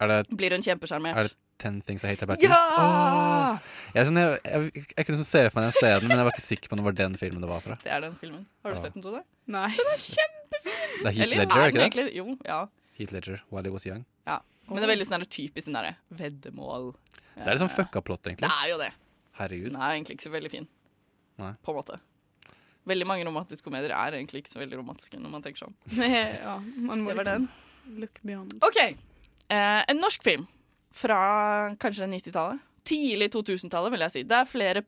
Speaker 8: er det
Speaker 9: blir hun
Speaker 8: Er
Speaker 9: kjempesjarmert.
Speaker 8: det Ten Things I Hate About You?
Speaker 9: Ja!
Speaker 8: Åh! Jeg, er sånn, jeg, jeg, jeg kunne sånn se for meg den scenen, men jeg var ikke sikker på om det var den filmen det var fra.
Speaker 9: Det er den filmen. Har du
Speaker 8: Ja.
Speaker 9: sett den, Tone?
Speaker 7: Nei.
Speaker 9: Den er kjempefin!
Speaker 8: Det er Heath
Speaker 9: Eller
Speaker 8: Ledger, er
Speaker 9: den
Speaker 8: ikke det?
Speaker 9: egentlig- Jo, ja.
Speaker 8: Heath Ledger, While He Was Young.
Speaker 9: ja. Men det er veldig sånn der typisk sånn derre veddemål.
Speaker 8: Det er litt sånn fucka plott,
Speaker 9: Det
Speaker 8: egentlig.
Speaker 9: er jo det.
Speaker 8: Herregud.
Speaker 9: Den er egentlig ikke så veldig fin,
Speaker 8: Nei.
Speaker 9: på en måte. Veldig mange romantiske komedier er egentlig ikke så veldig romantiske når man tenker sånn.
Speaker 7: ja, man må
Speaker 9: Det
Speaker 7: liksom
Speaker 9: var den.
Speaker 7: Look beyond.
Speaker 9: OK. Eh, en norsk film fra kanskje 90-tallet. Tidlig 2000-tallet, vil jeg si. Det er flere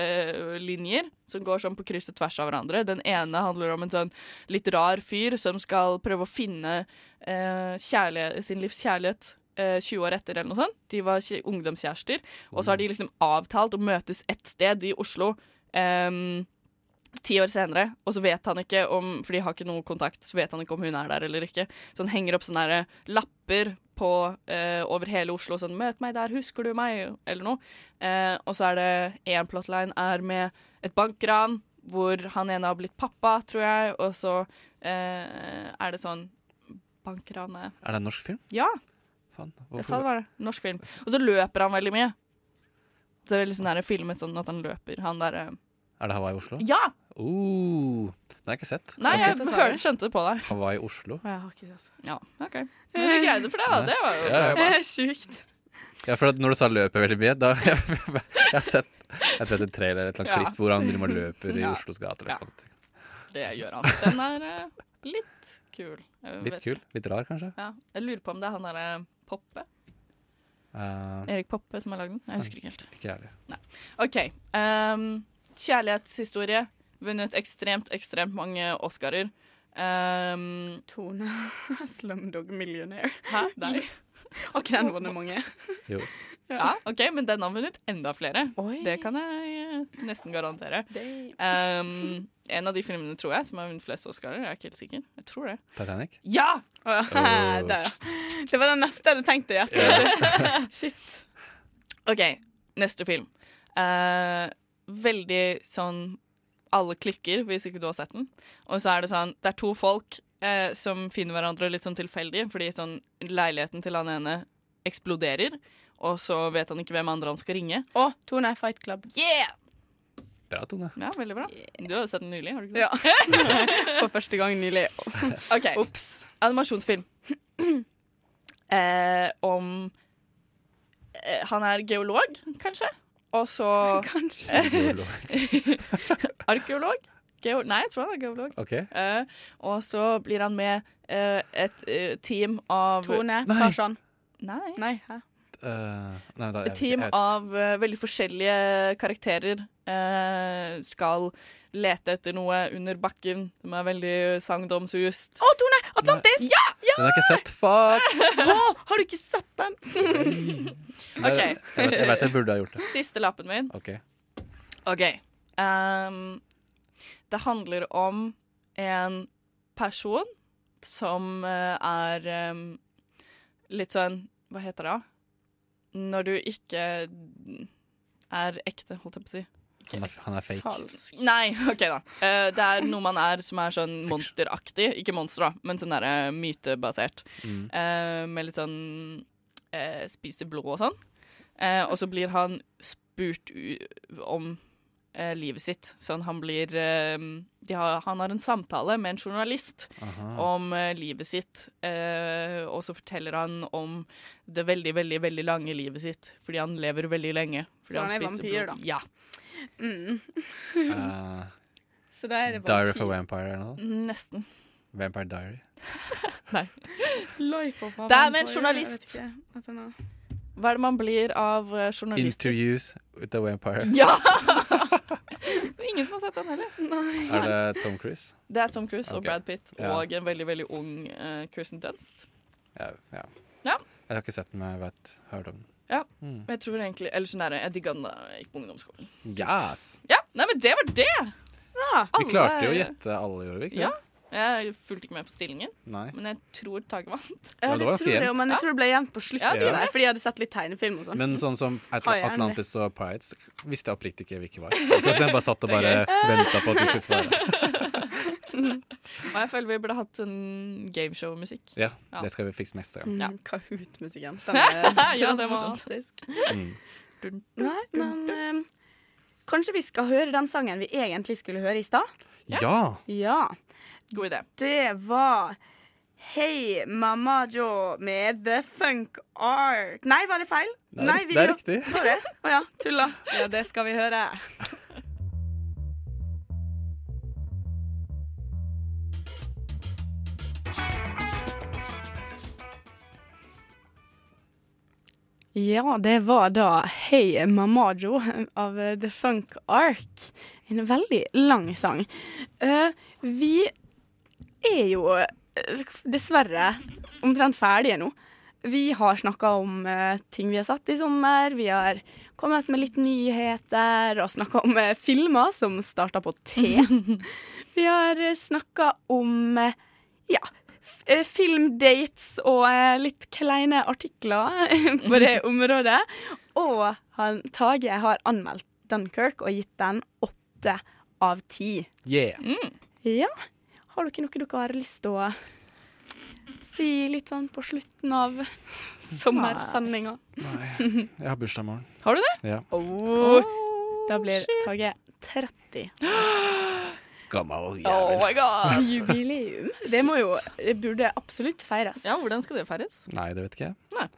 Speaker 9: plottlinjer som går sånn på kryss og tvers av hverandre. Den ene handler om en sånn litt rar fyr som skal prøve å finne eh, kjærlighet, sin livs kjærlighet eh, 20 år etter, eller noe sånt. De var kje- ungdomskjærester. Og så har de liksom avtalt å møtes ett sted i Oslo. Eh, ti år senere, og så vet han ikke om For de har ikke noe kontakt, så vet han ikke om hun er der eller ikke. Så han henger opp sånne der lapper på, eh, over hele Oslo sånn 'Møt meg der, husker du meg?' eller noe. Eh, og så er det én plotline er med et bankran hvor han ene har blitt pappa, tror jeg, og så eh, er det sånn Bankranet
Speaker 8: Er det en norsk film?
Speaker 9: Ja!
Speaker 8: Faen,
Speaker 9: Det
Speaker 8: hvorfor-
Speaker 9: sa det var det. Norsk film. Og så løper han veldig mye. Så det er veldig sånn der, filmet sånn at han løper. Han eh. derre
Speaker 8: Er det Hawaii Oslo?
Speaker 9: Ja!
Speaker 8: Oh, den har jeg ikke sett.
Speaker 9: Nei, jeg hør, skjønte det på deg.
Speaker 8: Hawaii Oslo.
Speaker 7: Jeg har ikke sett.
Speaker 9: Ja, OK. Men du greide for det, da. Det var jo
Speaker 8: Ja, ja.
Speaker 7: Sjukt.
Speaker 8: Ja, for at når du sa løper veldig mye, da jeg, har sett jeg tror jeg har sett trailer eller et eller annet
Speaker 9: Ja.
Speaker 8: klipp hvor han driver og løper i
Speaker 9: Ja.
Speaker 8: Oslos gater. eller
Speaker 9: Ja.
Speaker 8: noe sånt.
Speaker 9: Det gjør han. Den er eh, litt kul. Jeg
Speaker 8: Litt
Speaker 9: vet
Speaker 8: kul.
Speaker 9: ikke.
Speaker 8: Litt rar, kanskje.
Speaker 9: Ja. Jeg lurer på om det er han derre Poppe.
Speaker 8: Eh,
Speaker 9: Erik Poppe som har lagd den. Jeg
Speaker 8: Mm.
Speaker 9: husker ikke helt.
Speaker 8: Ikke jeg heller.
Speaker 9: Nei. OK. ehm, kjærlighetshistorie. Vunnet ekstremt, ekstremt mange Oscarer. Um,
Speaker 7: Tone Slumdog Millionaire.
Speaker 9: Hæ? Nei.
Speaker 7: Har ikke den vunnet mange?
Speaker 8: Jo.
Speaker 9: Ja, ok, men den har vunnet enda flere. Det kan jeg eh, nesten garantere. Um, en av de filmene, tror jeg, som har vunnet flest Oscarer. Jeg er ikke helt sikker. Jeg tror det.
Speaker 8: Titanic?
Speaker 9: Ja!
Speaker 8: Åh.
Speaker 7: Der, ja. Det var den neste jeg hadde tenkt i hjertet. Shit.
Speaker 9: OK, neste film. Eh, veldig sånn Alle klikker hvis ikke du har sett den. Og så er det sånn Det er to folk eh, som finner hverandre litt sånn tilfeldig, fordi sånn leiligheten til han ene eksploderer, og så vet han ikke hvem andre han skal ringe.
Speaker 7: Og Tone Fight Club.
Speaker 9: Yeah!
Speaker 8: Bra, Tone.
Speaker 9: Ja, veldig bra. Du har jo sett den nylig, har du ikke
Speaker 7: Ja.
Speaker 9: det?
Speaker 7: For første gang nylig.
Speaker 9: OK. Animasjonsfilm. eh, om eh, Han er geolog, kanskje? Og så
Speaker 7: Kanskje.
Speaker 9: Arkeolog? Geo Nei, jeg tror han er geolog.
Speaker 8: Ok.
Speaker 9: Eh, og så blir han med eh, et eh, team av
Speaker 7: Tone
Speaker 8: Nei.
Speaker 7: Tarzan.
Speaker 9: Nei.
Speaker 7: Nei, hæ?
Speaker 8: Eh, nei, da, jeg vet
Speaker 9: Et
Speaker 8: ikke,
Speaker 9: team
Speaker 8: jeg vet-
Speaker 9: av eh, veldig forskjellige karakterer eh, skal lete etter noe under bakken. De er veldig sagnomsust.
Speaker 7: Å, Tone! Atlantis!
Speaker 9: Ja!
Speaker 8: Den har jeg ikke sett. Fuck!
Speaker 7: har du ikke sett den?
Speaker 8: Nei,
Speaker 9: Ok.
Speaker 8: Jeg vet jeg, vet jeg burde ha gjort det.
Speaker 9: Siste lappen min.
Speaker 8: OK.
Speaker 9: OK. Ehm, det handler om en person som eh, er ehm, litt sånn Hva heter det? da? Når du ikke er ekte, holdt jeg på å si.
Speaker 8: Han er, han er fake.
Speaker 9: Nei, OK, da. Eh, det er noe man er som er sånn monsteraktig. Ikke monster, da, men sånn derre mytebasert.
Speaker 8: Mm.
Speaker 9: Eh, med litt sånn eh, Spiser blod og sånn. Eh, og så blir han spurt u om eh, livet sitt. Sånn han blir eh, de har, Han har en samtale med en journalist
Speaker 8: Aha.
Speaker 9: om eh, livet sitt. Eh, og så forteller han om det veldig, veldig veldig lange livet sitt. Fordi han lever veldig lenge. Fordi
Speaker 7: For han er vampyr, da.
Speaker 9: Ja.
Speaker 7: Mm.
Speaker 8: Eh,
Speaker 7: Så da er det
Speaker 8: Diary
Speaker 7: vampyr.
Speaker 8: for Vampire eller noe? sånt?
Speaker 9: Nesten.
Speaker 8: Vampire Diary?
Speaker 7: Life of a
Speaker 9: Det er med en
Speaker 7: vampire, jeg
Speaker 9: journalist.
Speaker 7: vet ikke at den er-
Speaker 9: Hva er det man blir av eh, journalist?
Speaker 8: Interviews with a Vampire.
Speaker 9: Ja! Ingen som har sett den heller.
Speaker 8: Er det Tom Cruise?
Speaker 9: Det er Tom Cruise og
Speaker 8: Ok.
Speaker 9: Brad Pitt
Speaker 8: Ja.
Speaker 9: og en veldig veldig ung eh, Kirsten Dunst.
Speaker 8: Ja, ja.
Speaker 9: Ja.
Speaker 8: Jeg har ikke sett den, men jeg vet, hørt om den.
Speaker 9: Ja.
Speaker 8: Mm.
Speaker 9: Og jeg tror egentlig Eller sånn er det. Jeg digga den da jeg gikk på ungdomsskolen.
Speaker 8: Yes!
Speaker 9: Ja, Nei, men det var det!
Speaker 8: Vi klarte jo å gjette alle, gjorde vi ikke?
Speaker 9: Ja. Jeg fulgte ikke med på stillingen,
Speaker 8: Nei.
Speaker 9: men jeg tror Tage vant.
Speaker 8: Ja, det var ganske
Speaker 7: tror det,
Speaker 8: jevnt.
Speaker 7: men jeg tror det ble jevnt på
Speaker 9: Ja,
Speaker 7: slutten.
Speaker 8: det gjorde
Speaker 7: der,
Speaker 8: det.
Speaker 7: fordi jeg hadde sett litt tegnefilm og sånn.
Speaker 8: Men sånn som At
Speaker 7: Har jeg en-
Speaker 8: Atlantis og Pirates visste jeg oppriktig ikke hvilke var. Kanskje jeg bare satt og bare venta på at de skulle svare.
Speaker 9: Og jeg føler vi burde hatt en gameshow-musikk.
Speaker 8: Ja, det skal vi fikse neste gang.
Speaker 7: Mm, Kahoot-musikken. Den er
Speaker 9: Ja, det er morsomt.
Speaker 7: dramatisk.
Speaker 8: Mm.
Speaker 7: Nei, men eh, kanskje vi skal høre den sangen vi egentlig skulle høre i stad?
Speaker 8: Ja!
Speaker 7: Ja.
Speaker 9: sånn. God idé.
Speaker 7: Det var Hei Mamma Jo med The Funk Art. Nei, var det feil?
Speaker 8: Det er
Speaker 7: Nei,
Speaker 8: rikt-
Speaker 7: vi
Speaker 8: det er
Speaker 7: gjør-
Speaker 8: riktig.
Speaker 7: Var det? Å ja, tulla. Ja, det skal vi høre. Ja, det var da Hei Mamajo av eh, The Funk Ark. En veldig lang sang. Eh, vi er jo eh, dessverre omtrent ferdige nå. Vi har snakka om eh, ting vi har sett i sommer. Vi har kommet med litt nyheter og snakka om eh, filmer som starter på T. vi har snakka om eh, ja, f- eh, filmdates og eh, litt kleine artikler eh, på det området. Og han, Tage har anmeldt Dunkerque og gitt den åtte av ti.
Speaker 8: Yeah.
Speaker 7: Ja. Har dere noe dere har lyst til å si litt sånn på slutten av sommersendinga?
Speaker 8: Jeg har bursdag i morgen.
Speaker 7: Har du det?
Speaker 8: Ja.
Speaker 7: Oh, da blir Tage 30.
Speaker 8: Gammel
Speaker 7: Oh my god!
Speaker 8: jævel.
Speaker 7: Jubileum. Det må jo Det burde absolutt feires.
Speaker 9: Ja, hvordan skal det feires?
Speaker 8: Nei, det vet ikke jeg.
Speaker 9: Nei.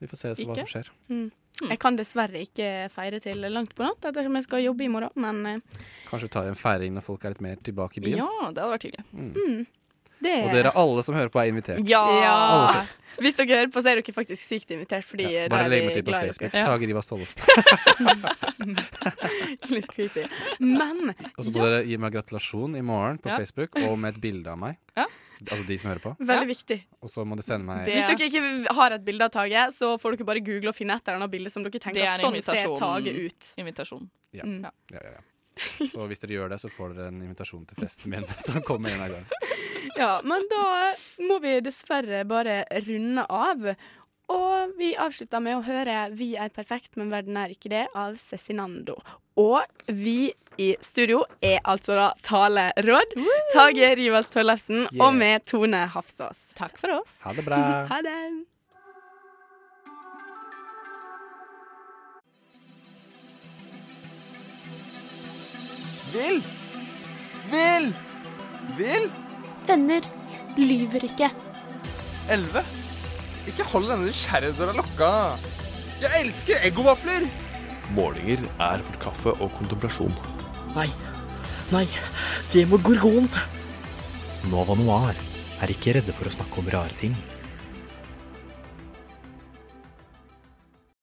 Speaker 8: Vi får se så hva
Speaker 7: Ikke?
Speaker 8: som skjer.
Speaker 7: Mm. Jeg kan dessverre ikke feire til langt på natt ettersom jeg skal jobbe i morgen, men eh,
Speaker 8: Kanskje vi tar en feiring når folk er litt mer tilbake i byen.
Speaker 7: Ja.
Speaker 9: det hadde vært hyggelig.
Speaker 8: Mm.
Speaker 7: mm, det
Speaker 8: Og dere alle som hører på, er invitert.
Speaker 7: Ja!
Speaker 8: Alle som-
Speaker 7: Hvis dere hører på, så er dere faktisk sykt invitert, fordi eh, da
Speaker 8: Bare
Speaker 7: er
Speaker 8: legg
Speaker 7: vi
Speaker 8: meg til på
Speaker 7: glad i
Speaker 8: Facebook.
Speaker 7: dere.
Speaker 8: Tage Rivas Tollefsen.
Speaker 7: Litt creepy. Men
Speaker 8: Og så må dere gi meg gratulasjon i morgen på
Speaker 7: Ja.
Speaker 8: Facebook, og med et bilde av meg.
Speaker 7: Ja.
Speaker 8: Altså de som hører på.
Speaker 7: Veldig viktig.
Speaker 8: Og så må dere sende meg
Speaker 7: Hvis dere ikke har et bilde av Tage, så får dere bare google og finne et eller annet bilde som dere tenker
Speaker 9: Det er
Speaker 7: at sånn ser
Speaker 9: invitasjon.
Speaker 7: Tage ut.
Speaker 9: Invitasjon.
Speaker 8: Ja.
Speaker 7: Mm.
Speaker 8: Ja, ja, ja. Så hvis dere gjør det, så får dere en invitasjon til festen min som kommer en av gang.
Speaker 7: Ja, men da eh, må vi dessverre bare runde av. Og vi avslutter med å høre 'Vi er perfekt, men verden er ikke det' av Cezinando. Og vi i studio er altså da Tale Råd, Tage Rivas Tollefsen
Speaker 9: Yeah.
Speaker 7: og med Tone Hafsås. Takk for oss.
Speaker 8: Ha det bra.
Speaker 7: Ha det.
Speaker 13: Vil! Vil! Vil!
Speaker 16: Venner lyver ikke.
Speaker 13: Elleve. Ikke hold denne nysgjerrighetsdøra lukka. Jeg elsker eggovafler!
Speaker 5: Målinger er for kaffe og kontemplasjon.
Speaker 17: Nei. Nei. Det må gorgon. Nova Noir er ikke redde for å snakke om rare ting.